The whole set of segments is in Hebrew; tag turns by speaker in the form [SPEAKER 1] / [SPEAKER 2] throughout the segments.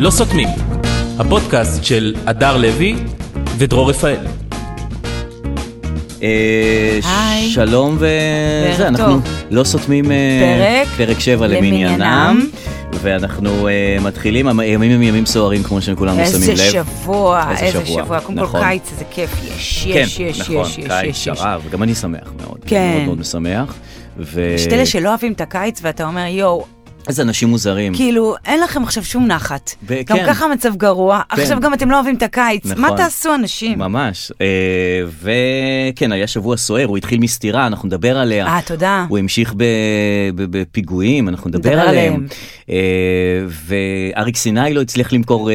[SPEAKER 1] לא סותמים, הפודקאסט של הדר לוי ודרור רפאל.
[SPEAKER 2] אה,
[SPEAKER 3] היי.
[SPEAKER 2] שלום ו...
[SPEAKER 3] ערב
[SPEAKER 2] זה, אנחנו
[SPEAKER 3] טוב.
[SPEAKER 2] לא סותמים אה,
[SPEAKER 3] פרק
[SPEAKER 2] פרק 7
[SPEAKER 3] למניינם.
[SPEAKER 2] למניינם, ואנחנו אה, מתחילים, המ- הימים הם ימים סוערים כמו שכולנו שמים
[SPEAKER 3] איזה
[SPEAKER 2] לב.
[SPEAKER 3] שבוע,
[SPEAKER 2] איזה
[SPEAKER 3] איזה
[SPEAKER 2] שבוע,
[SPEAKER 3] שבוע. קודם כל
[SPEAKER 2] נכון.
[SPEAKER 3] קיץ, איזה כיף. יש,
[SPEAKER 2] כן,
[SPEAKER 3] יש, יש,
[SPEAKER 2] נכון,
[SPEAKER 3] יש, יש,
[SPEAKER 2] קיץ
[SPEAKER 3] יש, יש.
[SPEAKER 2] שרב, וגם אני שמח מאוד,
[SPEAKER 3] כן.
[SPEAKER 2] מאוד מאוד משמח. ו...
[SPEAKER 3] יש את אלה שלא אוהבים את הקיץ, ואתה אומר, יואו,
[SPEAKER 2] איזה אנשים מוזרים.
[SPEAKER 3] כאילו, אין לכם עכשיו שום נחת.
[SPEAKER 2] Mm. ו-
[SPEAKER 3] גם
[SPEAKER 2] כן.
[SPEAKER 3] ככה המצב גרוע, עכשיו גם אתם לא אוהבים את הקיץ. מה
[SPEAKER 2] נכון.
[SPEAKER 3] תעשו אנשים?
[SPEAKER 2] ממש, אה, וכן, היה שבוע סוער, הוא התחיל מסתירה, אנחנו נדבר עליה.
[SPEAKER 3] אה, תודה.
[SPEAKER 2] הוא המשיך ב- ב- בפיגועים, אנחנו נדבר
[SPEAKER 3] נדבר עליהם.
[SPEAKER 2] עליהם. אה, ואריק סיני לא הצליח למכור אה,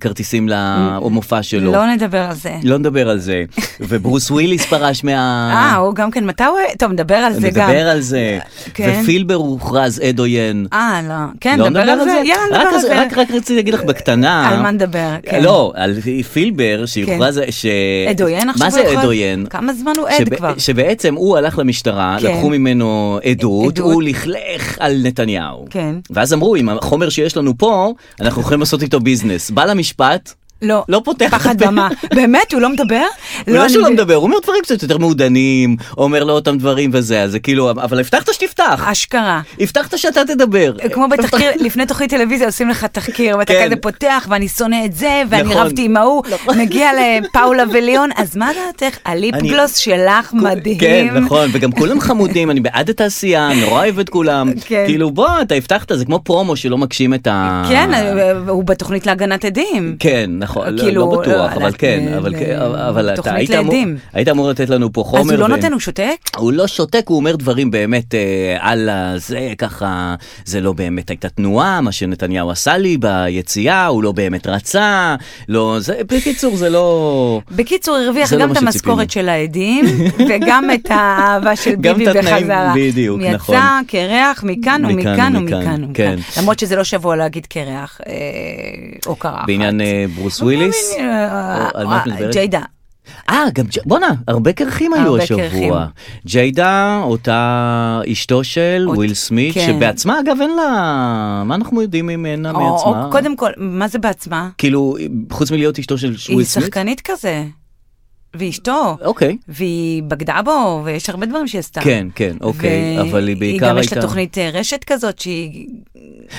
[SPEAKER 2] כרטיסים למופע שלו.
[SPEAKER 3] לא נדבר על זה.
[SPEAKER 2] לא נדבר על זה. וברוס וויליס פרש
[SPEAKER 3] אה,
[SPEAKER 2] מה...
[SPEAKER 3] הוא גם כן, מתי הוא... טוב, נדבר על זה גם.
[SPEAKER 2] נדבר על זה.
[SPEAKER 3] כן.
[SPEAKER 2] ופילבר הוכרז עד עוין.
[SPEAKER 3] אה, לא. כן,
[SPEAKER 2] לא
[SPEAKER 3] נדבר על זה. יאללה, נדבר
[SPEAKER 2] רק
[SPEAKER 3] על
[SPEAKER 2] אז-
[SPEAKER 3] זה.
[SPEAKER 2] רק רק רציתי להגיד לך בקטנה.
[SPEAKER 3] על מה נדבר, כן.
[SPEAKER 2] לא, על פילבר שהוכרז... ש-
[SPEAKER 3] עד עוין עכשיו
[SPEAKER 2] מה
[SPEAKER 3] הוא
[SPEAKER 2] זה
[SPEAKER 3] יכול?
[SPEAKER 2] עד עוין?
[SPEAKER 3] כמה זמן הוא עד
[SPEAKER 2] שב-
[SPEAKER 3] כבר?
[SPEAKER 2] שבעצם הוא הלך למשטרה,
[SPEAKER 3] כן.
[SPEAKER 2] לקחו ממנו
[SPEAKER 3] עדות.
[SPEAKER 2] עדות, הוא לכלך על נתניהו.
[SPEAKER 3] כן.
[SPEAKER 2] ואז אמרו, עם החומר שיש לנו פה, אנחנו יכולים לעשות איתו ביזנס. בא למשפט,
[SPEAKER 3] לא.
[SPEAKER 2] לא פותח את
[SPEAKER 3] פחד
[SPEAKER 2] הפה.
[SPEAKER 3] במה. באמת? הוא לא מדבר?
[SPEAKER 2] הוא לא
[SPEAKER 3] אני-
[SPEAKER 2] שהוא לא מדבר, הוא אומר דברים קצת יותר מעודנים, אומר לא אותם דברים וזה, אז זה כאילו, אבל הבטחת שתפתח,
[SPEAKER 3] אשכרה.
[SPEAKER 2] הבטחת שאתה תדבר.
[SPEAKER 3] אה, כמו בתחקיר, לפני תוכנית טלוויזיה עושים לך תחקיר, ואתה
[SPEAKER 2] כן.
[SPEAKER 3] כזה פותח, ואני שונא את זה, ואני
[SPEAKER 2] נכון.
[SPEAKER 3] רבתי עם ההוא,
[SPEAKER 2] נכון.
[SPEAKER 3] מגיע לפאולה וליון, אז מה דעתך? הליפגלוס שלך מדהים.
[SPEAKER 2] כן, נכון, וגם כולם חמודים, אני בעד התעשייה, אני נורא אוהב את כולם.
[SPEAKER 3] כן.
[SPEAKER 2] כאילו, בוא, אתה הבטחת, זה כמו פרומו שלא מגשים את ה...
[SPEAKER 3] כן, הוא בתוכנית להגנת עדים.
[SPEAKER 2] כן, נכון, לא-
[SPEAKER 3] כאילו,
[SPEAKER 2] לא
[SPEAKER 3] לא,
[SPEAKER 2] בטוח, אבל
[SPEAKER 3] הלכת ל-
[SPEAKER 2] כן, אבל
[SPEAKER 3] ל-
[SPEAKER 2] כן, אבל אתה
[SPEAKER 3] אה, תוכנית
[SPEAKER 2] היית אמור-
[SPEAKER 3] לעדים.
[SPEAKER 2] היית אמור לתת לנו פה חומר.
[SPEAKER 3] אז הוא לא
[SPEAKER 2] ו-
[SPEAKER 3] נותן, הוא שותק?
[SPEAKER 2] הוא לא שותק, הוא אומר דברים באמת אה, על זה, ככה, זה לא באמת הייתה תנועה, מה שנתניהו עשה לי ביציאה, הוא לא באמת רצה, לא, זה, בקיצור, זה לא...
[SPEAKER 3] בקיצור, הרוויח
[SPEAKER 2] זה לא
[SPEAKER 3] גם
[SPEAKER 2] מה
[SPEAKER 3] את
[SPEAKER 2] שציפינו.
[SPEAKER 3] המשכורת של העדים, וגם את האהבה של
[SPEAKER 2] גם
[SPEAKER 3] ביבי
[SPEAKER 2] את התנאים,
[SPEAKER 3] בחזרה.
[SPEAKER 2] בדיוק, נכון.
[SPEAKER 3] יצא קרח מכאן
[SPEAKER 2] מכאן
[SPEAKER 3] ומכאן
[SPEAKER 2] ומכאן,
[SPEAKER 3] ומכאן.
[SPEAKER 2] כן.
[SPEAKER 3] ומכאן. למרות שזה לא שבוע להגיד קרח, אה, או קרחת.
[SPEAKER 2] בעניין אה, ברוס וויליס?
[SPEAKER 3] אה,
[SPEAKER 2] או על מה את מדברת?
[SPEAKER 3] ג'יידה.
[SPEAKER 2] אה, גם, ג'- בואנה, הרבה קרחים היו
[SPEAKER 3] הרבה קרחים.
[SPEAKER 2] השבוע. ג'יידה, אותה אשתו של
[SPEAKER 3] אות-
[SPEAKER 2] וויל סמית,
[SPEAKER 3] כן.
[SPEAKER 2] שבעצמה, אגב, אין לה... מה אנחנו יודעים ממנה
[SPEAKER 3] או-
[SPEAKER 2] מעצמה?
[SPEAKER 3] או קודם כל, מה זה בעצמה?
[SPEAKER 2] כאילו, חוץ מלהיות אשתו של
[SPEAKER 3] היא
[SPEAKER 2] וויל סמית?
[SPEAKER 3] שחקנית כזה. והיא אשתו.
[SPEAKER 2] אוקיי.
[SPEAKER 3] והיא בגדה בו, ויש הרבה דברים שהיא עשתה.
[SPEAKER 2] כן, כן, אוקיי, אבל היא בעיקר
[SPEAKER 3] גם יש לה
[SPEAKER 2] הייתה-
[SPEAKER 3] תוכנית אה, רשת כזאת שהיא...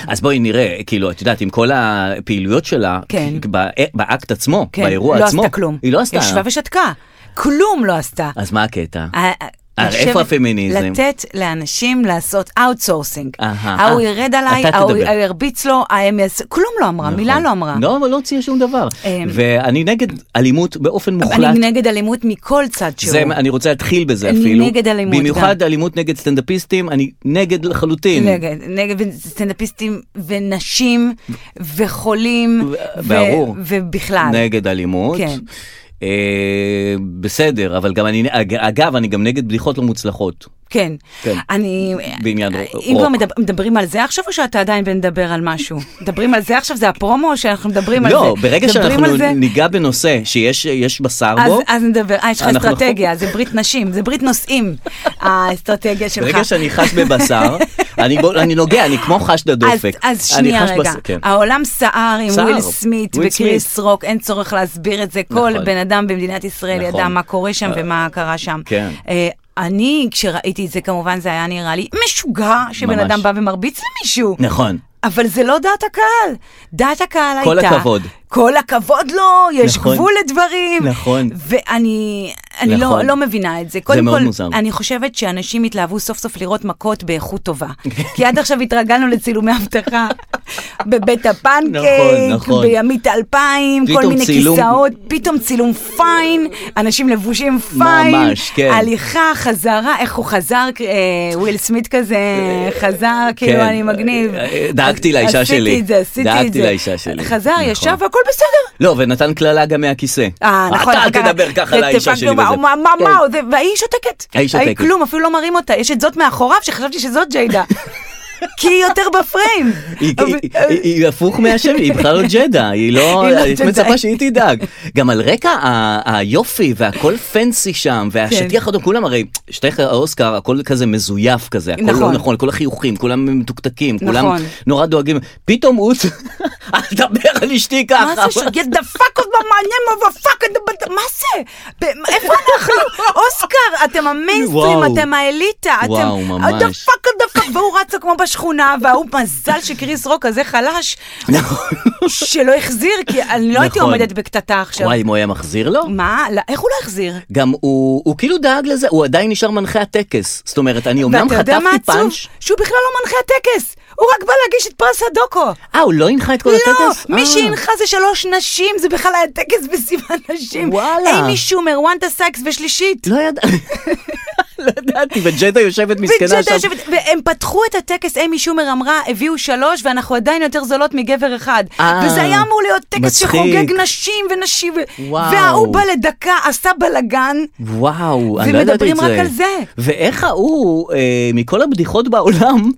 [SPEAKER 2] אז בואי נראה, כאילו, את יודעת, עם כל הפעילויות שלה,
[SPEAKER 3] כן.
[SPEAKER 2] בא- באקט עצמו,
[SPEAKER 3] כן,
[SPEAKER 2] באירוע
[SPEAKER 3] לא
[SPEAKER 2] עצמו,
[SPEAKER 3] עשתה כלום.
[SPEAKER 2] היא לא עשתה.
[SPEAKER 3] ישבה ושתקה. כלום לא עשתה.
[SPEAKER 2] אז מה הקטע?
[SPEAKER 3] אה,
[SPEAKER 2] אה,
[SPEAKER 3] לשבת-
[SPEAKER 2] איפה הפמיניזם?
[SPEAKER 3] לתת לאנשים לעשות אאוטסורסינג.
[SPEAKER 2] אהה,
[SPEAKER 3] ההוא
[SPEAKER 2] אה,
[SPEAKER 3] ירד עליי,
[SPEAKER 2] אתה
[SPEAKER 3] ההוא
[SPEAKER 2] תדבר.
[SPEAKER 3] ההוא הרביץ לו, הם יעשו... כלום לא אמרה, מילה לא אמרה.
[SPEAKER 2] לא, אבל לא הוציאה שום דבר.
[SPEAKER 3] אמ,
[SPEAKER 2] ואני נגד אלימות באופן מוחלט.
[SPEAKER 3] אני נגד אלימות מכל צד שהוא.
[SPEAKER 2] זה, אני רוצה להתחיל בזה
[SPEAKER 3] אני
[SPEAKER 2] אפילו.
[SPEAKER 3] נגד אלימות
[SPEAKER 2] במיוחד
[SPEAKER 3] גם.
[SPEAKER 2] אלימות נגד סטנדאפיסטים, אני נגד לחלוטין.
[SPEAKER 3] נגד, נגד סטנדאפיסטים ונשים וחולים. ו-
[SPEAKER 2] ברור.
[SPEAKER 3] ובכלל.
[SPEAKER 2] נגד אלימות.
[SPEAKER 3] כן.
[SPEAKER 2] אה, בסדר, אבל גם אני, אג- אגב, אני גם נגד בדיחות לא מוצלחות.
[SPEAKER 3] כן.
[SPEAKER 2] כן.
[SPEAKER 3] אני...
[SPEAKER 2] בעניין
[SPEAKER 3] אם
[SPEAKER 2] רוק.
[SPEAKER 3] כבר מדבר- מדברים על זה עכשיו או שאתה עדיין מדבר על משהו? מדברים על זה עכשיו? זה הפרומו או שאנחנו מדברים על זה?
[SPEAKER 2] לא, ברגע
[SPEAKER 3] מדברים על זה?
[SPEAKER 2] שאנחנו ניגע בנושא שיש יש בשר
[SPEAKER 3] אז,
[SPEAKER 2] בו,
[SPEAKER 3] אז נדבר, אה, יש לך
[SPEAKER 2] אנחנו-
[SPEAKER 3] אסטרטגיה, זה ברית נשים, זה ברית נושאים, האסטרטגיה שלך.
[SPEAKER 2] ברגע שאני חש בבשר, אני בו- אני נוגע, אני כמו חשד
[SPEAKER 3] אז,
[SPEAKER 2] הדופק.
[SPEAKER 3] אז
[SPEAKER 2] אני
[SPEAKER 3] שנייה
[SPEAKER 2] חש
[SPEAKER 3] רגע, אה.
[SPEAKER 2] בס- כן.
[SPEAKER 3] העולם סער עם
[SPEAKER 2] סער.
[SPEAKER 3] וויל סמית
[SPEAKER 2] וויל
[SPEAKER 3] וקריס רוק, אין צורך להסביר את זה, כל
[SPEAKER 2] נכון.
[SPEAKER 3] בן אדם במדינת ישראל
[SPEAKER 2] נכון.
[SPEAKER 3] ידע מה קורה שם ומה קרה שם.
[SPEAKER 2] כן.
[SPEAKER 3] אה, אני, כשראיתי את זה, כמובן זה היה נראה לי משוגע שבן
[SPEAKER 2] ממש.
[SPEAKER 3] אדם בא ומרביץ למישהו.
[SPEAKER 2] נכון.
[SPEAKER 3] אבל זה לא דעת הקהל. דעת הקהל
[SPEAKER 2] כל
[SPEAKER 3] הייתה...
[SPEAKER 2] הכבוד.
[SPEAKER 3] כל הכבוד לא, יש
[SPEAKER 2] נכון.
[SPEAKER 3] גבול לדברים.
[SPEAKER 2] נכון.
[SPEAKER 3] ואני אני
[SPEAKER 2] נכון.
[SPEAKER 3] לא, לא מבינה את זה. קודם
[SPEAKER 2] מאוד
[SPEAKER 3] כל,
[SPEAKER 2] מוזר.
[SPEAKER 3] אני חושבת שאנשים התלהבו סוף סוף לראות מכות באיכות טובה. כי עד עכשיו התרגלנו לצילומי אבטחה בבית הפנקייק,
[SPEAKER 2] נכון, נכון.
[SPEAKER 3] בימית אלפיים, כל
[SPEAKER 2] פתאום
[SPEAKER 3] מיני
[SPEAKER 2] צילום-
[SPEAKER 3] כיסאות, פתאום צילום פיין, אנשים לבושים פיין.
[SPEAKER 2] ממש, כן.
[SPEAKER 3] הליכה, חזרה, איך הוא חזר, אה, וויל סמית כזה חזר, כאילו
[SPEAKER 2] כן.
[SPEAKER 3] אני מגניב.
[SPEAKER 2] דאגתי לאישה שלי.
[SPEAKER 3] עשיתי את זה, עשיתי את זה.
[SPEAKER 2] דאגתי לאישה שלי.
[SPEAKER 3] חזר,
[SPEAKER 2] נכון.
[SPEAKER 3] ישב, והכל בסדר.
[SPEAKER 2] לא, ונתן קללה גם מהכיסא.
[SPEAKER 3] אה, נכון.
[SPEAKER 2] אתה
[SPEAKER 3] אחר
[SPEAKER 2] אל
[SPEAKER 3] כך-
[SPEAKER 2] תדבר ככה לאישה
[SPEAKER 3] דפקנו
[SPEAKER 2] שלי
[SPEAKER 3] בה,
[SPEAKER 2] וזה.
[SPEAKER 3] מה, מה,
[SPEAKER 2] כן.
[SPEAKER 3] מה, זה- והיא שותקת.
[SPEAKER 2] ההיא שותקת.
[SPEAKER 3] כלום, אפילו לא מרים אותה. יש את זאת מאחוריו, שחשבתי שזאת ג'יידה. כי היא יותר בפריים.
[SPEAKER 2] היא-
[SPEAKER 3] אבל- אה,
[SPEAKER 2] היא- היא- היא הפוך מהשם, היא בכלל לא ג'דה, היא לא,
[SPEAKER 3] היא לא
[SPEAKER 2] היית
[SPEAKER 3] ג'דה.
[SPEAKER 2] מצפה שהיא תדאג. גם על רקע ה- היופי והכל פנסי שם,
[SPEAKER 3] כן.
[SPEAKER 2] והשטיח האדום, כולם הרי, שטיח האוסקר, הכל כזה מזויף כזה, הכל לא
[SPEAKER 3] נכון.
[SPEAKER 2] נכון, כל החיוכים, כולם מתוקתקים, כולם
[SPEAKER 3] נכון.
[SPEAKER 2] נורא דואגים, פתאום הוא, אל תדבר על אשתי ככה.
[SPEAKER 3] מה זה ש... get the fuck of my name of a fuck in the... מה זה? ב- איפה אנחנו? אוסקר, אתם
[SPEAKER 2] וואו.
[SPEAKER 3] המיינסטרים, אתם האליטה. אתם...
[SPEAKER 2] וואו, ממש.
[SPEAKER 3] the fuck of the fuck, והוא רצה כמו בשכונה, וההוא מזל שקריס רוק כזה חלש,
[SPEAKER 2] נכון.
[SPEAKER 3] שלא החזיר, כי אני לא הייתי
[SPEAKER 2] נכון.
[SPEAKER 3] עומדת בקטטה עכשיו.
[SPEAKER 2] וואי, אם הוא היה מחזיר לו?
[SPEAKER 3] מה? לא, איך הוא לא החזיר?
[SPEAKER 2] גם הוא, הוא כאילו דאג לזה, הוא עדיין נשאר מנחה הטקס. זאת אומרת, אני אמנם
[SPEAKER 3] ואתה יודע מה
[SPEAKER 2] חטפתי
[SPEAKER 3] עצוב?
[SPEAKER 2] פאנץ'.
[SPEAKER 3] שהוא בכלל לא מנחה הטקס. הוא רק בא להגיש את פרס הדוקו.
[SPEAKER 2] אה, הוא לא הנחה את כל
[SPEAKER 3] לא,
[SPEAKER 2] הטקס?
[SPEAKER 3] מי
[SPEAKER 2] אה.
[SPEAKER 3] שהנחה זה שלוש נשים, זה בכלל היה טקס בסימן נשים.
[SPEAKER 2] וואלה.
[SPEAKER 3] אימי שומר, וונטה סייקס ושלישית.
[SPEAKER 2] לא ידע... לא ידעתי, וג'דה יושבת מסכנה
[SPEAKER 3] וג'דה
[SPEAKER 2] שם.
[SPEAKER 3] יושבת, והם פתחו את הטקס, אמי שומר אמרה, הביאו שלוש, ואנחנו עדיין יותר זולות מגבר אחד.
[SPEAKER 2] אה,
[SPEAKER 3] וזה היה אמור להיות טקס
[SPEAKER 2] מצחיק.
[SPEAKER 3] שחוגג נשים ונשים, ו-
[SPEAKER 2] וואו.
[SPEAKER 3] וההוא בא לדקה, עשה בלאגן.
[SPEAKER 2] וואו, אני לא ידעתי את
[SPEAKER 3] ומדברים
[SPEAKER 2] זה.
[SPEAKER 3] רק על זה.
[SPEAKER 2] ואיך ההוא, אה, מכל הבדיחות בעולם,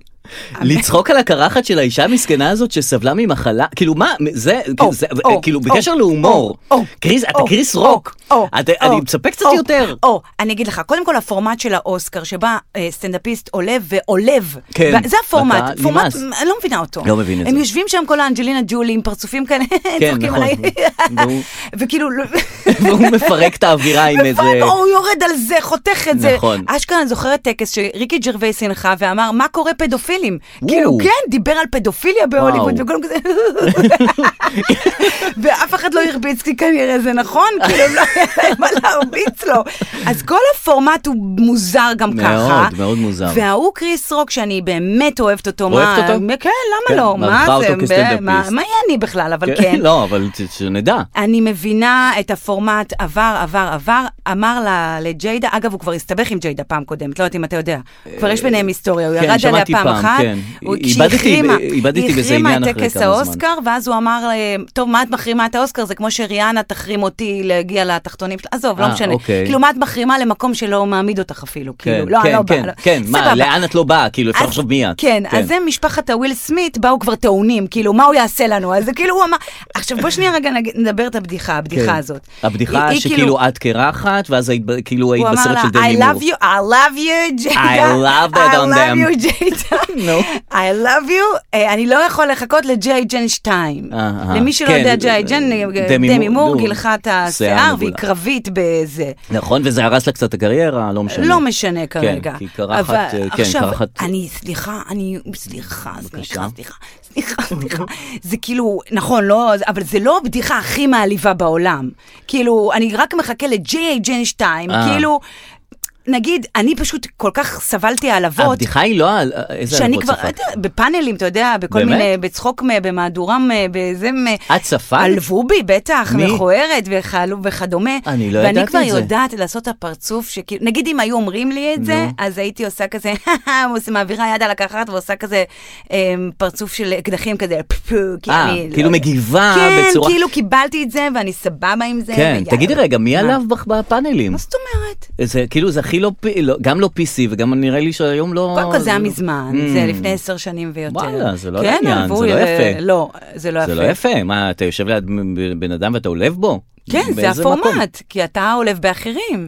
[SPEAKER 2] לצחוק על הקרחת של האישה המסכנה הזאת שסבלה ממחלה, כאילו מה, זה,
[SPEAKER 3] או,
[SPEAKER 2] זה-
[SPEAKER 3] או,
[SPEAKER 2] כאילו
[SPEAKER 3] או,
[SPEAKER 2] בקשר להומור,
[SPEAKER 3] או, או,
[SPEAKER 2] קריס, אתה
[SPEAKER 3] או,
[SPEAKER 2] קריס
[SPEAKER 3] או,
[SPEAKER 2] רוק,
[SPEAKER 3] או,
[SPEAKER 2] אתה-
[SPEAKER 3] או,
[SPEAKER 2] אני מצפה קצת
[SPEAKER 3] או,
[SPEAKER 2] יותר.
[SPEAKER 3] או, אני אגיד לך, קודם כל הפורמט של האוסקר, שבה אה, סטנדאפיסט עולה ועולב.
[SPEAKER 2] כן,
[SPEAKER 3] ו- זה הפורמט,
[SPEAKER 2] ואתה
[SPEAKER 3] פורמט,
[SPEAKER 2] נמאס.
[SPEAKER 3] אני לא מבינה אותו.
[SPEAKER 2] לא מבין את
[SPEAKER 3] הם
[SPEAKER 2] זה.
[SPEAKER 3] יושבים שם כל האנג'לינה ג'ולי עם פרצופים כאלה,
[SPEAKER 2] כן,
[SPEAKER 3] צוחקים
[SPEAKER 2] נכון.
[SPEAKER 3] עליי.
[SPEAKER 2] והוא-
[SPEAKER 3] וכאילו... לא-
[SPEAKER 2] והוא מפרק את האווירה עם איזה...
[SPEAKER 3] בפאב, נכון, או הוא יורד על זה, חותך את זה.
[SPEAKER 2] נכון.
[SPEAKER 3] אשכרה אני זוכרת טקס שריקי ג'רווייס הנחה ואמר, מה קורה פדופילים?
[SPEAKER 2] וואו.
[SPEAKER 3] כאילו, כן, דיבר על פדופיליה בהוליווד,
[SPEAKER 2] וואו.
[SPEAKER 3] וכולם כזה... ואף אחד לא הרביץ, כי כנראה זה נכון, כאילו, לא היה להם מה להרביץ לו. אז כל הפורמט הוא מוזר גם
[SPEAKER 2] מאוד,
[SPEAKER 3] ככה.
[SPEAKER 2] מאוד מוזר.
[SPEAKER 3] וההוא קריס רוק, שאני באמת אוהבת אותו.
[SPEAKER 2] אוהבת
[SPEAKER 3] מה-
[SPEAKER 2] אותו?
[SPEAKER 3] כן,
[SPEAKER 2] כן,
[SPEAKER 3] למה לא?
[SPEAKER 2] מעריכה
[SPEAKER 3] מה
[SPEAKER 2] אותו
[SPEAKER 3] זה?
[SPEAKER 2] כסטנדאפיסט.
[SPEAKER 3] מה מה יהיה אני בכלל, אבל
[SPEAKER 2] כן,
[SPEAKER 3] כן.
[SPEAKER 2] לא, אבל ש- שנדע.
[SPEAKER 3] אני מבינה את הפורמט עבר, עבר, עבר, אמר לה, לג'יידה, אגב, הוא כבר הסתבך עם ג'יידה פעם קודמת, לא יודעת אם אתה יודע. כבר יש ביניהם היסטוריה, הוא
[SPEAKER 2] כן,
[SPEAKER 3] ירד עליה
[SPEAKER 2] שמעתי
[SPEAKER 3] פעם
[SPEAKER 2] פעם,
[SPEAKER 3] אחת.
[SPEAKER 2] כן.
[SPEAKER 3] הוא-
[SPEAKER 2] איבדתי-
[SPEAKER 3] כשהיא החרימה-
[SPEAKER 2] איבדתי
[SPEAKER 3] היא
[SPEAKER 2] בזה
[SPEAKER 3] החרימה
[SPEAKER 2] עניין
[SPEAKER 3] את
[SPEAKER 2] אחרי
[SPEAKER 3] טקס
[SPEAKER 2] כמה זמן.
[SPEAKER 3] האוסקר, ואז הוא אמר, להם, טוב, מה את מחרימה את האוסקר? זה כמו שריאנה תחרים אותי להגיע לתחתונים שלה, עזוב, לא
[SPEAKER 2] אה,
[SPEAKER 3] משנה.
[SPEAKER 2] אוקיי.
[SPEAKER 3] כאילו, מה את מחרימה למקום שלא מעמיד אותך אפילו,
[SPEAKER 2] כן,
[SPEAKER 3] כאילו, לא, אני
[SPEAKER 2] כן,
[SPEAKER 3] לא באה.
[SPEAKER 2] כן,
[SPEAKER 3] לא-
[SPEAKER 2] כן, מה,
[SPEAKER 3] סבבה.
[SPEAKER 2] לאן את לא באה? כאילו, אפשר
[SPEAKER 3] אז-
[SPEAKER 2] לחשוב מי את.
[SPEAKER 3] כן, אז זה משפחת הוויל סמית, באו כבר טעונים, כאילו, מה הוא יעשה לנו? אז זה כאילו, הוא אמר... עכשיו, בוא שנייה רגע נגיד- נדבר את הבדיחה, הבדיחה
[SPEAKER 2] כן.
[SPEAKER 3] הזאת.
[SPEAKER 2] הבדיחה
[SPEAKER 3] היא- היא
[SPEAKER 2] שכאילו את קרחת, ואז היית ב- כאילו היית
[SPEAKER 3] הוא אמר
[SPEAKER 2] בסרט
[SPEAKER 3] לה,
[SPEAKER 2] של
[SPEAKER 3] I
[SPEAKER 2] דני
[SPEAKER 3] love
[SPEAKER 2] מור.
[SPEAKER 3] you, I love you, ג'יידה.
[SPEAKER 2] love that on
[SPEAKER 3] I
[SPEAKER 2] them."
[SPEAKER 3] love you, ג'יידה.
[SPEAKER 2] נו.
[SPEAKER 3] I love you. אה, אני לא יכול לחכות לג'ייג'ן 2.
[SPEAKER 2] אה, אה,
[SPEAKER 3] למי שלא
[SPEAKER 2] כן,
[SPEAKER 3] יודע, ג'ייג'ן,
[SPEAKER 2] אה, דמי
[SPEAKER 3] דמי
[SPEAKER 2] מור,
[SPEAKER 3] מור
[SPEAKER 2] נו,
[SPEAKER 3] גילחה את
[SPEAKER 2] שיער
[SPEAKER 3] השיער, והיא
[SPEAKER 2] מבולע.
[SPEAKER 3] קרבית בזה.
[SPEAKER 2] נכון, וזה הרס לה קצת את הקריירה, לא משנה.
[SPEAKER 3] לא משנה כרגע.
[SPEAKER 2] כי קרחת,
[SPEAKER 3] אבל
[SPEAKER 2] אה, כן,
[SPEAKER 3] עכשיו,
[SPEAKER 2] קרחת-
[SPEAKER 3] אני, סליחה, אני, סליחה,
[SPEAKER 2] בבקשה.
[SPEAKER 3] סליחה, סליחה, סליחה, סליחה. זה כאילו, נכון, לא, אבל זה לא הבדיחה הכי מעליבה בעולם. כאילו, אני רק מחכה ל-J.A. ג'ן 2,
[SPEAKER 2] אה.
[SPEAKER 3] כאילו, נגיד, אני פשוט כל כך סבלתי העלבות.
[SPEAKER 2] הבדיחה היא לא על... איזה
[SPEAKER 3] שאני
[SPEAKER 2] עלבות
[SPEAKER 3] כבר,
[SPEAKER 2] ספגת?
[SPEAKER 3] אתה יודע, בפאנלים, אתה יודע, בכל
[SPEAKER 2] באמת?
[SPEAKER 3] מיני, בצחוק, מ- במהדורה, מ- בזה, מ-
[SPEAKER 2] את ספגת?
[SPEAKER 3] עלבו בי, בטח,
[SPEAKER 2] מי?
[SPEAKER 3] מכוערת וחלו וכדומה.
[SPEAKER 2] אני לא
[SPEAKER 3] ואני
[SPEAKER 2] ידעתי
[SPEAKER 3] כבר
[SPEAKER 2] את זה.
[SPEAKER 3] יודעת לעשות את הפרצוף שכאילו, נגיד אם היו אומרים לי את זה, אז הייתי עושה כזה, עושה- מעבירה יד על הקרחת ועושה כזה אה, פרצוף של אקדחים כזה, פפו, כי
[SPEAKER 2] אה,
[SPEAKER 3] אני... לא
[SPEAKER 2] כאילו
[SPEAKER 3] יודעת.
[SPEAKER 2] מגיבה בצורה-
[SPEAKER 3] כן, כאילו קיבלתי את זה ואני סבבה עם זה.
[SPEAKER 2] כן,
[SPEAKER 3] ויאללה.
[SPEAKER 2] תגידי רגע, מי
[SPEAKER 3] מה?
[SPEAKER 2] עליו בך בפאנלים?
[SPEAKER 3] מה זאת אומרת?
[SPEAKER 2] זה כאילו, זה הכי לא... פ- לא- גם לא PC, וגם נראה לי שהיום לא...
[SPEAKER 3] קודם כל זה היה
[SPEAKER 2] לא-
[SPEAKER 3] מזמן,
[SPEAKER 2] Mm.
[SPEAKER 3] זה לפני עשר שנים ויותר.
[SPEAKER 2] וואלה, זה לא
[SPEAKER 3] כן,
[SPEAKER 2] לעניין,
[SPEAKER 3] עברו,
[SPEAKER 2] זה לא
[SPEAKER 3] אה,
[SPEAKER 2] יפה.
[SPEAKER 3] לא, זה לא יפה.
[SPEAKER 2] זה לא יפה, מה, אתה יושב ליד בן- בן אדם ואתה עולב בו?
[SPEAKER 3] כן, זה
[SPEAKER 2] באיזה מקום?
[SPEAKER 3] הפורמט, כי אתה עולב באחרים.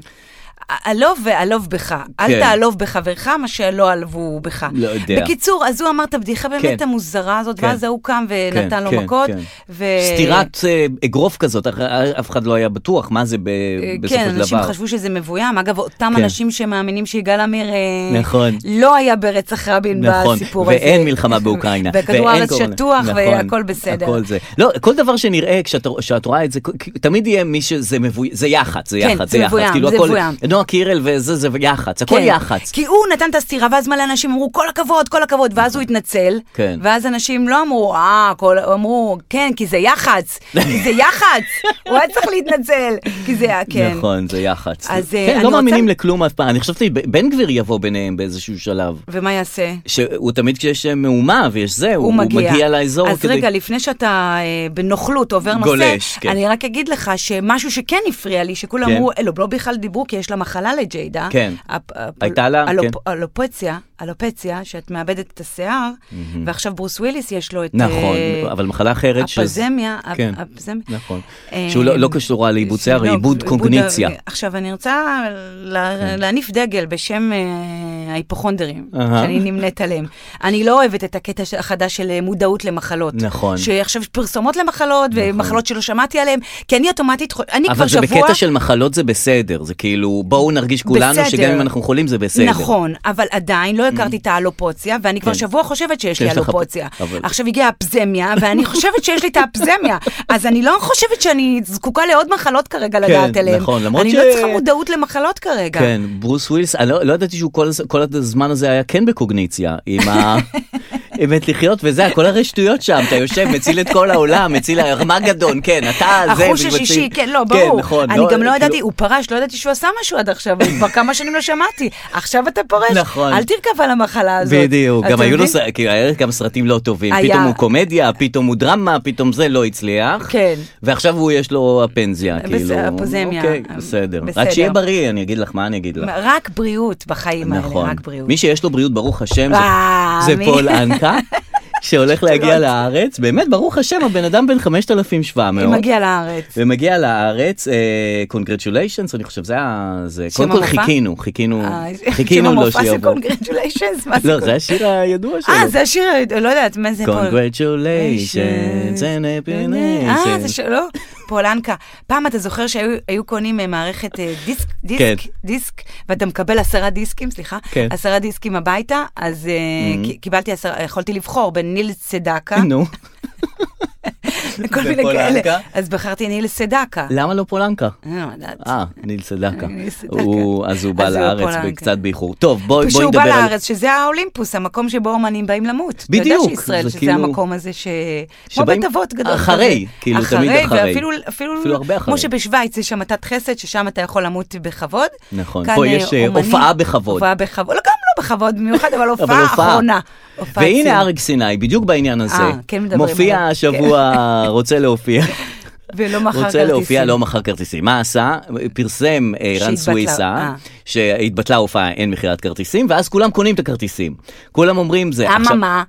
[SPEAKER 3] עלוב ועלוב בך,
[SPEAKER 2] כן.
[SPEAKER 3] אל תעלוב בחברך מה שלא עלבו בך.
[SPEAKER 2] לא יודע.
[SPEAKER 3] בקיצור, אז הוא אמר את הבדיחה באמת
[SPEAKER 2] כן.
[SPEAKER 3] המוזרה הזאת,
[SPEAKER 2] כן.
[SPEAKER 3] ואז ההוא קם ונתן לו
[SPEAKER 2] כן,
[SPEAKER 3] מכות.
[SPEAKER 2] כן.
[SPEAKER 3] ו-
[SPEAKER 2] סטירת אה, אגרוף כזאת, אף- אף אחד לא היה בטוח מה זה ב-
[SPEAKER 3] אה,
[SPEAKER 2] בסופו
[SPEAKER 3] כן,
[SPEAKER 2] של
[SPEAKER 3] אנשים
[SPEAKER 2] דבר.
[SPEAKER 3] חשבו שזה מבוים. אגב, אותם
[SPEAKER 2] כן.
[SPEAKER 3] אנשים שמאמינים שיגאל עמיר אה,
[SPEAKER 2] נכון.
[SPEAKER 3] לא היה ברצח רבין
[SPEAKER 2] נכון,
[SPEAKER 3] בסיפור הזה.
[SPEAKER 2] ואין מלחמה באוקראינה. ואין
[SPEAKER 3] וכדור הארץ
[SPEAKER 2] קורונה.
[SPEAKER 3] שטוח
[SPEAKER 2] נכון,
[SPEAKER 3] והכל בסדר.
[SPEAKER 2] הכל זה. לא, כל דבר שנראה, כשאת- כשאת רואה את זה, כ- תמיד יהיה מי שזה מבוים, זה יח"צ, זה
[SPEAKER 3] כן,
[SPEAKER 2] יח"צ,
[SPEAKER 3] זה מבוים,
[SPEAKER 2] כאילו
[SPEAKER 3] זה
[SPEAKER 2] הכל-
[SPEAKER 3] מבוים.
[SPEAKER 2] נועה קירל וזה, זה יח"צ, הכל
[SPEAKER 3] כן.
[SPEAKER 2] יח"צ.
[SPEAKER 3] כי הוא נתן את הסטירה, ואז מלא אנשים אמרו, כל הכבוד, כל הכבוד, ואז הוא התנצל.
[SPEAKER 2] כן.
[SPEAKER 3] ואז אנשים לא אמרו, אה, כל... אמרו, כן, כי זה יח"צ, כי זה יח"צ, הוא היה צריך להתנצל, כי זה היה, כן.
[SPEAKER 2] נכון, זה יח"צ.
[SPEAKER 3] אז, אה,
[SPEAKER 2] כן,
[SPEAKER 3] אני
[SPEAKER 2] לא
[SPEAKER 3] רוצה-
[SPEAKER 2] מאמינים לכלום אף פעם. אני חשבתי, ב- בן גביר יבוא ביניהם באיזשהו שלב.
[SPEAKER 3] ומה יעשה?
[SPEAKER 2] שהוא תמיד כשיש אה, מהומה ויש זה, הוא הוא מגיע לאזור
[SPEAKER 3] אז
[SPEAKER 2] כדי...
[SPEAKER 3] רגע, לפני שאתה אה, בנוכלות עובר נושא,
[SPEAKER 2] גולש, כן.
[SPEAKER 3] אני רק אגיד לך שמשהו שכן הפריע לי, שכולם
[SPEAKER 2] כן.
[SPEAKER 3] אמרו, "אה, לא, לא בכלל דיברו כי יש לה מחלה. המחלה לג'יידה,
[SPEAKER 2] כן.
[SPEAKER 3] הפ- הפ-
[SPEAKER 2] הייתה לה,
[SPEAKER 3] אלופ-
[SPEAKER 2] כן.
[SPEAKER 3] אלופציה, אלופציה, שאת מאבדת את השיער, ועכשיו ברוס וויליס יש לו את...
[SPEAKER 2] נכון,
[SPEAKER 3] אה,
[SPEAKER 2] אבל מחלה אחרת שזה-
[SPEAKER 3] הפזמיה,
[SPEAKER 2] כן,
[SPEAKER 3] הפ- הפזמיה.
[SPEAKER 2] נכון.
[SPEAKER 3] אה,
[SPEAKER 2] שהוא לא- לא קשורה לעיבוד שיער,
[SPEAKER 3] שלא,
[SPEAKER 2] היא עיבוד קוגניציה. כן.
[SPEAKER 3] ה- עכשיו, אני רוצה לה- להניף דגל בשם אה, ההיפוכונדרים,
[SPEAKER 2] אהה.
[SPEAKER 3] שאני נמנית עליהם. אני לא אוהבת את הקטע ש- החדש של אה, מודעות למחלות.
[SPEAKER 2] נכון.
[SPEAKER 3] שעכשיו יש פרסומות למחלות, ומחלות שלא שמעתי עליהן, כי אני אוטומטית, חו- אני כבר
[SPEAKER 2] אבל זה
[SPEAKER 3] שבוע...
[SPEAKER 2] בקטע של מחלות זה בסדר, זה כאילו בואו נרגיש כולנו
[SPEAKER 3] בסדר.
[SPEAKER 2] שגם אם אנחנו חולים זה בסדר. Mm.
[SPEAKER 3] נכון, אבל עדיין לא הכרתי את האלופוציה, ואני כבר
[SPEAKER 2] כן.
[SPEAKER 3] שבוע חושבת שיש לי
[SPEAKER 2] שיש לך פ-
[SPEAKER 3] אלופוציה.
[SPEAKER 2] אבל-
[SPEAKER 3] עכשיו הגיעה הפזמיה, ואני חושבת שיש לי את האפזמיה. אז אני לא חושבת שאני זקוקה לעוד מחלות כרגע לדעת עליהן.
[SPEAKER 2] נכון, למרות
[SPEAKER 3] אני
[SPEAKER 2] ש-
[SPEAKER 3] לא צריכה מודעות למחלות כרגע.
[SPEAKER 2] כן, ברוס ווילס, אני לא, לא ידעתי שהוא כל, הז- כל הזמן הזה היה כן בקוגניציה, עם ה... עם עת לחיות וזה, כל הרי שטויות שם, אתה יושב, מציל את כל העולם, מציל ארמגדון, כן, אתה זה.
[SPEAKER 3] החוש
[SPEAKER 2] מציל-
[SPEAKER 3] השישי, כן, לא, ברור.
[SPEAKER 2] נכון,
[SPEAKER 3] אני גם לא ידעתי,
[SPEAKER 2] כאילו-
[SPEAKER 3] הוא פרש, לא ידעתי שהוא עשה משהו עד עכשיו, הוא כבר כמה שנים לא שמעתי. עכשיו אתה פורש,
[SPEAKER 2] נכון.
[SPEAKER 3] אל תרכב על המחלה הזאת.
[SPEAKER 2] בדיוק,
[SPEAKER 3] אתה
[SPEAKER 2] גם היו לו
[SPEAKER 3] מבין?
[SPEAKER 2] ס- כאילו, היה גם סרטים לא טובים,
[SPEAKER 3] היה.
[SPEAKER 2] פתאום הוא קומדיה, פתאום הוא דרמה, פתאום זה לא הצליח.
[SPEAKER 3] כן.
[SPEAKER 2] ועכשיו הוא יש לו הפנזיה,
[SPEAKER 3] בסדר,
[SPEAKER 2] כאילו.
[SPEAKER 3] הפוזמיה.
[SPEAKER 2] אוקיי, בסדר. רק
[SPEAKER 3] בסדר.
[SPEAKER 2] שיהיה בריא, אני אגיד לך מה אני אגיד לך.
[SPEAKER 3] רק בריאות בחיים האלה,
[SPEAKER 2] נכון.
[SPEAKER 3] רק בריאות.
[SPEAKER 2] מי שיש לו בריאות, ברוך השם, זה-
[SPEAKER 3] אה,
[SPEAKER 2] זה
[SPEAKER 3] מי-
[SPEAKER 2] פול אנקה, שהולך להגיע לארץ. באמת, ברוך השם, הבן אדם בן 5,700.
[SPEAKER 3] מגיע לארץ.
[SPEAKER 2] ומגיע לארץ, קונגרצ'וליישנס, אני חושב, זה ה... זה-
[SPEAKER 3] שם
[SPEAKER 2] קודם כל
[SPEAKER 3] המופע?
[SPEAKER 2] חיכינו, חיכינו,
[SPEAKER 3] אה,
[SPEAKER 2] כן. חיכינו לו
[SPEAKER 3] שם המופע זה
[SPEAKER 2] שיבוא.
[SPEAKER 3] קונגרטוליישנס, מה זה?
[SPEAKER 2] לא, זה השיר הידוע שלו.
[SPEAKER 3] אה, זה השיר, לא יודעת, מה זה פה?
[SPEAKER 2] Congratulations and
[SPEAKER 3] אה, זה
[SPEAKER 2] happiness.
[SPEAKER 3] שלו, פולנקה. פעם אתה זוכר שהיו היו קונים אה, מערכת אה, דיסק, דיסק,
[SPEAKER 2] כן.
[SPEAKER 3] דיסק, ואתה מקבל עשרה דיסקים, סליחה,
[SPEAKER 2] כן. Mm-hmm.
[SPEAKER 3] עשרה דיסקים הביתה, אז אה, כי- קיבלתי עשרה, יכולתי לבחור בין ניל צדקה,
[SPEAKER 2] אה, נו,
[SPEAKER 3] כל מיני
[SPEAKER 2] ופולנקה?
[SPEAKER 3] כאלה, אז בחרתי ניל צדקה.
[SPEAKER 2] למה לא פולנקה?
[SPEAKER 3] אני לא יודעת.
[SPEAKER 2] אה, ניל סדקה.
[SPEAKER 3] ניל סדקה.
[SPEAKER 2] הוא- אז הוא בא
[SPEAKER 3] אז הוא
[SPEAKER 2] לארץ
[SPEAKER 3] פולנקה.
[SPEAKER 2] בקצת באיחור. טוב, בואי בואי
[SPEAKER 3] כשהוא בא
[SPEAKER 2] נדבר על...
[SPEAKER 3] לארץ, שזה האולימפוס, המקום שבו אומנים באים למות. אתה יודע
[SPEAKER 2] בדיוק,
[SPEAKER 3] שישראל,
[SPEAKER 2] זה
[SPEAKER 3] שזה
[SPEAKER 2] כאילו-
[SPEAKER 3] המקום הזה ש... כמו
[SPEAKER 2] שבאים
[SPEAKER 3] בית אבות גדול.
[SPEAKER 2] אחרי,
[SPEAKER 3] כזה.
[SPEAKER 2] כאילו, תמיד אחרי.
[SPEAKER 3] ואפילו, אפילו,
[SPEAKER 2] אפילו הרבה אחרי.
[SPEAKER 3] כמו שבשוויץ יש המתת חסד, ששם אתה יכול למות בכבוד.
[SPEAKER 2] נכון,
[SPEAKER 3] כאן,
[SPEAKER 2] פה
[SPEAKER 3] אה,
[SPEAKER 2] יש, אה,
[SPEAKER 3] אומנים-
[SPEAKER 2] הופעה בכבוד.
[SPEAKER 3] הופעה בכבוד, לא, גם לא בכבוד במיוחד, אבל
[SPEAKER 2] אבל
[SPEAKER 3] הופעה אחרונה. הופעת סיום.
[SPEAKER 2] והנה אריק סיני, בדיוק בעניין הזה.
[SPEAKER 3] אה, כן מדברים
[SPEAKER 2] מופיע
[SPEAKER 3] עליו.
[SPEAKER 2] השבוע, רוצה להופיע.
[SPEAKER 3] ולא מכר
[SPEAKER 2] רוצה להופיע,
[SPEAKER 3] כרטיסים.
[SPEAKER 2] לא מכר כרטיסים. מה עשה? פרסם אה, רן
[SPEAKER 3] שהתבטלה,
[SPEAKER 2] סוויסה,
[SPEAKER 3] אה.
[SPEAKER 2] שהתבטלה הופעה אין מכירת כרטיסים, ואז כולם קונים את הכרטיסים. כולם אומרים זה. עכשיו-
[SPEAKER 3] אממה,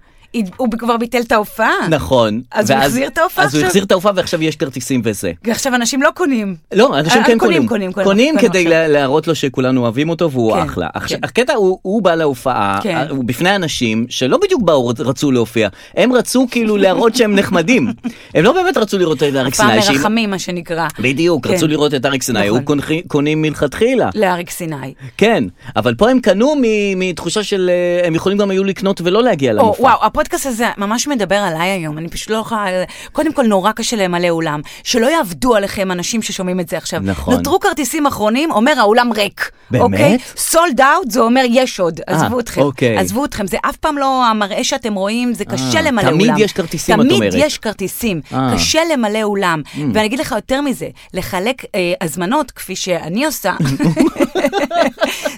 [SPEAKER 3] הוא כבר ביטל את ההופעה.
[SPEAKER 2] נכון.
[SPEAKER 3] אז הוא
[SPEAKER 2] ואז-
[SPEAKER 3] החזיר את ההופעה
[SPEAKER 2] אז הוא
[SPEAKER 3] עכשיו?
[SPEAKER 2] החזיר את ההופעה ועכשיו יש כרטיסים וזה.
[SPEAKER 3] ועכשיו אנשים לא קונים.
[SPEAKER 2] לא, אנשים
[SPEAKER 3] אה,
[SPEAKER 2] כן
[SPEAKER 3] קונים,
[SPEAKER 2] קונים.
[SPEAKER 3] קונים, קונים,
[SPEAKER 2] קונים
[SPEAKER 3] קונים
[SPEAKER 2] כדי
[SPEAKER 3] עכשיו.
[SPEAKER 2] לה- להראות לו שכולנו אוהבים אותו והוא
[SPEAKER 3] כן,
[SPEAKER 2] אחלה.
[SPEAKER 3] כן.
[SPEAKER 2] עכשיו, הקטע הוא, הוא בא להופעה,
[SPEAKER 3] כן.
[SPEAKER 2] אה, הוא בפני אנשים שלא בדיוק באו, רצו להופיע. הם רצו כאילו להראות שהם נחמדים. הם לא באמת רצו לראות את אריק
[SPEAKER 3] פעם
[SPEAKER 2] סיני. שאם-
[SPEAKER 3] מרחמים, מה שנקרא.
[SPEAKER 2] בדיוק,
[SPEAKER 3] כן.
[SPEAKER 2] רצו לראות את אריק סיני,
[SPEAKER 3] נכון.
[SPEAKER 2] היו קונחי- קונים מלכתחילה.
[SPEAKER 3] לאריק סיני.
[SPEAKER 2] כן, אבל פה הם קנו מ- מתחושה של אה, הם יכולים גם היו לקנות ולא להגיע
[SPEAKER 3] או,
[SPEAKER 2] למופע.
[SPEAKER 3] וואו, הפודקאסט הזה ממש מדבר עליי היום, אני פשוט לא יכולה... קודם כל, נורא קשה למלא אולם. שלא יעבדו עליכם אנשים ששומעים את זה עכשיו.
[SPEAKER 2] נכון.
[SPEAKER 3] נותרו כרטיסים אחרונים, אומר האולם ריק.
[SPEAKER 2] באמת?
[SPEAKER 3] אוקיי? סולד אאוט זה אומר יש עוד, עזבו אתכם.
[SPEAKER 2] אוקיי.
[SPEAKER 3] עזבו אתכם, זה אף פעם לא המראה שאתם רואים, זה קשה
[SPEAKER 2] אה,
[SPEAKER 3] למלא
[SPEAKER 2] תמיד
[SPEAKER 3] אולם.
[SPEAKER 2] יש כרטיסים, את אומרת.
[SPEAKER 3] תמיד יש כרטיסים,
[SPEAKER 2] אה. Mm.
[SPEAKER 3] קשה למלא אולם. ואני אגיד לך יותר מזה, לחלק אה, הזמנות, כפי שאני עושה,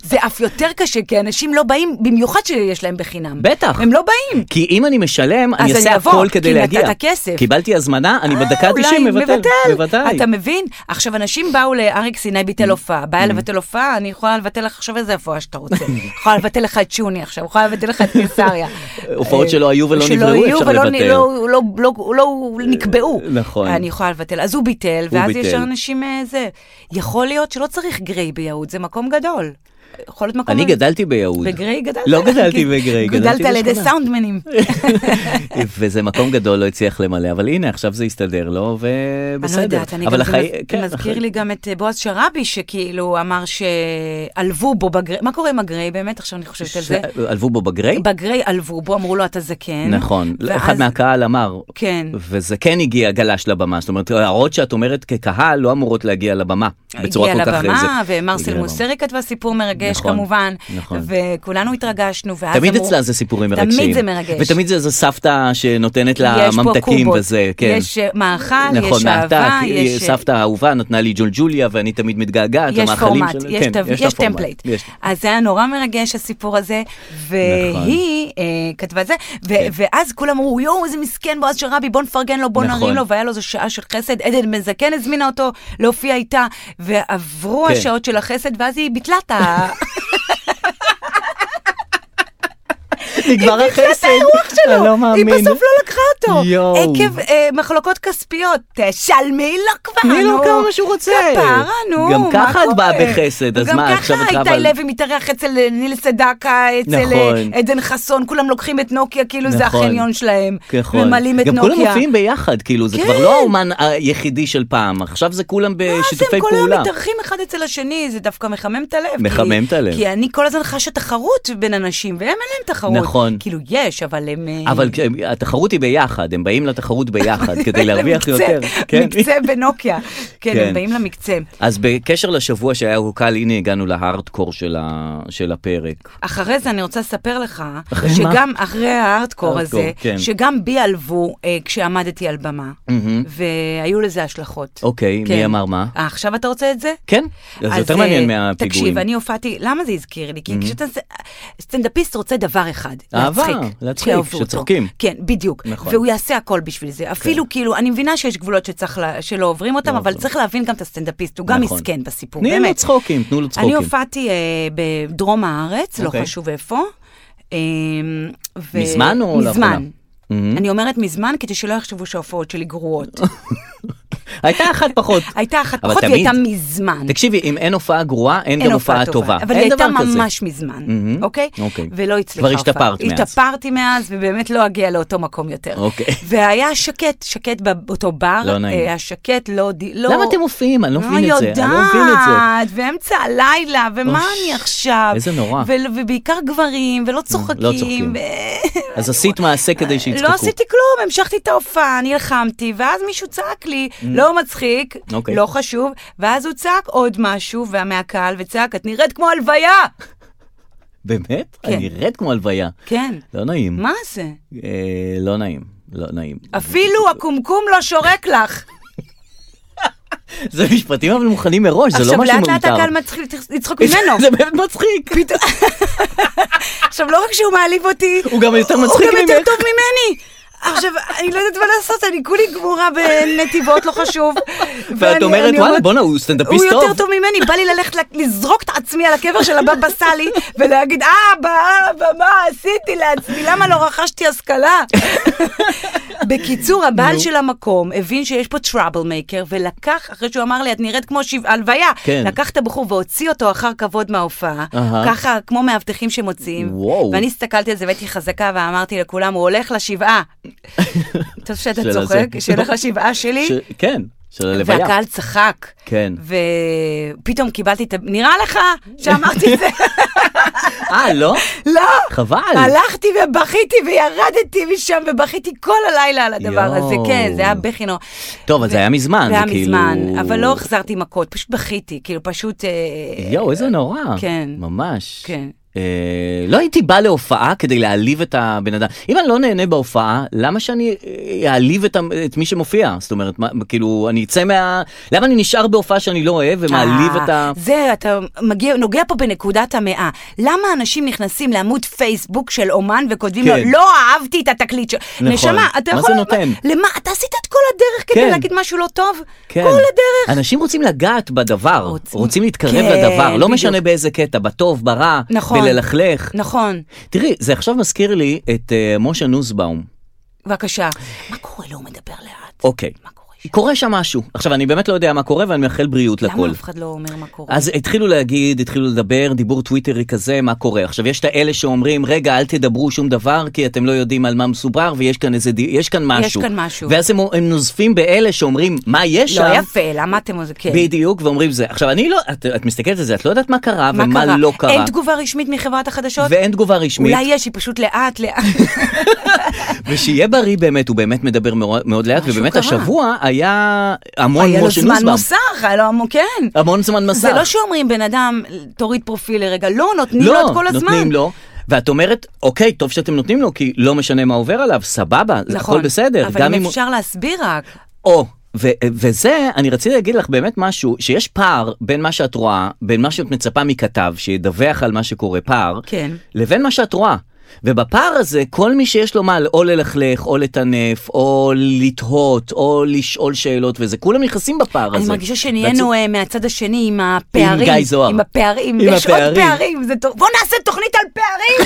[SPEAKER 3] זה אף יותר קשה, כי אנשים לא באים, במיוחד שיש להם בחינם.
[SPEAKER 2] בטח.
[SPEAKER 3] הם לא באים.
[SPEAKER 2] כי אם אני משלם, אני
[SPEAKER 3] אז
[SPEAKER 2] אעשה
[SPEAKER 3] אני אבוא,
[SPEAKER 2] הכל כדי
[SPEAKER 3] כי
[SPEAKER 2] להגיע.
[SPEAKER 3] נתת כסף. אה,
[SPEAKER 2] קיבלתי הזמנה, אני בדקה
[SPEAKER 3] אולי,
[SPEAKER 2] ה-90 מבטל. בוודאי. Mm.
[SPEAKER 3] אתה מבין? עכשיו, אנשים באו לאריק סיני ביטל הופעה. בא לבטל הופעה, אני יכולה לבטל לך עכשיו איזה הופעה שאתה רוצה. יכולה לבטל לך את שוני עכשיו, יכולה לבטל לך את קיסריה.
[SPEAKER 2] הופעות שלא היו ולא
[SPEAKER 3] שלא
[SPEAKER 2] נבראו,
[SPEAKER 3] יהיו
[SPEAKER 2] אפשר
[SPEAKER 3] ולא
[SPEAKER 2] לבטל.
[SPEAKER 3] נ- לא- לא- לא- לא נקבעו.
[SPEAKER 2] נכון.
[SPEAKER 3] אני יכולה לבטל. אז הוא ביטל,
[SPEAKER 2] הוא
[SPEAKER 3] ואז
[SPEAKER 2] ביטל.
[SPEAKER 3] ישר אנשים אה, זה. יכול להיות שלא צריך גריי ביהוד, זה מקום גדול. יכול להיות מקום...
[SPEAKER 2] אני גדלתי ביהוד.
[SPEAKER 3] בגריי גדלת?
[SPEAKER 2] לא גדלתי
[SPEAKER 3] כי-
[SPEAKER 2] בגריי,
[SPEAKER 3] גדלת
[SPEAKER 2] גדלתי
[SPEAKER 3] על ידי
[SPEAKER 2] בשכונה.
[SPEAKER 3] סאונדמנים.
[SPEAKER 2] וזה מקום גדול, לא הצליח למלא, אבל הנה, עכשיו זה הסתדר לו, ובסדר.
[SPEAKER 3] אני לא יודעת, אני
[SPEAKER 2] אבל
[SPEAKER 3] גם
[SPEAKER 2] החיים-
[SPEAKER 3] זה מז-
[SPEAKER 2] כן,
[SPEAKER 3] מזכיר
[SPEAKER 2] החיים-
[SPEAKER 3] לי גם את אה, בועז שראבי, שכאילו אמר שעלבו בו בגריי, מה קורה עם הגריי באמת? עכשיו אני חושבת על זה.
[SPEAKER 2] עלבו בו בגריי?
[SPEAKER 3] בגריי עלבו בו, אמרו לו אתה זקן.
[SPEAKER 2] נכון,
[SPEAKER 3] ואז-
[SPEAKER 2] אחד מהקהל אמר,
[SPEAKER 3] כן.
[SPEAKER 2] וזה כן הגיע, גלש לבמה, זאת אומרת, הערות שאת אומרת כקהל לא אמורות להגיע לבמה, בצורה כל כך...
[SPEAKER 3] הגיע
[SPEAKER 2] זה-
[SPEAKER 3] לבמה,
[SPEAKER 2] הגיע
[SPEAKER 3] ומרסל
[SPEAKER 2] לבמה.
[SPEAKER 3] מוסרי כתבה סיפור מרגש מרגש
[SPEAKER 2] נכון,
[SPEAKER 3] כמובן,
[SPEAKER 2] נכון.
[SPEAKER 3] וכולנו התרגשנו, ואז
[SPEAKER 2] תמיד
[SPEAKER 3] אמרו-
[SPEAKER 2] אצלה זה סיפורים
[SPEAKER 3] תמיד
[SPEAKER 2] מרגשים.
[SPEAKER 3] זה מרגש.
[SPEAKER 2] ותמיד זה איזה סבתא שנותנת לה
[SPEAKER 3] יש פה
[SPEAKER 2] ממתקים
[SPEAKER 3] קובות.
[SPEAKER 2] וזה, כן.
[SPEAKER 3] יש אה, מאכל,
[SPEAKER 2] נכון,
[SPEAKER 3] יש אהבה,
[SPEAKER 2] מעתק,
[SPEAKER 3] יש... אה,
[SPEAKER 2] סבתא האהובה נתנה לי ג'ולג'וליה ואני תמיד מתגעגעת
[SPEAKER 3] יש
[SPEAKER 2] למאכלים
[SPEAKER 3] פורמט,
[SPEAKER 2] שלה.
[SPEAKER 3] יש,
[SPEAKER 2] כן,
[SPEAKER 3] תו-
[SPEAKER 2] לה
[SPEAKER 3] יש
[SPEAKER 2] פורמט.
[SPEAKER 3] טמפלייט.
[SPEAKER 2] יש.
[SPEAKER 3] אז זה היה נורא מרגש הסיפור הזה,
[SPEAKER 2] נכון.
[SPEAKER 3] והיא אה, כתבה את זה, ו-
[SPEAKER 2] כן.
[SPEAKER 3] ואז כולם אמרו, יואו, איזה מסכן בועז שרבי, בוא נפרגן לו, בוא
[SPEAKER 2] נכון.
[SPEAKER 3] נרים לו, והיה לו איזו שעה של חסד, עדן בן זקן הזמינה אותו להופיע איתה, ועברו
[SPEAKER 2] כן.
[SPEAKER 3] השעות של החסד, ואז היא ביטלה את ה...
[SPEAKER 2] נגמר החסד. אני לא
[SPEAKER 3] היא
[SPEAKER 2] מאמין.
[SPEAKER 3] בסוף לא לקחה אותו,
[SPEAKER 2] יואו.
[SPEAKER 3] עקב אה, מחלוקות כספיות, תשלמי לו כבר,
[SPEAKER 2] תני לו
[SPEAKER 3] נו.
[SPEAKER 2] כמה לא שהוא רוצה.
[SPEAKER 3] כפרה, נו,
[SPEAKER 2] גם
[SPEAKER 3] מה
[SPEAKER 2] ככה את באה
[SPEAKER 3] קורה?
[SPEAKER 2] בחסד, אז מה, עכשיו את
[SPEAKER 3] גם
[SPEAKER 2] רבה
[SPEAKER 3] ככה
[SPEAKER 2] על...
[SPEAKER 3] איתי לוי מתארח אצל אה, ניל סדקה, אצל אה,
[SPEAKER 2] נכון.
[SPEAKER 3] עדן חסון, כולם לוקחים את נוקיה, כאילו זה
[SPEAKER 2] נכון.
[SPEAKER 3] החניון שלהם.
[SPEAKER 2] נכון.
[SPEAKER 3] ממלאים את
[SPEAKER 2] גם
[SPEAKER 3] נוקיה.
[SPEAKER 2] כולם מופיעים ביחד, כאילו, זה
[SPEAKER 3] כן.
[SPEAKER 2] כבר לא האומן היחידי של פעם, עכשיו זה כולם
[SPEAKER 3] אז
[SPEAKER 2] בשיתופי
[SPEAKER 3] הם כל היום
[SPEAKER 2] פעולה.
[SPEAKER 3] מתארחים אחד אצל השני, זה דווקא מחמם את הלב. כי-
[SPEAKER 2] מחמם את הלב.
[SPEAKER 3] כי אני כל הזמן חשה תחרות בין אנשים, והם אין להם תחרות.
[SPEAKER 2] נכון.
[SPEAKER 3] כאילו, יש, אבל הם... אה,
[SPEAKER 2] אבל כ- התחרות היא ביחד, הם באים לתחרות ביחד כדי להרוויח
[SPEAKER 3] למקצה,
[SPEAKER 2] יותר. כן.
[SPEAKER 3] מקצה בנוקיה. כן,
[SPEAKER 2] כן.
[SPEAKER 3] הם באים למקצה.
[SPEAKER 2] אז בקשר לשבוע שהיה הוא קל, הנה הגענו להארדקור של ה- של הפרק.
[SPEAKER 3] אחרי זה אני רוצה לספר לך,
[SPEAKER 2] אחרי מה?
[SPEAKER 3] שגם אחרי ההארדקור
[SPEAKER 2] הארדקור,
[SPEAKER 3] הזה,
[SPEAKER 2] כן.
[SPEAKER 3] שגם בי עלבו אה, כשעמדתי על במה,
[SPEAKER 2] מהמם.
[SPEAKER 3] והיו לזה השלכות.
[SPEAKER 2] אוקיי,
[SPEAKER 3] כן.
[SPEAKER 2] מי אמר מה?
[SPEAKER 3] אה, עכשיו אתה רוצה את זה?
[SPEAKER 2] כן, אז זה יותר
[SPEAKER 3] אה,
[SPEAKER 2] מעניין מהפיגועים. Mm-hmm.
[SPEAKER 3] תקשיב, אני הופעתי, למה זה הזכיר לי? כי כשאתה... סטנדאפיסט רוצה דבר אחד,
[SPEAKER 2] אהבה,
[SPEAKER 3] להצחיק.
[SPEAKER 2] להצחיק,
[SPEAKER 3] שיאהבו אותו.
[SPEAKER 2] שצוחקים.
[SPEAKER 3] כן, בדיוק.
[SPEAKER 2] נכון. כן.
[SPEAKER 3] והוא יעשה הכל בשביל זה. אפילו כאילו, אני מבינה שיש גבולות שצריך לה- שלא עוברים אותם, אבל צריך להבין גם את הסטנדאפיסט, הוא גם
[SPEAKER 2] לא נכון.
[SPEAKER 3] מסכן בסיפור,
[SPEAKER 2] תני לו
[SPEAKER 3] באמת.
[SPEAKER 2] צחוקים, תנו לו
[SPEAKER 3] אני
[SPEAKER 2] צחוקים.
[SPEAKER 3] הופעתי אה, בדרום הארץ, לא
[SPEAKER 2] אוקיי.
[SPEAKER 3] חשוב איפה. אה, ו-
[SPEAKER 2] מזמן או לאחרונה? Mm-hmm.
[SPEAKER 3] מזמן. אני אומרת מזמן כדי שלא יחשבו שההופעות שלי גרועות.
[SPEAKER 2] הייתה אחת פחות.
[SPEAKER 3] הייתה אחת
[SPEAKER 2] אבל
[SPEAKER 3] פחות, והיא
[SPEAKER 2] תמיד-
[SPEAKER 3] הייתה מזמן.
[SPEAKER 2] תקשיבי, אם אין הופעה גרועה, אין גם
[SPEAKER 3] אין הופעה
[SPEAKER 2] הופעה טובה.
[SPEAKER 3] אבל היא
[SPEAKER 2] אין
[SPEAKER 3] הייתה
[SPEAKER 2] דבר כזה.
[SPEAKER 3] ממש מזמן,
[SPEAKER 2] מהמם.
[SPEAKER 3] אוקיי?
[SPEAKER 2] אוקיי.
[SPEAKER 3] ולא הצליחה.
[SPEAKER 2] כבר
[SPEAKER 3] ההופעה.
[SPEAKER 2] השתפרת מאז.
[SPEAKER 3] השתפרתי מאז, ובאמת לא אגיע לאותו מקום יותר.
[SPEAKER 2] אוקיי.
[SPEAKER 3] והיה שקט, שקט באותו בר.
[SPEAKER 2] לא נעים.
[SPEAKER 3] היה שקט, לא... די- לא-
[SPEAKER 2] למה אתם מופיעים? אני לא מבין את זה. אני לא מבין את זה.
[SPEAKER 3] יודעת, ואמצע הלילה, ומה
[SPEAKER 2] אוש,
[SPEAKER 3] אני עכשיו?
[SPEAKER 2] איזה נורא. לא
[SPEAKER 3] ו- ובעיקר גברים, ולא צוחקים.
[SPEAKER 2] צוחקים.
[SPEAKER 3] ו-
[SPEAKER 2] אז עשית מעשה כדי שיצחקו.
[SPEAKER 3] לא עשיתי כלום, המשכתי את ההופעה, נלחמתי, ואז מישהו צעק לי, לא מצחיק,
[SPEAKER 2] Mm. אוקיי.
[SPEAKER 3] לא חשוב, ואז הוא צעק עוד משהו, וה- מהקהל, וצעק, את נראית כמו הלוויה!
[SPEAKER 2] באמת?
[SPEAKER 3] כן.
[SPEAKER 2] אני נראית כמו הלוויה.
[SPEAKER 3] כן.
[SPEAKER 2] לא נעים.
[SPEAKER 3] מה זה?
[SPEAKER 2] אה, לא נעים. לא נעים.
[SPEAKER 3] אפילו הקומקום לא שורק לך.
[SPEAKER 2] זה משפטים אבל מוכנים מראש, זה
[SPEAKER 3] עכשיו,
[SPEAKER 2] לא משהו
[SPEAKER 3] לאט
[SPEAKER 2] מאולתר.
[SPEAKER 3] לאט הקהל מתחיל לצחוק ממנו.
[SPEAKER 2] זה באמת מצחיק.
[SPEAKER 3] עכשיו, לא רק שהוא מעליב אותי,
[SPEAKER 2] הוא גם יותר מצחיק
[SPEAKER 3] הוא גם יותר
[SPEAKER 2] ממך.
[SPEAKER 3] טוב ממני. עכשיו, אני לא יודעת מה לעשות, אני כולי גמורה בנתיבות, לא חשוב.
[SPEAKER 2] ואת
[SPEAKER 3] ואני-
[SPEAKER 2] אומרת,
[SPEAKER 3] אני
[SPEAKER 2] וואלה, בואנה, הוא סטנדאפיסט
[SPEAKER 3] הוא
[SPEAKER 2] טוב.
[SPEAKER 3] יותר טוב ממני, בא לי ללכת ל- לזרוק את עצמי על הקבר של הבבא סאלי, ולהגיד, אה, אבא, מה עשיתי לעצמי, למה לא רכשתי השכלה? בקיצור, הבעל של המקום הבין שיש פה טראבל מייקר, ולקח, אחרי שהוא אמר לי, את נראית כמו שבע- הלוויה,
[SPEAKER 2] כן.
[SPEAKER 3] לקח את הבחור והוציא אותו אחר כבוד מההופעה,
[SPEAKER 2] אהה.
[SPEAKER 3] ככה, כמו מאבטחים שמוציאים.
[SPEAKER 2] וואו.
[SPEAKER 3] ואני הסתכלתי על זה והייתי חזקה ואמרתי לכולם, הוא הולך לשבעה. טוב שאתה
[SPEAKER 2] של הזה.
[SPEAKER 3] צוחק, שילך לשבעה שלי.
[SPEAKER 2] ש- כן, של הלוויה.
[SPEAKER 3] והקהל צחק.
[SPEAKER 2] כן.
[SPEAKER 3] ופתאום קיבלתי את ה... נראה לך שאמרתי את זה?
[SPEAKER 2] אה, לא?
[SPEAKER 3] לא.
[SPEAKER 2] חבל.
[SPEAKER 3] הלכתי ובכיתי וירדתי משם ובכיתי כל הלילה על הדבר
[SPEAKER 2] יואו.
[SPEAKER 3] הזה. כן, זה היה בכי נורא.
[SPEAKER 2] טוב, אז זה היה מזמן,
[SPEAKER 3] זה היה
[SPEAKER 2] זה כאילו-
[SPEAKER 3] מזמן, אבל לא החזרתי מכות, פשוט בכיתי, כאילו פשוט... אה,
[SPEAKER 2] יואו, איזה נורא.
[SPEAKER 3] כן.
[SPEAKER 2] ממש.
[SPEAKER 3] כן.
[SPEAKER 2] אה, לא הייתי בא להופעה כדי להעליב את הבן אדם. אם אני לא נהנה בהופעה, למה שאני אה, אעליב את, ה- את מי שמופיע? זאת אומרת, מה, כאילו, אני אצא מה... למה אני נשאר בהופעה שאני לא אוהב ומעליב
[SPEAKER 3] אה,
[SPEAKER 2] את ה...
[SPEAKER 3] זה, אתה מגיע, נוגע פה בנקודת המאה. למה אנשים נכנסים לעמוד פייסבוק של אומן וכותבים
[SPEAKER 2] כן.
[SPEAKER 3] לו, לא אהבתי את התקליט שלו.
[SPEAKER 2] נכון.
[SPEAKER 3] נשמה, אתה
[SPEAKER 2] מה
[SPEAKER 3] יכול...
[SPEAKER 2] זה נותן?
[SPEAKER 3] למה, אתה עשית את כל הדרך
[SPEAKER 2] כן.
[SPEAKER 3] כדי להגיד משהו לא טוב? כל הדרך.
[SPEAKER 2] אנשים רוצים לגעת בדבר, רוצים,
[SPEAKER 3] רוצים-
[SPEAKER 2] רוצים להתקרב
[SPEAKER 3] כן,
[SPEAKER 2] לדבר, לא
[SPEAKER 3] בדיוק.
[SPEAKER 2] משנה באיזה קטע, בטוב, ברע,
[SPEAKER 3] נכון.
[SPEAKER 2] בללכלך.
[SPEAKER 3] נכון.
[SPEAKER 2] תראי, זה עכשיו מזכיר לי את אה, משה נוסבאום.
[SPEAKER 3] בבקשה.
[SPEAKER 2] אה.
[SPEAKER 3] מה קורה לו? הוא מדבר לאט.
[SPEAKER 2] אוקיי.
[SPEAKER 3] מה קורה שם?
[SPEAKER 2] קורה שם משהו. עכשיו, אני באמת לא יודע מה קורה, ואני מאחל בריאות לכל.
[SPEAKER 3] למה אף אחד לא אומר מה קורה?
[SPEAKER 2] אז התחילו להגיד, התחילו לדבר, דיבור טוויטרי כזה, מה קורה. עכשיו, יש את האלה שאומרים, רגע, אל תדברו שום דבר, כי אתם לא יודעים על מה מסובר, ויש כאן איזה, די- יש כאן משהו.
[SPEAKER 3] כאן משהו.
[SPEAKER 2] ואז הם, הם נוזפים באלה שאומרים, מה יש
[SPEAKER 3] לא
[SPEAKER 2] שם?
[SPEAKER 3] יפה, למה אתם... עוז- כן.
[SPEAKER 2] בדיוק, ואומרים זה. עכשיו, אני לא, את, את מסתכלת על זה, את לא יודעת מה קרה
[SPEAKER 3] מה
[SPEAKER 2] ומה
[SPEAKER 3] קרה?
[SPEAKER 2] לא קרה.
[SPEAKER 3] אין תגובה רשמית מחברת החדשות?
[SPEAKER 2] ואין תגובה רשמית,
[SPEAKER 3] אולי יש, היא פשוט לאט, לאט.
[SPEAKER 2] ושיהיה בריא באמת, הוא באמת מדבר מאוד, מאוד לאט,
[SPEAKER 3] משהו
[SPEAKER 2] ובאמת
[SPEAKER 3] קרה.
[SPEAKER 2] השבוע היה היה המון
[SPEAKER 3] היה לו
[SPEAKER 2] מושן
[SPEAKER 3] זמן מסך, היה לו המון, כן.
[SPEAKER 2] המון זמן מסך.
[SPEAKER 3] זה לא שאומרים, בן אדם, תוריד פרופיל לרגע, לא, נותנים לו את
[SPEAKER 2] לא,
[SPEAKER 3] כל הזמן.
[SPEAKER 2] נותנים לו. ואת אומרת, אוקיי, טוב שאתם נותנים לו, כי לא משנה מה עובר עליו, סבבה, זה
[SPEAKER 3] נכון.
[SPEAKER 2] הכל בסדר.
[SPEAKER 3] אבל
[SPEAKER 2] גם
[SPEAKER 3] אם
[SPEAKER 2] אם...
[SPEAKER 3] אפשר להסביר רק.
[SPEAKER 2] או, ו- וזה, אני רציתי להגיד לך באמת משהו, שיש פער בין מה שאת רואה, בין מה שאת מצפה מכתב, שידווח על מה שקורה, פער,
[SPEAKER 3] כן.
[SPEAKER 2] לבין מה שאת רואה. ובפער הזה, כל מי שיש לו מה או ללכלך, או לטנף, או לתהות, או לשאול שאלות וזה, כולם נכנסים בפער הזה.
[SPEAKER 3] אני מרגישה
[SPEAKER 2] ואת-
[SPEAKER 3] שנהיינו אה, מהצד השני עם הפערים.
[SPEAKER 2] עם גיא זוהר.
[SPEAKER 3] עם הפערים.
[SPEAKER 2] עם
[SPEAKER 3] יש עוד
[SPEAKER 2] הפערים.
[SPEAKER 3] פערים. זה טוב. בוא נעשה תוכנית על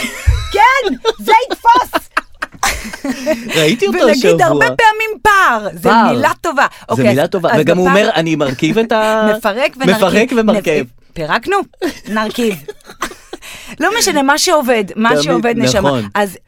[SPEAKER 3] פערים! כן, זה יתפוס!
[SPEAKER 2] ראיתי אותו השבוע.
[SPEAKER 3] ונגיד הרבה פעמים פער. זה
[SPEAKER 2] פער.
[SPEAKER 3] מילה טובה.
[SPEAKER 2] זה
[SPEAKER 3] אוקיי,
[SPEAKER 2] מילה
[SPEAKER 3] אז-
[SPEAKER 2] טובה,
[SPEAKER 3] אז
[SPEAKER 2] וגם הוא
[SPEAKER 3] בפער-
[SPEAKER 2] אומר, אני מרכיב את ה...
[SPEAKER 3] מפרק ונרכיב.
[SPEAKER 2] מפרק ומרכיב.
[SPEAKER 3] נפ- פירקנו, נרכיב. לא משנה, מה שעובד, מה
[SPEAKER 2] תמיד,
[SPEAKER 3] שעובד נשמה.
[SPEAKER 2] נכון.
[SPEAKER 3] אז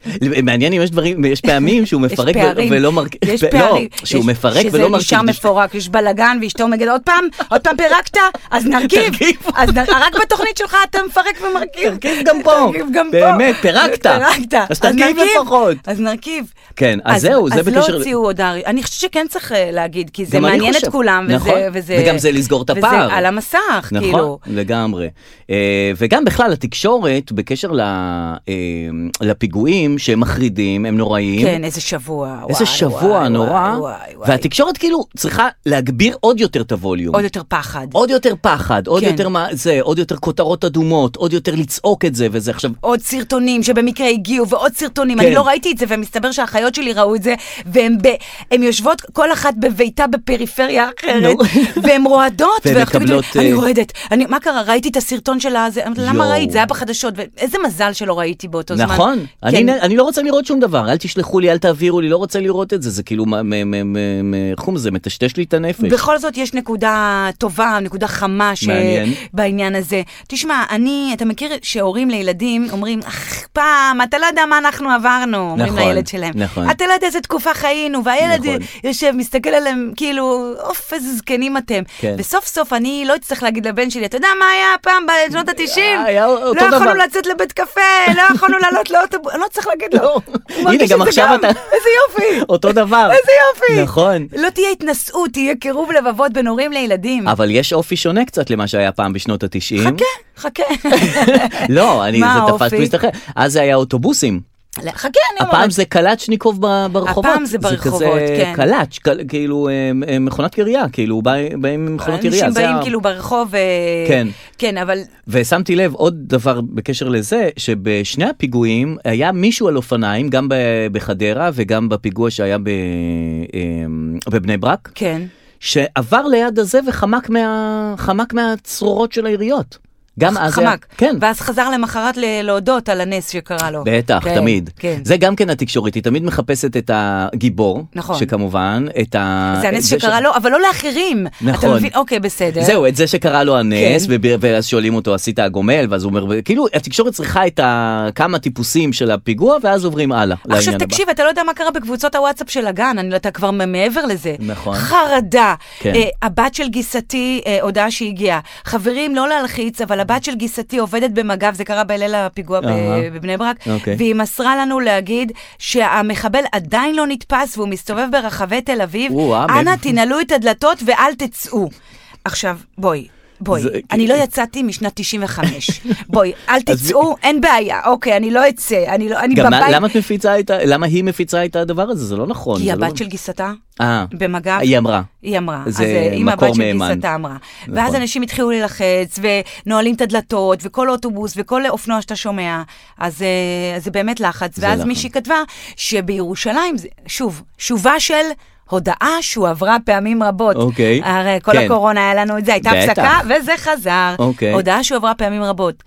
[SPEAKER 2] מעניין אם יש דברים, יש פעמים שהוא
[SPEAKER 3] יש
[SPEAKER 2] מפרק ו-
[SPEAKER 3] פערים,
[SPEAKER 2] ולא מרכיב,
[SPEAKER 3] יש פערים,
[SPEAKER 2] לא, שהוא
[SPEAKER 3] יש-
[SPEAKER 2] מפרק ולא מרכיב,
[SPEAKER 3] שזה נשאר מפורק, יש בלאגן ואשתו מגד עוד פעם, עוד פעם פירקת, אז נרכיב,
[SPEAKER 2] תרכיב.
[SPEAKER 3] אז נ- רק בתוכנית שלך אתה מפרק ומרכיב,
[SPEAKER 2] תרכיב גם פה.
[SPEAKER 3] תרכיב גם פה,
[SPEAKER 2] באמת, פירקת.
[SPEAKER 3] פירקת,
[SPEAKER 2] אז תרכיב לפחות.
[SPEAKER 3] אז נרכיב,
[SPEAKER 2] כן, אז זהו, זה
[SPEAKER 3] אז
[SPEAKER 2] בקשר-
[SPEAKER 3] לא הוציאו הודעה, אני חושבת שכן צריך אה, להגיד, כי זה
[SPEAKER 2] גם אני
[SPEAKER 3] מעניין את
[SPEAKER 2] חושב.
[SPEAKER 3] כולם, וזה-
[SPEAKER 2] נכון.
[SPEAKER 3] וזה,
[SPEAKER 2] וגם זה לסגור את
[SPEAKER 3] וזה
[SPEAKER 2] הפער.
[SPEAKER 3] על המסך,
[SPEAKER 2] נכון,
[SPEAKER 3] כאילו,
[SPEAKER 2] לגמרי. אה, וגם בכלל התקשורת, בקשר ל- אה, לפיגועים שהם מחרידים, הם נוראים.
[SPEAKER 3] כן, איזה שבוע,
[SPEAKER 2] איזה
[SPEAKER 3] וואי,
[SPEAKER 2] שבוע
[SPEAKER 3] וואי,
[SPEAKER 2] נורא,
[SPEAKER 3] וואי, וואי, וואי.
[SPEAKER 2] והתקשורת כאילו צריכה להגביר עוד יותר את הווליום.
[SPEAKER 3] עוד יותר פחד.
[SPEAKER 2] עוד יותר פחד, עוד
[SPEAKER 3] כן.
[SPEAKER 2] יותר מה זה, עוד יותר כותרות אדומות, עוד יותר לצעוק את זה וזה. עכשיו,
[SPEAKER 3] עוד סרטונים שבמקרה הגיעו, ועוד סרטונים.
[SPEAKER 2] כן.
[SPEAKER 3] אני לא ראיתי את זה, ומסתבר שהאחיות שלי ראו את זה, והן ב... הן יושבות כל אחת בביתה בפריפריה אחרת,
[SPEAKER 2] נו.
[SPEAKER 3] והן רועדות,
[SPEAKER 2] והן
[SPEAKER 3] ואחת
[SPEAKER 2] מקבלות,
[SPEAKER 3] תגידו לי, אני
[SPEAKER 2] אה,
[SPEAKER 3] רועדת. אני- מה קרה? ראיתי את הסרטון של הזה, אמרתי, למה
[SPEAKER 2] יואו.
[SPEAKER 3] ראית? זה היה בחדשות. איזה מזל שלא ראיתי באותו זמן.
[SPEAKER 2] נכון, אני,
[SPEAKER 3] כן.
[SPEAKER 2] נ- אני לא רוצה לראות שום דבר, אל תשלחו לי, אל תעבירו לי, לא רוצה לראות את זה, זה כאילו, מה- מ- מ- מ- מ- איך קוראים לזה, מטשטש לי את הנפש.
[SPEAKER 3] בכל זאת יש נקודה טובה, נקודה חמה ש...
[SPEAKER 2] מעניין.
[SPEAKER 3] בעניין הזה. תשמע, אני, אתה מכיר שהורים לילדים אומרים, אך פעם, אתה לא יודע מה אנחנו עברנו, אומרים
[SPEAKER 2] נכון,
[SPEAKER 3] לילד שלהם.
[SPEAKER 2] נכון.
[SPEAKER 3] אתה לא יודע איזה תקופה חיינו, והילד
[SPEAKER 2] נכון.
[SPEAKER 3] יושב, מסתכל עליהם, כאילו, אוף, איזה זקנים אתם.
[SPEAKER 2] כן.
[SPEAKER 3] וסוף סוף אני לא אצטרך להגיד לבן שלי, אתה יודע מה היה פעם בשנות ה-90?
[SPEAKER 2] אה, היה אותו
[SPEAKER 3] לא יכולנו
[SPEAKER 2] דבר."
[SPEAKER 3] לצאת לבית קפה, לא יכולנו לעלות לאוטובוס, אני לא צריך להגיד לו.
[SPEAKER 2] לא.
[SPEAKER 3] הוא
[SPEAKER 2] הנה,
[SPEAKER 3] מרגיש
[SPEAKER 2] גם
[SPEAKER 3] את זה
[SPEAKER 2] עכשיו אתה-
[SPEAKER 3] איזה יופי.
[SPEAKER 2] אותו דבר.
[SPEAKER 3] איזה יופי.
[SPEAKER 2] נכון.
[SPEAKER 3] לא תהיה התנשאות, תהיה קירוב לבבות בין הורים לילדים.
[SPEAKER 2] אבל יש אופי שונה קצת למה שהיה פעם בשנות התשעים.
[SPEAKER 3] חכה, חכה.
[SPEAKER 2] לא, אני,
[SPEAKER 3] מה
[SPEAKER 2] זה תפס
[SPEAKER 3] האופי?
[SPEAKER 2] מסתכל. אז זה היה אוטובוסים.
[SPEAKER 3] חכה, אני אומרת.
[SPEAKER 2] הפעם זה קלצ'ניקוב ב- ברחובות.
[SPEAKER 3] לא, הפעם זה ברחובות,
[SPEAKER 2] כזה
[SPEAKER 3] כן.
[SPEAKER 2] קלצ', קל- כאילו אה, אה, מכונת קריה, כאילו בא- באים עם מכונות קריה.
[SPEAKER 3] אנשים
[SPEAKER 2] זה
[SPEAKER 3] באים
[SPEAKER 2] ה-
[SPEAKER 3] כאילו ברחוב, אה,
[SPEAKER 2] כן.
[SPEAKER 3] כן, אבל
[SPEAKER 2] ושמתי לב עוד דבר בקשר לזה, שבשני הפיגועים היה מישהו על אופניים, גם ב- בחדרה וגם בפיגוע שהיה ב- אמ, בבני ברק,
[SPEAKER 3] כן.
[SPEAKER 2] שעבר ליד הזה וחמק מה- חמק מהצרורות של העיריות. גם אז היה...
[SPEAKER 3] חמק.
[SPEAKER 2] כן.
[SPEAKER 3] ואז חזר למחרת ל- להודות על הנס שקרה לו.
[SPEAKER 2] בטח,
[SPEAKER 3] כן,
[SPEAKER 2] תמיד.
[SPEAKER 3] כן.
[SPEAKER 2] זה גם כן התקשורת, היא תמיד מחפשת את הגיבור,
[SPEAKER 3] נכון.
[SPEAKER 2] שכמובן, את ה...
[SPEAKER 3] זה הנס
[SPEAKER 2] את ש-
[SPEAKER 3] שקרה לו, אבל לא לאחרים. אתה
[SPEAKER 2] נכון.
[SPEAKER 3] מבין? אוקיי, בסדר.
[SPEAKER 2] זהו, את זה שקרה לו הנס,
[SPEAKER 3] כן.
[SPEAKER 2] וב- ואז שואלים אותו, עשית הגומל? ואז הוא אומר, כאילו, התקשורת צריכה את הכמה טיפוסים של הפיגוע, ואז עוברים הלאה,
[SPEAKER 3] עכשיו
[SPEAKER 2] לעניין הבא.
[SPEAKER 3] תקשיב, אתה לא יודע מה קרה בקבוצות הוואטסאפ של הגן, אני לא יודעת, כבר מ- מעבר לזה.
[SPEAKER 2] נכון.
[SPEAKER 3] חרדה.
[SPEAKER 2] כן.
[SPEAKER 3] אה, הבת של גיסתי, אה, הודעה שהגיעה. חברים, לא להלחיץ, אבל הבת של גיסתי עובדת במג"ב, זה קרה בליל הפיגוע ב-
[SPEAKER 2] אהה.
[SPEAKER 3] בבני ברק,
[SPEAKER 2] אוקיי.
[SPEAKER 3] והיא מסרה לנו להגיד שהמחבל עדיין לא נתפס והוא מסתובב ברחבי תל אביב.
[SPEAKER 2] או-אה,
[SPEAKER 3] אנא
[SPEAKER 2] מאיפה-
[SPEAKER 3] תנעלו את הדלתות ואל תצאו. עכשיו, בואי. בואי,
[SPEAKER 2] זה-
[SPEAKER 3] אני לא יצאתי משנת 95. בואי, אל תצאו, אין בעיה. אוקיי, אני לא אצא, אני לא, אני
[SPEAKER 2] גם
[SPEAKER 3] בבית.
[SPEAKER 2] מה- למה את מפיצה את ה... למה היא מפיצה את הדבר הזה? זה לא נכון.
[SPEAKER 3] כי
[SPEAKER 2] זה לא-
[SPEAKER 3] הבת של גיסתה
[SPEAKER 2] אה,
[SPEAKER 3] במג"ב.
[SPEAKER 2] היא אמרה.
[SPEAKER 3] היא אמרה, אז
[SPEAKER 2] זה
[SPEAKER 3] אה, אם
[SPEAKER 2] מקור
[SPEAKER 3] הבת של
[SPEAKER 2] מהימן.
[SPEAKER 3] גיסתה אמרה.
[SPEAKER 2] נכון.
[SPEAKER 3] ואז אנשים התחילו ללחץ, ונועלים את הדלתות, וכל אוטובוס, וכל אופנוע שאתה שומע, אז אה, אז זה באמת לחץ.
[SPEAKER 2] זה
[SPEAKER 3] ואז
[SPEAKER 2] לחץ.
[SPEAKER 3] מישהי כתבה שבירושלים, זה- שוב, שובה של... הודעה שהועברה פעמים רבות.
[SPEAKER 2] אוקיי.
[SPEAKER 3] הרי כל
[SPEAKER 2] כן.
[SPEAKER 3] הקורונה היה לנו את זה, הייתה
[SPEAKER 2] בטח.
[SPEAKER 3] הפסקה, וזה חזר.
[SPEAKER 2] אוקיי.
[SPEAKER 3] הודעה שהועברה פעמים רבות.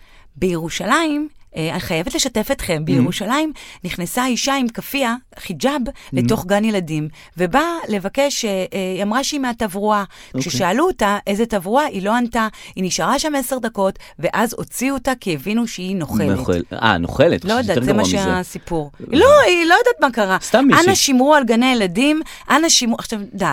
[SPEAKER 3] בירושלים, אה, אני חייבת לשתף
[SPEAKER 2] Mm.
[SPEAKER 3] אתכם, בירושלים נכנסה אישה עם כאפיה,
[SPEAKER 2] Mm.
[SPEAKER 3] חיג'אב, לתוך גן ילדים, ובאה לבקש, אה, אה, היא אמרה שהיא מהתברואה.
[SPEAKER 2] אוקיי.
[SPEAKER 3] כששאלו אותה איזה תברואה, היא לא ענתה, היא נשארה שם עשר דקות, ואז הוציאו אותה כי הבינו שהיא נוכלת.
[SPEAKER 2] נוכל- אה, נוכלת.
[SPEAKER 3] לא
[SPEAKER 2] חשבתי
[SPEAKER 3] יודעת,
[SPEAKER 2] יותר
[SPEAKER 3] זה מה
[SPEAKER 2] גרוע מזה. אה.
[SPEAKER 3] שהסיפור. לא, היא לא יודעת מה קרה.
[SPEAKER 2] סתם מישהי.
[SPEAKER 3] אנא שמרו על גני ילדים, אנא שמרו... עכשיו, די.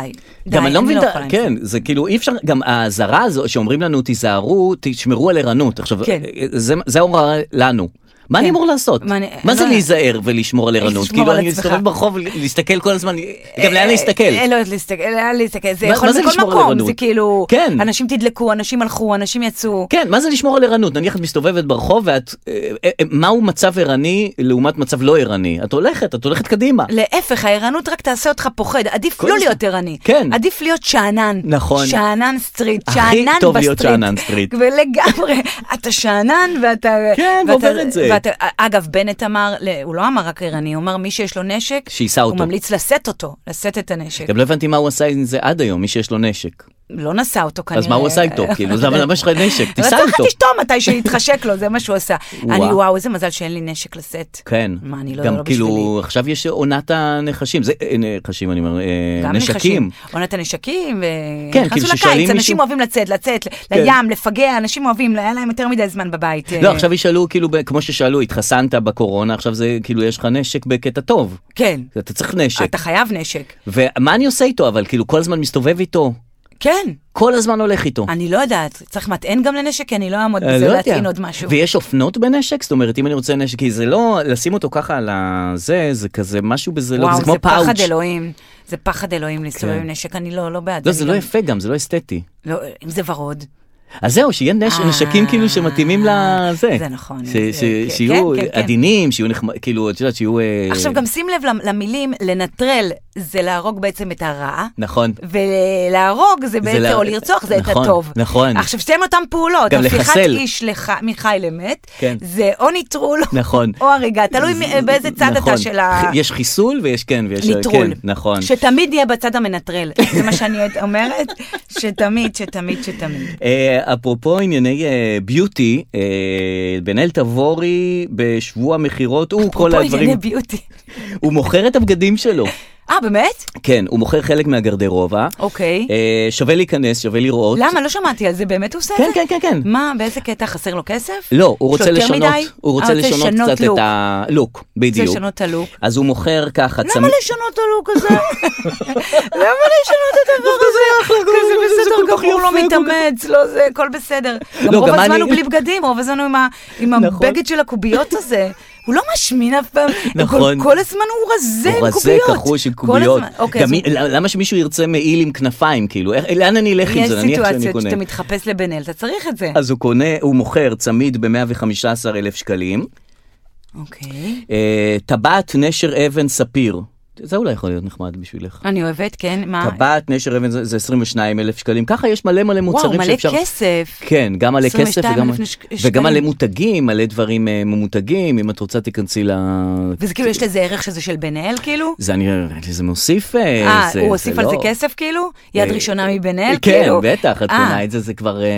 [SPEAKER 3] די,
[SPEAKER 2] גם אני לא מבין, את ה-
[SPEAKER 3] יכולה עם
[SPEAKER 2] כן, זה כאילו אי אפשר, גם האזהרה הזו שאומרים לנו תיזהרו, תשמרו על ערנות. עכשיו,
[SPEAKER 3] כן.
[SPEAKER 2] זה- זה ההוראה לנו. מה אני
[SPEAKER 3] כן.
[SPEAKER 2] אמור לעשות?
[SPEAKER 3] מה אני-
[SPEAKER 2] מה
[SPEAKER 3] לא
[SPEAKER 2] זה
[SPEAKER 3] יודעת.
[SPEAKER 2] להיזהר ולשמור על ערנות?
[SPEAKER 3] לשמור
[SPEAKER 2] כאילו
[SPEAKER 3] על
[SPEAKER 2] אני
[SPEAKER 3] עצמך.
[SPEAKER 2] מסתובב ברחוב להסתכל כל הזמן, גם לאן
[SPEAKER 3] אה,
[SPEAKER 2] להסתכל?
[SPEAKER 3] אה, לא יודעת להסתכל, לאן להסתכל, זה
[SPEAKER 2] מה-
[SPEAKER 3] יכול
[SPEAKER 2] מה זה
[SPEAKER 3] להיות בכל
[SPEAKER 2] לשמור על
[SPEAKER 3] מקום,
[SPEAKER 2] ערנות?
[SPEAKER 3] זה כאילו,
[SPEAKER 2] כן.
[SPEAKER 3] אנשים תדלקו, אנשים הלכו, אנשים יצאו.
[SPEAKER 2] כן, מה זה לשמור על ערנות? נניח את מסתובבת ברחוב ואת... אה, אה, אה, מהו מצב ערני לעומת מצב לא ערני? את הולכת, את הולכת קדימה.
[SPEAKER 3] לא. להפך, הערנות רק תעשה אותך פוחד, עדיף
[SPEAKER 2] כל
[SPEAKER 3] לא
[SPEAKER 2] הזמן.
[SPEAKER 3] להיות ערני.
[SPEAKER 2] כן.
[SPEAKER 3] עדיף להיות שאנן.
[SPEAKER 2] נכון.
[SPEAKER 3] שאנן סטריט,
[SPEAKER 2] הכי
[SPEAKER 3] שאנן בסטריט.
[SPEAKER 2] טוב להיות שאנן סטריט.
[SPEAKER 3] ולגמרי, אתה שאנן ואתה...
[SPEAKER 2] כן,
[SPEAKER 3] ואתה-
[SPEAKER 2] ועובר את זה.
[SPEAKER 3] ואתה- אגב, בנט אמר, ל- הוא לא אמר רק ערני, הוא אמר מי שיש לו נשק,
[SPEAKER 2] שיישא
[SPEAKER 3] הוא
[SPEAKER 2] אותו.
[SPEAKER 3] ממליץ לשאת אותו, לשאת את הנשק.
[SPEAKER 2] גם לא הבנתי מה הוא עשה עם זה עד היום, מי שיש לו נשק.
[SPEAKER 3] לא נשא אותו כנראה.
[SPEAKER 2] אז מה הוא עשה איתו?
[SPEAKER 3] לא-
[SPEAKER 2] כאילו, למה למה יש לך נשק? תיסע
[SPEAKER 3] רצה לך
[SPEAKER 2] איתו.
[SPEAKER 3] תשתום מתי שיתחשק לו, זה מה שהוא עשה.
[SPEAKER 2] וואו.
[SPEAKER 3] אני, וואו, איזה מזל שאין לי נשק לשאת.
[SPEAKER 2] כן.
[SPEAKER 3] מה, אני לא,
[SPEAKER 2] גם
[SPEAKER 3] לא בשבילי.
[SPEAKER 2] כאילו, עכשיו יש עונת הנחשים. זה אה, נחשים, אני אומר, אה,
[SPEAKER 3] גם
[SPEAKER 2] נשקים.
[SPEAKER 3] עונת הנשקים, ו...
[SPEAKER 2] כן,
[SPEAKER 3] נכנסו
[SPEAKER 2] כאילו ששואלים
[SPEAKER 3] לקיץ, אנשים
[SPEAKER 2] מישהו-
[SPEAKER 3] אוהבים לצאת, לצאת, ל-
[SPEAKER 2] כן.
[SPEAKER 3] לים, לפגע, אנשים אוהבים, היה להם יותר מדי זמן בבית.
[SPEAKER 2] לא,
[SPEAKER 3] אה,
[SPEAKER 2] עכשיו ישאלו, כאילו, ב- כמו ששאלו, התחסנת בקורונה, עכשיו זה, כאילו, יש לך נשק בקטע טוב.
[SPEAKER 3] כן.
[SPEAKER 2] אתה צריך נשק.
[SPEAKER 3] אתה חייב נשק.
[SPEAKER 2] ומה אני עושה איתו, אבל כאילו, כל הזמן מסתובב איתו.
[SPEAKER 3] כן,
[SPEAKER 2] כל הזמן הולך איתו.
[SPEAKER 3] אני לא יודעת, צריך מטען גם לנשק, כי אני לא אעמוד
[SPEAKER 2] אה,
[SPEAKER 3] בזה,
[SPEAKER 2] לא
[SPEAKER 3] להטעין
[SPEAKER 2] יודע.
[SPEAKER 3] עוד משהו.
[SPEAKER 2] ויש אופנות בנשק? זאת אומרת, אם אני רוצה נשק, כי זה לא, לשים אותו ככה על הזה, זה כזה משהו בזה, לא, זה
[SPEAKER 3] וואו,
[SPEAKER 2] כמו
[SPEAKER 3] זה
[SPEAKER 2] פאוץ'.
[SPEAKER 3] פחד אלוהים. זה פחד אלוהים להסתובב
[SPEAKER 2] כן.
[SPEAKER 3] עם נשק, אני לא לא בעד.
[SPEAKER 2] לא,
[SPEAKER 3] אני
[SPEAKER 2] זה
[SPEAKER 3] גם-
[SPEAKER 2] לא יפה אה. גם, זה לא אסתטי.
[SPEAKER 3] לא, אם זה ורוד.
[SPEAKER 2] אז זהו, שיהיה נש-
[SPEAKER 3] אה,
[SPEAKER 2] נשקים כאילו שמתאימים לזה.
[SPEAKER 3] זה נכון,
[SPEAKER 2] ש-
[SPEAKER 3] זה-
[SPEAKER 2] ש-
[SPEAKER 3] כן,
[SPEAKER 2] שיהיו
[SPEAKER 3] כן, כן, כן.
[SPEAKER 2] עדינים, שיהיו נחמד, כאילו, את יודעת, שיהיו... אה,
[SPEAKER 3] עכשיו גם שים לב למ- למילים, לנטרל זה להרוג בעצם את הרע.
[SPEAKER 2] נכון.
[SPEAKER 3] ולהרוג זה בעצם,
[SPEAKER 2] לה-
[SPEAKER 3] או לרצוח זה את
[SPEAKER 2] נכון,
[SPEAKER 3] הטוב.
[SPEAKER 2] נכון.
[SPEAKER 3] עכשיו, שתיהן אותן פעולות.
[SPEAKER 2] גם
[SPEAKER 3] הפיכת
[SPEAKER 2] לחסל.
[SPEAKER 3] איש לח... מחי למת,
[SPEAKER 2] כן.
[SPEAKER 3] זה או ניטרול
[SPEAKER 2] נכון.
[SPEAKER 3] או הריגה, תלוי מ- באיזה צד
[SPEAKER 2] נכון.
[SPEAKER 3] אתה של ה...
[SPEAKER 2] ח- יש חיסול ויש כן ויש...
[SPEAKER 3] ניטרול.
[SPEAKER 2] כן, נכון.
[SPEAKER 3] שתמיד יהיה בצד המנטרל, זה מה שאני אומרת, שתמיד, שתמיד, שתמיד.
[SPEAKER 2] אה, אפרופו ענייני אה, ביוטי, אה, בן-אל תבורי בשבוע מכירות, הוא כל
[SPEAKER 3] פה ענייני
[SPEAKER 2] הדברים,
[SPEAKER 3] ביוטי.
[SPEAKER 2] הוא מוכר את הבגדים שלו.
[SPEAKER 3] אה, באמת?
[SPEAKER 2] כן, הוא מוכר חלק מהגרדרובה.
[SPEAKER 3] אוקיי.
[SPEAKER 2] אה, שווה להיכנס, שווה לראות.
[SPEAKER 3] למה? לא שמעתי על זה, באמת הוא עושה את
[SPEAKER 2] כן,
[SPEAKER 3] זה?
[SPEAKER 2] כן, כן, כן.
[SPEAKER 3] מה, באיזה קטע? חסר לו כסף?
[SPEAKER 2] לא, הוא
[SPEAKER 3] יש לו
[SPEAKER 2] רוצה
[SPEAKER 3] יותר
[SPEAKER 2] לשנות,
[SPEAKER 3] מדי?
[SPEAKER 2] הוא
[SPEAKER 3] אה,
[SPEAKER 2] רוצה לשנות קצת
[SPEAKER 3] לוק.
[SPEAKER 2] את הלוק,
[SPEAKER 3] רוצה
[SPEAKER 2] בדיוק.
[SPEAKER 3] לשנות את הלוק.
[SPEAKER 2] אז הוא מוכר ככה
[SPEAKER 3] למה לשנות את הלוק הזה? למה לשנות את הדבר הזה? כזה
[SPEAKER 2] זה כל
[SPEAKER 3] בסדר
[SPEAKER 2] כך
[SPEAKER 3] גמור, לא
[SPEAKER 2] יפה, כל
[SPEAKER 3] מתאמץ, לא זה, הכל בסדר. גם
[SPEAKER 2] לא,
[SPEAKER 3] רוב
[SPEAKER 2] גם
[SPEAKER 3] הזמן
[SPEAKER 2] אני-
[SPEAKER 3] הוא בלי בגדים, רוב הזמן הוא עם ה- עם
[SPEAKER 2] נכון.
[SPEAKER 3] הבגד של הקוביות הזה. הוא לא משמין אף פעם, הוא כל-
[SPEAKER 2] נכון.
[SPEAKER 3] כל הזמן הוא רזה
[SPEAKER 2] הוא
[SPEAKER 3] עם
[SPEAKER 2] רזה,
[SPEAKER 3] לא קוביות.
[SPEAKER 2] כחוש עם
[SPEAKER 3] כל
[SPEAKER 2] קוביות.
[SPEAKER 3] הזמן, אוקיי,
[SPEAKER 2] גם
[SPEAKER 3] אז
[SPEAKER 2] מי- למה שמישהו ירצה מעיל עם כנפיים, כאילו? איך- לאן אני אלך עם
[SPEAKER 3] יש
[SPEAKER 2] זה? נניח שאני
[SPEAKER 3] סיטואציות
[SPEAKER 2] קונה.
[SPEAKER 3] שאתה מתחפש לבן-אל, אתה צריך את זה.
[SPEAKER 2] אז הוא קונה, הוא מוכר צמיד ב-115 אלף שקלים,
[SPEAKER 3] אוקיי.
[SPEAKER 2] אה, טבעת נשר אבן ספיר, זה אולי יכול להיות נחמד בשבילך.
[SPEAKER 3] אני אוהבת, כן, מה?
[SPEAKER 2] טבעת נשר אבן זה זה 22 אלף שקלים, ככה יש מלא מלא
[SPEAKER 3] וואו,
[SPEAKER 2] מוצרים
[SPEAKER 3] מלא
[SPEAKER 2] שאפשר...
[SPEAKER 3] כסף.
[SPEAKER 2] כן, גם מלא כסף
[SPEAKER 3] 22,000
[SPEAKER 2] וגם,
[SPEAKER 3] נש- שקלים.
[SPEAKER 2] וגם מלא מותגים, מלא דברים אה, ממותגים, אם את רוצה תיכנסי ל...
[SPEAKER 3] וזה כאילו, יש לזה ערך שזה של בן-אל, כאילו?
[SPEAKER 2] זה אני, זה מוסיף, אה,
[SPEAKER 3] אה,
[SPEAKER 2] זה,
[SPEAKER 3] הוא הוסיף על
[SPEAKER 2] לא-
[SPEAKER 3] זה כסף כאילו? יד
[SPEAKER 2] אה,
[SPEAKER 3] ראשונה מבן-אל?
[SPEAKER 2] כן,
[SPEAKER 3] כאילו?
[SPEAKER 2] בטח, את
[SPEAKER 3] אה,
[SPEAKER 2] קונה את זה, זה כבר, אה,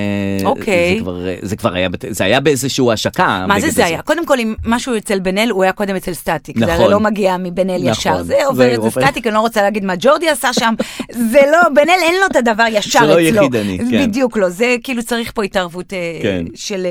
[SPEAKER 3] אוקיי.
[SPEAKER 2] זה כבר, אה, זה כבר היה, בת- זה היה באיזשהו השקה.
[SPEAKER 3] מה
[SPEAKER 2] הבגד
[SPEAKER 3] זה
[SPEAKER 2] הזה.
[SPEAKER 3] זה היה? קודם כל, אם משהו אצל בן-אל, הוא היה קודם אצל סטטיק. זה הרי
[SPEAKER 2] נכון.
[SPEAKER 3] לא מגיע מבן-אל ישר.
[SPEAKER 2] נכון.
[SPEAKER 3] זה עובר
[SPEAKER 2] זה
[SPEAKER 3] את זה
[SPEAKER 2] עובר.
[SPEAKER 3] סטטיק, אני לא רוצה להגיד מה ג'ורדי עשה שם. זה לא, בן-אל אין לו את הדבר ישר
[SPEAKER 2] זה
[SPEAKER 3] אצלו.
[SPEAKER 2] לא יחידני, כן.
[SPEAKER 3] בדיוק לא, זה כאילו צריך פה התערבות אה,
[SPEAKER 2] כן.
[SPEAKER 3] של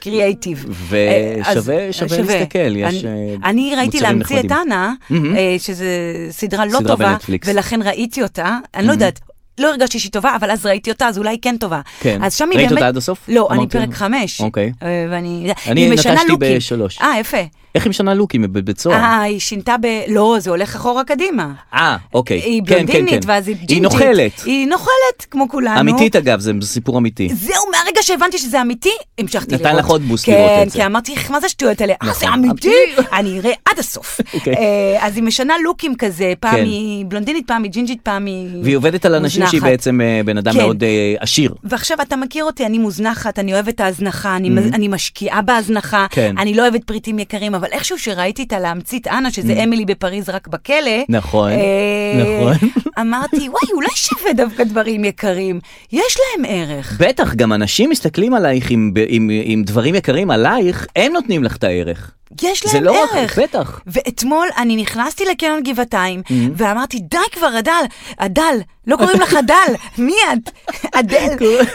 [SPEAKER 3] קריאייטיב.
[SPEAKER 2] ושווה- שווה להסתכל, יש, אה,
[SPEAKER 3] אה, אני ראיתי
[SPEAKER 2] מוצרים
[SPEAKER 3] להמציא את
[SPEAKER 2] נחמדים.
[SPEAKER 3] אנה, אה, שזו סדרה לא
[SPEAKER 2] סדרה
[SPEAKER 3] טובה,
[SPEAKER 2] בנטפליקס.
[SPEAKER 3] ולכן ראיתי אותה, אני לא יודעת. לא הרגשתי שהיא טובה, אבל אז ראיתי אותה, אז אולי כן טובה.
[SPEAKER 2] כן.
[SPEAKER 3] אז שם היא
[SPEAKER 2] ראית
[SPEAKER 3] באמת...
[SPEAKER 2] אותה עד הסוף?
[SPEAKER 3] לא, אני
[SPEAKER 2] אמרת-
[SPEAKER 3] פרק חמש.
[SPEAKER 2] אוקיי.
[SPEAKER 3] אה, ואני...
[SPEAKER 2] אני
[SPEAKER 3] היא משנה
[SPEAKER 2] נטשתי
[SPEAKER 3] לוקים.
[SPEAKER 2] בשלוש. לא.
[SPEAKER 3] אה, יפה.
[SPEAKER 2] איך היא משנה לוקים בבית סוהר?
[SPEAKER 3] אה, היא שינתה ב... לא, זה הולך אחורה קדימה.
[SPEAKER 2] אה, אוקיי.
[SPEAKER 3] היא
[SPEAKER 2] כן, כן,
[SPEAKER 3] בלונדינית,
[SPEAKER 2] כן.
[SPEAKER 3] ואז היא ג'ינג'ית.
[SPEAKER 2] היא נוכלת.
[SPEAKER 3] היא אה, נוכלת, כמו כולנו.
[SPEAKER 2] אמיתית אגב, זה סיפור אמיתי.
[SPEAKER 3] זהו, מהרגע שהבנתי שזה אמיתי, המשכתי
[SPEAKER 2] נתן
[SPEAKER 3] לראות.
[SPEAKER 2] לך עוד בוסט
[SPEAKER 3] כן,
[SPEAKER 2] לראות את
[SPEAKER 3] כן,
[SPEAKER 2] זה.
[SPEAKER 3] אמרתי, "איך, מה זה השטויות האלה? אה, זה
[SPEAKER 2] נכון.
[SPEAKER 3] אמיתי? אני אראה עד הסוף.
[SPEAKER 2] אוקיי.
[SPEAKER 3] אה, אז היא משנה לוקים כזה, פעם
[SPEAKER 2] כן.
[SPEAKER 3] היא בלונדינית, פעם היא ג'ינג'ית, פעם היא...
[SPEAKER 2] והיא עובדת על אנשים שהיא
[SPEAKER 3] מוזנחת.
[SPEAKER 2] בעצם אה, בן אדם
[SPEAKER 3] כן.
[SPEAKER 2] מאוד אה, עשיר.
[SPEAKER 3] ועכשיו אתה מכיר אותי, אני מוזנחת, אני אוהבת את ההזנחה, אני, mm-hmm. אני משקיעה בהזנחה,
[SPEAKER 2] כן.
[SPEAKER 3] אני לא אוהבת פריטים יקרים, אבל איכשהו שראיתי את הלהמציא את אנה, שזה mm-hmm. אמילי בפריז רק בכלא,
[SPEAKER 2] נכון,
[SPEAKER 3] אה,
[SPEAKER 2] נכון.
[SPEAKER 3] אמרתי, וואי, אולי שווה דווקא דברים יקרים, יש להם ערך.
[SPEAKER 2] בטח, גם אנשים מסתכלים עלייך עם, ב- עם, עם דברים יקרים עלייך, הם נותנים לך את הערך.
[SPEAKER 3] יש להם
[SPEAKER 2] זה לא רק-
[SPEAKER 3] כן, ערך.
[SPEAKER 2] בטח.
[SPEAKER 3] ואתמול אני נכנסתי לקניון גבעתיים,
[SPEAKER 2] Mm-hmm.
[SPEAKER 3] ואמרתי, די כבר, הדל, הדל, לא קוראים לך הדל, מי את? אדל,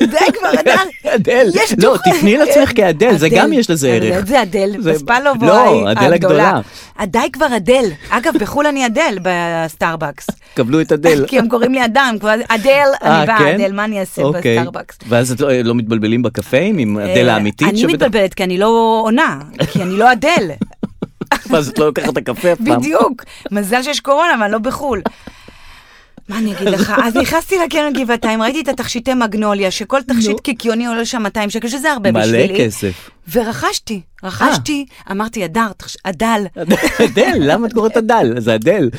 [SPEAKER 3] די כבר, הדל.
[SPEAKER 2] אדל,
[SPEAKER 3] יש
[SPEAKER 2] לא,
[SPEAKER 3] תוכן.
[SPEAKER 2] תפני לעצמך כאדל, זה גם יש לזה
[SPEAKER 3] אבל
[SPEAKER 2] ערך.
[SPEAKER 3] זה אדל,
[SPEAKER 2] זה-
[SPEAKER 3] פספלוב
[SPEAKER 2] לא,
[SPEAKER 3] או
[SPEAKER 2] אדל הגדולה.
[SPEAKER 3] די כבר אדל. אגב, בחו"ל אני אדל בסטארבקס.
[SPEAKER 2] קבלו את אדל.
[SPEAKER 3] כי הם קוראים לי אדם, כבר אדל,
[SPEAKER 2] אה,
[SPEAKER 3] אני באה
[SPEAKER 2] כן?
[SPEAKER 3] אדל, מה אני אעשה
[SPEAKER 2] אוקיי.
[SPEAKER 3] בסטארבקס?
[SPEAKER 2] ואז את לא, לא מתבלבלים בקפאים עם אדל
[SPEAKER 3] אה,
[SPEAKER 2] האמיתית?
[SPEAKER 3] אני
[SPEAKER 2] שבדרך-
[SPEAKER 3] מתבלבלת כי אני לא עונה, כי אני לא אדל, מזל.
[SPEAKER 2] ואז את לא לוקחת את הקפה אף פעם.
[SPEAKER 3] בדיוק. מזל שיש קורונה, אבל לא בחו"ל. מה אני אגיד לך? אז נכנסתי לקרן גבעתיים, ראיתי את התכשיטי מגנוליה, שכל תכשיט קיקיוני עולה שם 200 שקל, שזה הרבה בשבילי.
[SPEAKER 2] מלא כסף. אה.
[SPEAKER 3] ורכשתי, רכשתי, אמרתי, אדר, תכש- אדל.
[SPEAKER 2] אדל, למה את קוראת אדל? זה אדל.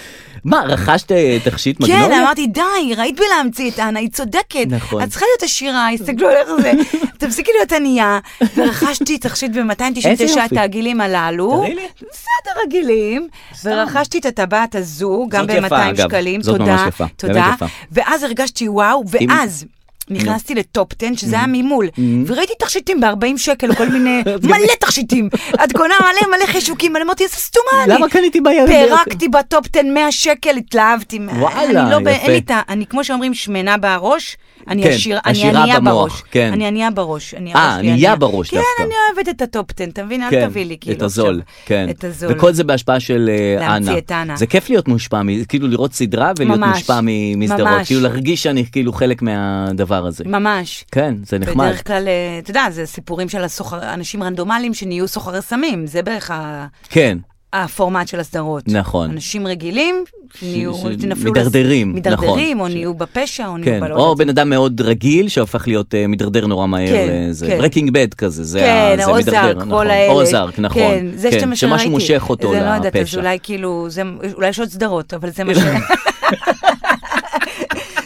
[SPEAKER 2] מה, רכשת אה, תכשיט מגנוליה?
[SPEAKER 3] כן, אמרתי, די, ראית בלהמציא את אנה, היא צודקת.
[SPEAKER 2] נכון.
[SPEAKER 3] את צריכה להיות עשירה, הסתכלו על איך זה. תפסיקי להיות ענייה. ורכשתי תכשיט
[SPEAKER 2] איזה
[SPEAKER 3] ב-299
[SPEAKER 2] יופי.
[SPEAKER 3] התעגילים הללו.
[SPEAKER 2] תראי לי.
[SPEAKER 3] בסדר, רגילים. ורכשתי את הטבעת הזו, גם
[SPEAKER 2] זאת יפה,
[SPEAKER 3] ב-200
[SPEAKER 2] אגב.
[SPEAKER 3] שקלים.
[SPEAKER 2] זאת
[SPEAKER 3] תודה,
[SPEAKER 2] ממש יפה, באמת
[SPEAKER 3] תודה.
[SPEAKER 2] יפה.
[SPEAKER 3] ואז הרגשתי וואו, ואז... נכנסתי לטופ 10, שזה היה ממול, וראיתי תכשיטים ב-40 שקל, כל מיני, מלא תכשיטים. את קונה מלא מלא חישוקים, מלא אמרתי, איזה סתומה לי.
[SPEAKER 2] למה קניתי בירק?
[SPEAKER 3] פירקתי בטופ 10 100 שקל, התלהבתי. מה-
[SPEAKER 2] וואלה,
[SPEAKER 3] אני לא, ב-
[SPEAKER 2] יפה.
[SPEAKER 3] אין לי את ה... אני, כמו שאומרים, שמנה בראש, אני
[SPEAKER 2] כן,
[SPEAKER 3] עשיר, אני
[SPEAKER 2] עשירה
[SPEAKER 3] ענייה
[SPEAKER 2] במוח,
[SPEAKER 3] בראש.
[SPEAKER 2] כן.
[SPEAKER 3] אני ענייה בראש. אני-
[SPEAKER 2] אה,
[SPEAKER 3] הראש שלי
[SPEAKER 2] ענייה בראש
[SPEAKER 3] כן,
[SPEAKER 2] דווקא.
[SPEAKER 3] כן, אני אוהבת את הטופ 10, אתה מבין?
[SPEAKER 2] כן,
[SPEAKER 3] אל תביא לי, כאילו.
[SPEAKER 2] את הזול,
[SPEAKER 3] עכשיו.
[SPEAKER 2] כן.
[SPEAKER 3] את הזול.
[SPEAKER 2] וכל זה בהשפעה של אה, אנה.
[SPEAKER 3] להמציא את אנה.
[SPEAKER 2] זה כיף להיות מושפע, מ- כאילו לראות סדרה ולהיות
[SPEAKER 3] ממש,
[SPEAKER 2] מושפע מ- מסדרות.
[SPEAKER 3] ממש.
[SPEAKER 2] כאילו להרגיש שאני כאילו חלק מהדבר הזה.
[SPEAKER 3] ממש.
[SPEAKER 2] כן, זה נחמד.
[SPEAKER 3] בדרך כלל, אה, אתה יודע, זה סיפורים של הסוחר, אנשים רנדומליים שנהיו סוחרי סמים, זה בערך ה-
[SPEAKER 2] כן.
[SPEAKER 3] הפורמט של הסדרות.
[SPEAKER 2] נכון.
[SPEAKER 3] אנשים רגילים, נהיו,
[SPEAKER 2] ש-
[SPEAKER 3] נפלו... לס-
[SPEAKER 2] מידרדרים, נכון.
[SPEAKER 3] מידרדרים, או
[SPEAKER 2] ש-
[SPEAKER 3] נהיו בפשע, או נהיו
[SPEAKER 2] כן,
[SPEAKER 3] בלא...
[SPEAKER 2] או בן אדם מאוד רגיל שהופך להיות אה, מידרדר נורא מהר,
[SPEAKER 3] כן,
[SPEAKER 2] לזה.
[SPEAKER 3] כן.
[SPEAKER 2] ברקינג בד כזה, זה
[SPEAKER 3] כן,
[SPEAKER 2] ה- זה
[SPEAKER 3] אוזארק,
[SPEAKER 2] מידרדר,
[SPEAKER 3] כל
[SPEAKER 2] נכון,
[SPEAKER 3] האלה.
[SPEAKER 2] אוזארק, נכון,
[SPEAKER 3] כן, זה שאתה מה שראיתי.
[SPEAKER 2] שמשהו מושך אותו
[SPEAKER 3] זה
[SPEAKER 2] לפשע,
[SPEAKER 3] לא יודעת, אז אולי כאילו, זה, אולי יש עוד סדרות, אבל זה מה ש...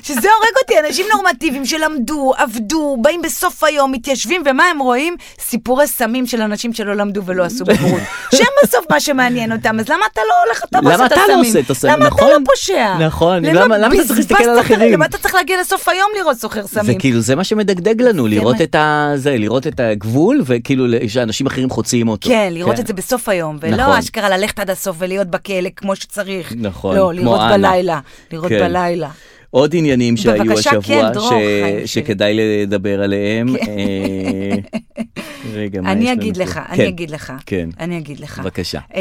[SPEAKER 3] שזה הורג אותי, אנשים נורמטיביים שלמדו, עבדו, באים בסוף היום, מתיישבים, ומה הם רואים? סיפורי סמים של אנשים שלא למדו ולא עשו בגרות. שהם בסוף מה שמעניין אותם, אז למה אתה לא הולך, אתה
[SPEAKER 2] למה
[SPEAKER 3] לא עושה את
[SPEAKER 2] אתה לא
[SPEAKER 3] הסמים?
[SPEAKER 2] עושה את הסמים,
[SPEAKER 3] למה
[SPEAKER 2] נכון?
[SPEAKER 3] אתה לא פושע?
[SPEAKER 2] נכון, למה- למה אתה צריך להסתכל על
[SPEAKER 3] בזבזת את-
[SPEAKER 2] אחרים?
[SPEAKER 3] למה אתה צריך להגיע לסוף היום לראות סוחר
[SPEAKER 2] זה
[SPEAKER 3] סמים?
[SPEAKER 2] כאילו זה מה שמדגדג לנו, לראות
[SPEAKER 3] מה-
[SPEAKER 2] את ה... זה, לראות את הגבול, וכאילו ל- שאנשים אחרים חוצים אותו.
[SPEAKER 3] כן, לראות את זה בסוף היום,
[SPEAKER 2] נכון.
[SPEAKER 3] ולא אשכרה ללכת עד הסוף ולהיות בכלא כמו שצריך.
[SPEAKER 2] נכון,
[SPEAKER 3] לא,
[SPEAKER 2] כמו
[SPEAKER 3] לראות
[SPEAKER 2] אנה.
[SPEAKER 3] בלילה. לראות
[SPEAKER 2] כן.
[SPEAKER 3] בלילה.
[SPEAKER 2] עוד עניינים שהיו
[SPEAKER 3] בבקשה,
[SPEAKER 2] השבוע,
[SPEAKER 3] כן, דרור,
[SPEAKER 2] ש-
[SPEAKER 3] חיים שלי. כן.
[SPEAKER 2] שכדאי לדבר עליהם. אה, רגע, מה יש
[SPEAKER 3] אני
[SPEAKER 2] לנו
[SPEAKER 3] אגיד
[SPEAKER 2] פה?
[SPEAKER 3] לך,
[SPEAKER 2] כן,
[SPEAKER 3] אני אגיד לך.
[SPEAKER 2] כן.
[SPEAKER 3] אני אגיד לך.
[SPEAKER 2] בבקשה.
[SPEAKER 3] אמ,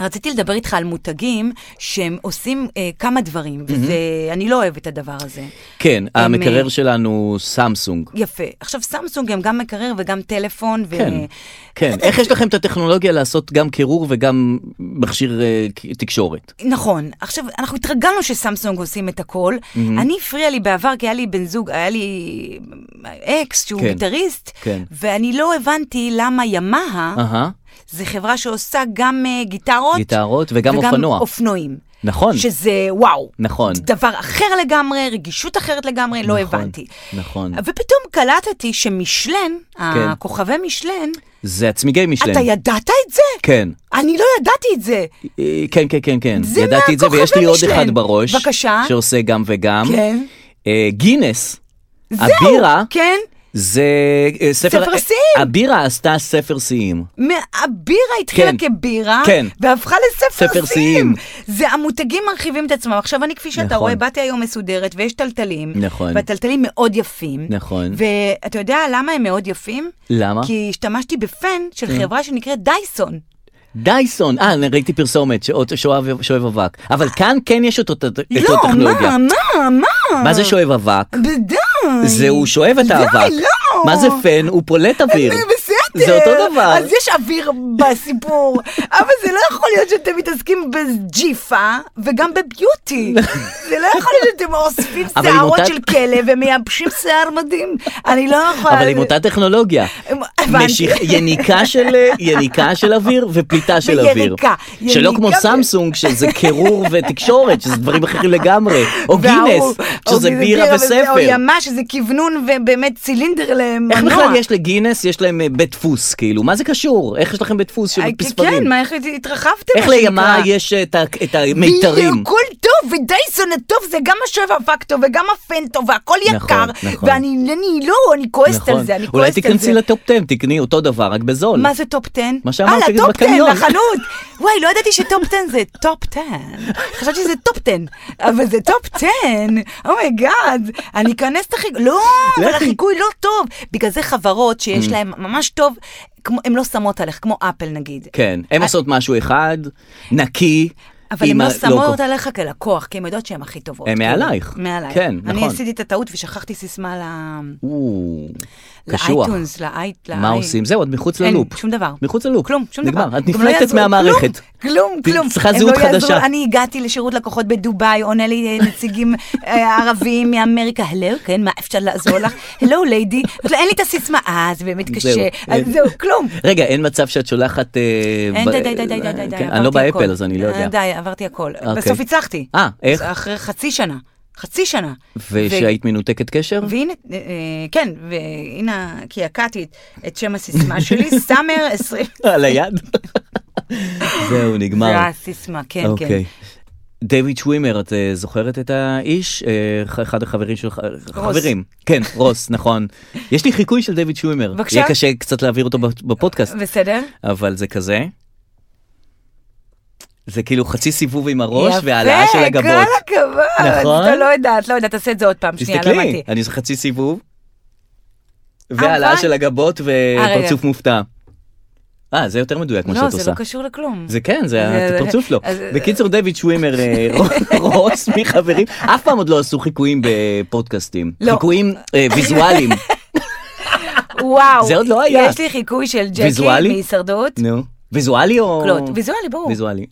[SPEAKER 3] רציתי לדבר איתך על מותגים שהם עושים אה, כמה דברים, וזה, אני לא אוהבת את הדבר הזה.
[SPEAKER 2] כן,
[SPEAKER 3] הם,
[SPEAKER 2] המקרר
[SPEAKER 3] אה,
[SPEAKER 2] שלנו סמסונג.
[SPEAKER 3] יפה. עכשיו, סמסונג הם גם מקרר וגם טלפון, ו...
[SPEAKER 2] כן, כן. איך יש לכם את הטכנולוגיה לעשות גם קירור וגם מכשיר אה, ק- תקשורת?
[SPEAKER 3] נכון. עכשיו, אנחנו התרגלנו שסמסונג עושים את הכל. אני הפריע לי בעבר, כי היה לי בן זוג, היה לי אקס שהוא
[SPEAKER 2] כן.
[SPEAKER 3] גיטריסט,
[SPEAKER 2] כן. אה.
[SPEAKER 3] ואני לא הבנתי למה ימאה,
[SPEAKER 2] אהה,
[SPEAKER 3] זה חברה שעושה גם אה, גיטרות,
[SPEAKER 2] גיטרות וגם אופנוע.
[SPEAKER 3] אופנועים.
[SPEAKER 2] נכון.
[SPEAKER 3] שזה וואו.
[SPEAKER 2] נכון.
[SPEAKER 3] דבר אחר לגמרי, רגישות אחרת לגמרי, לא
[SPEAKER 2] נכון,
[SPEAKER 3] הבנתי.
[SPEAKER 2] נכון. כן.
[SPEAKER 3] ופתאום קלטתי שמשלן, הכוכבי משלן,
[SPEAKER 2] זה הצמיגי משלן.
[SPEAKER 3] אתה ידעת את זה?
[SPEAKER 2] כן.
[SPEAKER 3] אני לא ידעתי את זה.
[SPEAKER 2] אה, כן, כן, כן, כן.
[SPEAKER 3] זה
[SPEAKER 2] ידעתי את זה,
[SPEAKER 3] מהכוכבי
[SPEAKER 2] ויש לי עוד
[SPEAKER 3] משלן.
[SPEAKER 2] אחד בראש.
[SPEAKER 3] בבקשה.
[SPEAKER 2] שעושה גם וגם.
[SPEAKER 3] כן.
[SPEAKER 2] אה, גינס.
[SPEAKER 3] זהו,
[SPEAKER 2] הבירה.
[SPEAKER 3] כן.
[SPEAKER 2] זה אה, ספר...
[SPEAKER 3] ספר
[SPEAKER 2] אה,
[SPEAKER 3] שיאים.
[SPEAKER 2] הבירה עשתה ספר שיאים.
[SPEAKER 3] הבירה התחילה
[SPEAKER 2] כן.
[SPEAKER 3] כבירה,
[SPEAKER 2] כן.
[SPEAKER 3] והפכה
[SPEAKER 2] ספר שיאים.
[SPEAKER 3] לספר שיאים. זה המותגים מרחיבים את עצמם. עכשיו, אני, כפי שאתה
[SPEAKER 2] נכון.
[SPEAKER 3] רואה, באתי היום מסודרת, ויש טלטלים.
[SPEAKER 2] נכון.
[SPEAKER 3] והטלטלים מאוד יפים.
[SPEAKER 2] נכון.
[SPEAKER 3] ואתה יודע למה הם מאוד יפים?
[SPEAKER 2] למה? כן.
[SPEAKER 3] כי השתמשתי בפן של חברה שנקראת דייסון.
[SPEAKER 2] דייסון, אה, אני ראיתי פרסומת, שאו- שואב שואב אבק. אבל כאן כן יש אותו- את
[SPEAKER 3] לא,
[SPEAKER 2] הטכנולוגיה.
[SPEAKER 3] מה, מה, מה?
[SPEAKER 2] מה זה שואב אבק?
[SPEAKER 3] די.
[SPEAKER 2] זה הוא שואב את
[SPEAKER 3] די,
[SPEAKER 2] האבק.
[SPEAKER 3] לא.
[SPEAKER 2] מה זה פן? הוא פולט אוויר.
[SPEAKER 3] בסדר.
[SPEAKER 2] זה אותו דבר.
[SPEAKER 3] אז יש אוויר בסיפור, אבל זה לא יכול להיות שאתם מתעסקים בג'יפה וגם בביוטי. זה לא יכול להיות שאתם אוספים
[SPEAKER 2] אבל עם
[SPEAKER 3] שערות
[SPEAKER 2] אותה-
[SPEAKER 3] של כלב ומייבשים שיער מדהים. אני לא יכולה...
[SPEAKER 2] אבל עם אותה טכנולוגיה.
[SPEAKER 3] הבנתי.
[SPEAKER 2] משיך- יניקה של אה, יניקה של אוויר ופליטה של אוויר.
[SPEAKER 3] ויניקה,
[SPEAKER 2] שלא
[SPEAKER 3] יניקה
[SPEAKER 2] כמו
[SPEAKER 3] ו-
[SPEAKER 2] סמסונג, שזה קירור ותקשורת, שזה דברים אחרים לגמרי. או גינס,
[SPEAKER 3] והוא-
[SPEAKER 2] שזה
[SPEAKER 3] או
[SPEAKER 2] בירה
[SPEAKER 3] וזה- או
[SPEAKER 2] וספר.
[SPEAKER 3] ימה שזה כוונון ובאמת צילינדר למנוע.
[SPEAKER 2] איך בכלל יש לגינס, יש להם אה, בית דפוס, כאילו, מה זה קשור? איך יש לכם בית דפוס של
[SPEAKER 3] אה,
[SPEAKER 2] פספרים?
[SPEAKER 3] כן, מה, איך התרחבתם?
[SPEAKER 2] איך
[SPEAKER 3] מה שנקרא.
[SPEAKER 2] לימה יש את ה- את המיתרים?
[SPEAKER 3] בדיוק, הכל טוב, ודייסון הטוב זה גם השואב אבק טוב וגם הפן טוב והכל יקר.
[SPEAKER 2] נכון, נכון.
[SPEAKER 3] ואני אני לא, אני כועסת על זה, אני
[SPEAKER 2] אולי
[SPEAKER 3] כועסת על
[SPEAKER 2] תיכנסי
[SPEAKER 3] זה.
[SPEAKER 2] לטופ 10, תקני אותו דבר, רק בזול.
[SPEAKER 3] מה זה טופ 10?
[SPEAKER 2] מה שאמרת,
[SPEAKER 3] אה,
[SPEAKER 2] תגידי,
[SPEAKER 3] לטופ 10,
[SPEAKER 2] בקניון.
[SPEAKER 3] לחנות. וואי, לא ידעתי שטופ 10 זה טופ 10. חשבתי שזה טופ 10, אבל זה טופ 10. אומייגאד, אני אכנס את החיקוי, לא, אבל
[SPEAKER 2] לכי. Mm.
[SPEAKER 3] החיקוי לא טוב. בגלל זה חברות שיש להן ממש טוב, הן לא שמות עליך, כמו אפל נגיד.
[SPEAKER 2] כן, הם עושות משהו אחד, נקי,
[SPEAKER 3] אבל הן
[SPEAKER 2] עם
[SPEAKER 3] לא
[SPEAKER 2] הלוגו.
[SPEAKER 3] שמות עליך כלקוח, כי הן יודעות שהן הכי טובות.
[SPEAKER 2] הן
[SPEAKER 3] כאילו.
[SPEAKER 2] מעלייך.
[SPEAKER 3] מעלייך.
[SPEAKER 2] כן,
[SPEAKER 3] אני
[SPEAKER 2] נכון.
[SPEAKER 3] עשיתי את הטעות ושכחתי סיסמה ל-
[SPEAKER 2] או,
[SPEAKER 3] לא,
[SPEAKER 2] קשוח.
[SPEAKER 3] לאייטונס, לאייט...
[SPEAKER 2] מה
[SPEAKER 3] לאי-
[SPEAKER 2] עושים? זהו, את מחוץ
[SPEAKER 3] אין,
[SPEAKER 2] ללופ.
[SPEAKER 3] שום דבר.
[SPEAKER 2] מחוץ ללופ.
[SPEAKER 3] כלום, שום
[SPEAKER 2] נגמר.
[SPEAKER 3] דבר.
[SPEAKER 2] את
[SPEAKER 3] גם לא
[SPEAKER 2] נפלטת
[SPEAKER 3] יעזרו.
[SPEAKER 2] מהמערכת.
[SPEAKER 3] כלום,
[SPEAKER 2] ת-
[SPEAKER 3] כלום.
[SPEAKER 2] צריכה
[SPEAKER 3] הם
[SPEAKER 2] זהות
[SPEAKER 3] לא יעזרו.
[SPEAKER 2] חדשה.
[SPEAKER 3] אני הגעתי לשירות לקוחות בדובאי, עונה לי אה, נציגים אה, ערבים מאמריקה, הלו, כן, מה אפשר לעזור לך? הלו, ליידי. אין לי את הסיסמה, אה, זה באמת קשה.
[SPEAKER 2] זהו. אה,
[SPEAKER 3] אז זהו, כלום.
[SPEAKER 2] רגע, אין מצב שאת שולחת... אה,
[SPEAKER 3] אין,
[SPEAKER 2] ב-
[SPEAKER 3] די, די, די, די, די, די, די,
[SPEAKER 2] כן, אני
[SPEAKER 3] עברתי
[SPEAKER 2] לא באפל,
[SPEAKER 3] הכל.
[SPEAKER 2] אז אני לא
[SPEAKER 3] אה,
[SPEAKER 2] יודע.
[SPEAKER 3] די, עברתי הכל.
[SPEAKER 2] אוקיי.
[SPEAKER 3] בסוף הצלחתי.
[SPEAKER 2] אה, איך?
[SPEAKER 3] אחרי חצי שנה. חצי שנה.
[SPEAKER 2] ושהיית מנותקת קשר?
[SPEAKER 3] והנה, אה, אה, כן, והנה, קעקעתי את- את שם הסיסמה שלי, סאמר 20.
[SPEAKER 2] על היד? זהו,
[SPEAKER 3] זה
[SPEAKER 2] נגמר.
[SPEAKER 3] הסיסמה, כן, כן.
[SPEAKER 2] אוקיי. דיוויד שווימר, את אה, זוכרת את האיש? אה, ח- אחד החברים שלך, אה, חברים. כן, רוס, נכון. יש לי חיקוי של דיוויד שווימר.
[SPEAKER 3] בבקשה. אה.
[SPEAKER 2] יהיה קשה קצת להעביר אותו בפודקאסט,
[SPEAKER 3] בסדר?
[SPEAKER 2] אבל זה כזה. זה כאילו חצי סיבוב עם הראש
[SPEAKER 3] יפה,
[SPEAKER 2] והעלאה של הגבות.
[SPEAKER 3] כל הכבוד.
[SPEAKER 2] נכון?
[SPEAKER 3] אתה לא יודעת, לא יודעת, תעשה את זה עוד פעם, שנייה, לא
[SPEAKER 2] תסתכלי,
[SPEAKER 3] הבנתי.
[SPEAKER 2] אני עושה חצי סיבוב. והעלאה
[SPEAKER 3] אבל- אה,
[SPEAKER 2] של הגבות
[SPEAKER 3] רגע.
[SPEAKER 2] ופרצוף מופתע. אה, זה יותר מדויק מה שאת
[SPEAKER 3] לא,
[SPEAKER 2] עושה.
[SPEAKER 3] זה לא קשור לכלום.
[SPEAKER 2] זה כן, זה
[SPEAKER 3] זה-
[SPEAKER 2] הפרצוף שלו.
[SPEAKER 3] אז-
[SPEAKER 2] בקיצור, דיוויד שווימר אה, רוס מחברים, אף פעם עוד לא עשו חיקויים בפודקאסטים.
[SPEAKER 3] לא.
[SPEAKER 2] חיקויים אה, ויזואליים.
[SPEAKER 3] וואו.
[SPEAKER 2] זה עוד לא היה.
[SPEAKER 3] יש לי חיקוי של
[SPEAKER 2] ויזואלי?
[SPEAKER 3] ג'קי מהישרדות.
[SPEAKER 2] נו. ויזואלי או...
[SPEAKER 3] קלוט. ויזואלי, ברור.
[SPEAKER 2] ויזואלי.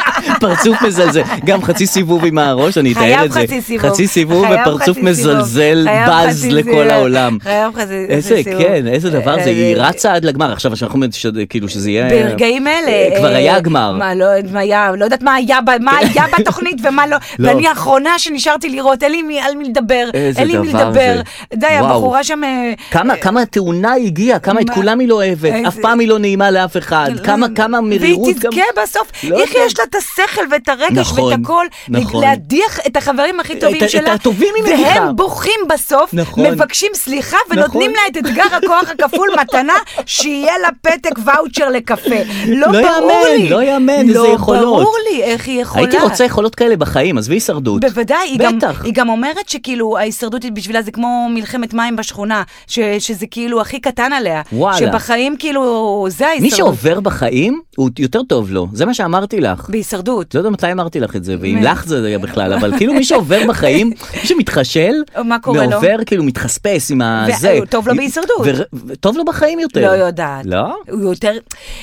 [SPEAKER 2] פרצוף מזלזל, גם חצי סיבוב עם הראש, אני אתאר
[SPEAKER 3] חייב
[SPEAKER 2] את זה.
[SPEAKER 3] חצי סיבוב.
[SPEAKER 2] חצי סיבוב
[SPEAKER 3] חייב
[SPEAKER 2] ופרצוף
[SPEAKER 3] חצי
[SPEAKER 2] מזלזל
[SPEAKER 3] סיבוב. חייב
[SPEAKER 2] בז
[SPEAKER 3] חצי
[SPEAKER 2] לכל
[SPEAKER 3] סיבוב.
[SPEAKER 2] העולם.
[SPEAKER 3] חייב חצי
[SPEAKER 2] איזה,
[SPEAKER 3] סיבוב.
[SPEAKER 2] כן, איזה דבר
[SPEAKER 3] אה,
[SPEAKER 2] זה, היא
[SPEAKER 3] אה,
[SPEAKER 2] רצה עד לגמר, עכשיו שאנחנו שד- כאילו שזה יהיה...
[SPEAKER 3] ברגעים אלה.
[SPEAKER 2] כבר
[SPEAKER 3] אה,
[SPEAKER 2] היה הגמר.
[SPEAKER 3] מה, לא יודעת מה היה, לא יודעת מה היה, ב- מה היה בתוכנית ומה לא.
[SPEAKER 2] לא.
[SPEAKER 3] ואני האחרונה שנשארתי לראות, אין לי מי- על מי לדבר.
[SPEAKER 2] איזה
[SPEAKER 3] אין לי מי
[SPEAKER 2] דבר
[SPEAKER 3] לדבר.
[SPEAKER 2] זה.
[SPEAKER 3] די,
[SPEAKER 2] וואו.
[SPEAKER 3] הבחורה שם... אה,
[SPEAKER 2] כמה, כמה התאונה הגיעה, כמה את
[SPEAKER 3] מה- אה,
[SPEAKER 2] כולם היא לא אוהבת,
[SPEAKER 3] איזה-
[SPEAKER 2] אף פעם היא לא נעימה לאף אחד, כמה, כמה מרירות
[SPEAKER 3] לא. והיא
[SPEAKER 2] גם...
[SPEAKER 3] תזכה בסוף,
[SPEAKER 2] לא
[SPEAKER 3] איך
[SPEAKER 2] יודע.
[SPEAKER 3] יש לה את השכל ואת הרגש
[SPEAKER 2] נכון,
[SPEAKER 3] ואת הכל,
[SPEAKER 2] נכון.
[SPEAKER 3] להדיח את החברים הכי
[SPEAKER 2] את-
[SPEAKER 3] טובים
[SPEAKER 2] את
[SPEAKER 3] שלה,
[SPEAKER 2] הטובים היא מדיחה.
[SPEAKER 3] והם בוכים בסוף,
[SPEAKER 2] נכון.
[SPEAKER 3] מבקשים סליחה ונותנים
[SPEAKER 2] נכון.
[SPEAKER 3] לה את אתגר הכוח הכפול מתנה, שיהיה לה פתק ואוצ'ר לקפה. לא
[SPEAKER 2] לא
[SPEAKER 3] ברור
[SPEAKER 2] יאמן,
[SPEAKER 3] לי.
[SPEAKER 2] לא יאמן, איזה יכולות.
[SPEAKER 3] לא ברור לי איך היא יכולה.
[SPEAKER 2] הייתי רוצה יכולות כאלה בחיים, עזבי הישרדות.
[SPEAKER 3] בוודאי, היא גם,
[SPEAKER 2] בטח.
[SPEAKER 3] היא גם אומרת שכאילו ההישרדות היא בשבילה זה כמו מלחמת מים בשכונה, ש, שזה כאילו הכי קטן עליה.
[SPEAKER 2] וואלה.
[SPEAKER 3] שבחיים כאילו זה
[SPEAKER 2] מי
[SPEAKER 3] ההישרדות.
[SPEAKER 2] שעובר בחיים, הוא יותר טוב לו, זה מה שאמרתי לך.
[SPEAKER 3] בהישרדות.
[SPEAKER 2] לא יודע מתי אמרתי לך את זה, ואם
[SPEAKER 3] באמת.
[SPEAKER 2] לך זה היה בכלל, אבל כאילו מי שעובר בחיים, מי שמתחשל,
[SPEAKER 3] מה קורה לו?
[SPEAKER 2] ועובר כאילו מתחספס עם הזה.
[SPEAKER 3] והוא טוב לו בהישרדות.
[SPEAKER 2] ו- טוב לו בחיים יותר.
[SPEAKER 3] לא יודעת.
[SPEAKER 2] לא?
[SPEAKER 3] הוא יותר...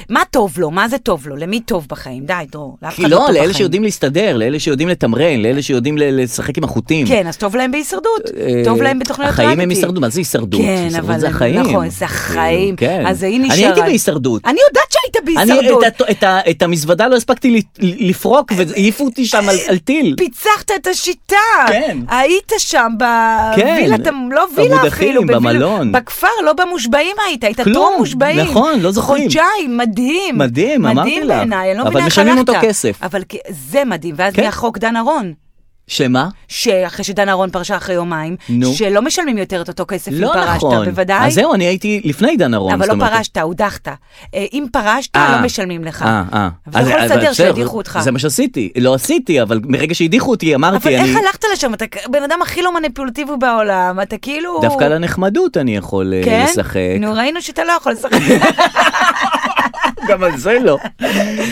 [SPEAKER 3] מה טוב לו? מה זה טוב לו? למי טוב בחיים? די, דרור. לאף אחד
[SPEAKER 2] כי
[SPEAKER 3] לא טוב
[SPEAKER 2] לא, לאלה
[SPEAKER 3] בחיים.
[SPEAKER 2] שיודעים להסתדר, לאלה שיודעים לתמרן, לאלה שיודעים ל- לשחק עם החוטים.
[SPEAKER 3] כן, אז טוב להם בהישרדות. טוב להם בתוכניות ריאליטי.
[SPEAKER 2] אה, החיים הם הישרדות, מה זה הישרדות?
[SPEAKER 3] כן,
[SPEAKER 2] הישרדות
[SPEAKER 3] אבל...
[SPEAKER 2] זה החיים.
[SPEAKER 3] נכון, זה החיים.
[SPEAKER 2] כן.
[SPEAKER 3] אז היא
[SPEAKER 2] אני
[SPEAKER 3] נשארה.
[SPEAKER 2] הייתי בהישרדות.
[SPEAKER 3] אני יודעת שהיית
[SPEAKER 2] אני
[SPEAKER 3] בהישרדות.
[SPEAKER 2] את ה- את ה- את המזוודה לא הספקתי ל- לפרוק והעיפו אותי שם על- על טיל.
[SPEAKER 3] פיצחת את השיטה.
[SPEAKER 2] כן.
[SPEAKER 3] היית שם
[SPEAKER 2] כן.
[SPEAKER 3] בווילה, אתה לא וילה
[SPEAKER 2] במודחים,
[SPEAKER 3] אפילו. בווילה-
[SPEAKER 2] במלון.
[SPEAKER 3] בכפר, לא במושבעים היית, היית
[SPEAKER 2] כלום,
[SPEAKER 3] טרום מושבעים.
[SPEAKER 2] נכון, לא זוכרים.
[SPEAKER 3] חודשיים, מדהים.
[SPEAKER 2] מדהים, אמרתי
[SPEAKER 3] מדהים
[SPEAKER 2] לך.
[SPEAKER 3] בעיניי, אני לא
[SPEAKER 2] אבל
[SPEAKER 3] מבינה איך הלכת.
[SPEAKER 2] משלמים אותו כסף.
[SPEAKER 3] אבל כ- זה מדהים, ואז
[SPEAKER 2] כן.
[SPEAKER 3] נהיה חוק דן ארון.
[SPEAKER 2] שמה?
[SPEAKER 3] שאחרי שדן אהרון פרשה אחרי יומיים,
[SPEAKER 2] נו.
[SPEAKER 3] שלא משלמים יותר את אותו כסף אם
[SPEAKER 2] לא
[SPEAKER 3] פרשת,
[SPEAKER 2] נכון.
[SPEAKER 3] בוודאי.
[SPEAKER 2] אז זהו, אני הייתי לפני דן אהרון.
[SPEAKER 3] אבל
[SPEAKER 2] זאת
[SPEAKER 3] לא
[SPEAKER 2] אומרת.
[SPEAKER 3] פרשת, הודחת. אה, אם פרשת,
[SPEAKER 2] אה.
[SPEAKER 3] לא משלמים לך.
[SPEAKER 2] אה, אה.
[SPEAKER 3] אתה יכול
[SPEAKER 2] אז-
[SPEAKER 3] לסדר
[SPEAKER 2] אז בסדר,
[SPEAKER 3] שידיחו אותך.
[SPEAKER 2] זה מה שעשיתי. לא עשיתי, אבל מרגע שהדיחו אותי
[SPEAKER 3] אבל
[SPEAKER 2] אמרתי, אני...
[SPEAKER 3] איך הלכת לשם? אתה כ- בן אדם הכי לא מניפולטיבי בעולם, אתה כאילו...
[SPEAKER 2] דווקא על הנחמדות אני יכול אה,
[SPEAKER 3] כן?
[SPEAKER 2] לשחק.
[SPEAKER 3] נו, ראינו שאתה לא יכול לשחק.
[SPEAKER 2] גם על זה לא.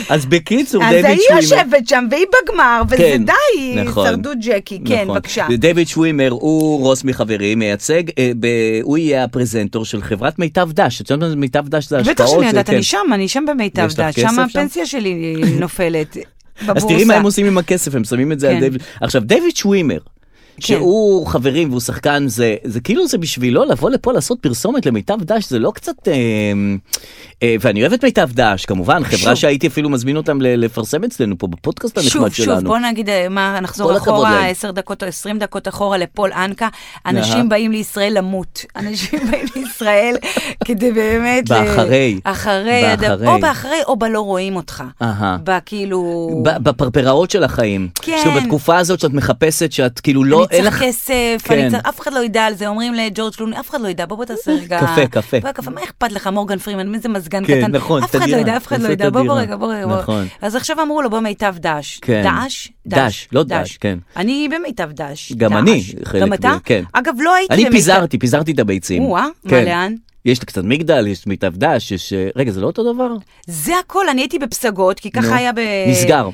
[SPEAKER 2] אז בקיצור,
[SPEAKER 3] אז
[SPEAKER 2] דיוויד
[SPEAKER 3] היא
[SPEAKER 2] שווימר...
[SPEAKER 3] יושבת שם, והיא בגמר, וזה
[SPEAKER 2] כן,
[SPEAKER 3] די, היא
[SPEAKER 2] נכון.
[SPEAKER 3] הישרדות ג'קי. כן,
[SPEAKER 2] נכון.
[SPEAKER 3] בבקשה.
[SPEAKER 2] דיוויד שווימר הוא רוס מחברים, מייצג, אה, ב- הוא יהיה הפרזנטור של חברת מיטב דש. את יודעת מה זה מיטב דש זה השקעות?
[SPEAKER 3] בטח שאני
[SPEAKER 2] זה-
[SPEAKER 3] יודעת,
[SPEAKER 2] כן.
[SPEAKER 3] אני שם, אני שם במיטב
[SPEAKER 2] יש לך
[SPEAKER 3] דעת,
[SPEAKER 2] כסף
[SPEAKER 3] שם
[SPEAKER 2] שם?
[SPEAKER 3] הפנסיה שלי נופלת.
[SPEAKER 2] אז תראי
[SPEAKER 3] בבורסה.
[SPEAKER 2] מה הם עושים עם הכסף, הם שמים את זה על
[SPEAKER 3] כן.
[SPEAKER 2] דיוויד. עכשיו, דיוויד שווימר. שהוא חברים והוא שחקן זה זה כאילו זה בשבילו לבוא לפה לעשות פרסומת למיטב דש זה לא קצת אה, אה, ואני אוהב את מיטב דש כמובן חברה
[SPEAKER 3] שוב.
[SPEAKER 2] שהייתי אפילו מזמין אותם ל- לפרסם אצלנו פה בפודקאסט
[SPEAKER 3] שוב,
[SPEAKER 2] הנחמד שלנו.
[SPEAKER 3] שוב, בוא נגיד, אה, מה, נחזור
[SPEAKER 2] כל הכבוד להם.
[SPEAKER 3] אחורה, עשר דקות או עשרים דקות אחורה לפול אנקה.
[SPEAKER 2] אהה.
[SPEAKER 3] אנשים באים לישראל למות. אנשים באים לישראל כדי באמת... ל-
[SPEAKER 2] באחרי.
[SPEAKER 3] אחרי.
[SPEAKER 2] באחרי.
[SPEAKER 3] הד- או באחרי או בלא רואים אותך. כאילו,
[SPEAKER 2] אהה.
[SPEAKER 3] בכאילו...
[SPEAKER 2] ב- בפרפראות של החיים.
[SPEAKER 3] כן.
[SPEAKER 2] כאילו בתקופה הזאת שאת מחפשת שאת כאילו לא,
[SPEAKER 3] אני
[SPEAKER 2] אין
[SPEAKER 3] צריך
[SPEAKER 2] לך...
[SPEAKER 3] כסף,
[SPEAKER 2] כן.
[SPEAKER 3] אני צריך, אף אחד לא ידע על זה, אומרים לג'ורג' קלוני, אף אחד לא ידע, בוא בוא תעשה רגע...
[SPEAKER 2] קפה, קפה.
[SPEAKER 3] בוא, קפה, מה אכפת לך, מורגן פרימן, איזה מזגן
[SPEAKER 2] כן,
[SPEAKER 3] קטן.
[SPEAKER 2] נכון,
[SPEAKER 3] אף אחד לא
[SPEAKER 2] תדירה,
[SPEAKER 3] ידע, אף אחד לא
[SPEAKER 2] תעשה
[SPEAKER 3] ידע, בוא בוא
[SPEAKER 2] תדירה.
[SPEAKER 3] רגע, בוא רגע. בוא.
[SPEAKER 2] נכון.
[SPEAKER 3] אז עכשיו אמרו לו, בוא מיטב דש.
[SPEAKER 2] כן.
[SPEAKER 3] דש?
[SPEAKER 2] דש, לא דש, כן.
[SPEAKER 3] אני במיטב דש.
[SPEAKER 2] גם
[SPEAKER 3] דש.
[SPEAKER 2] אני חלק
[SPEAKER 3] גם אתה?
[SPEAKER 2] מזה, כן.
[SPEAKER 3] אגב, לא הייתי
[SPEAKER 2] אני
[SPEAKER 3] במיטב-
[SPEAKER 2] פיזרתי, פיזרתי את הביצים.
[SPEAKER 3] או-אה,
[SPEAKER 2] כן.
[SPEAKER 3] מה לאן?
[SPEAKER 2] יש את קצת מגדל, יש מיטב דש, יש... אה, רגע, זה לא אותו דבר?
[SPEAKER 3] זה הכל, אני הייתי בפסגות, כי
[SPEAKER 2] נו.
[SPEAKER 3] ככה היה ב...
[SPEAKER 2] נסגר.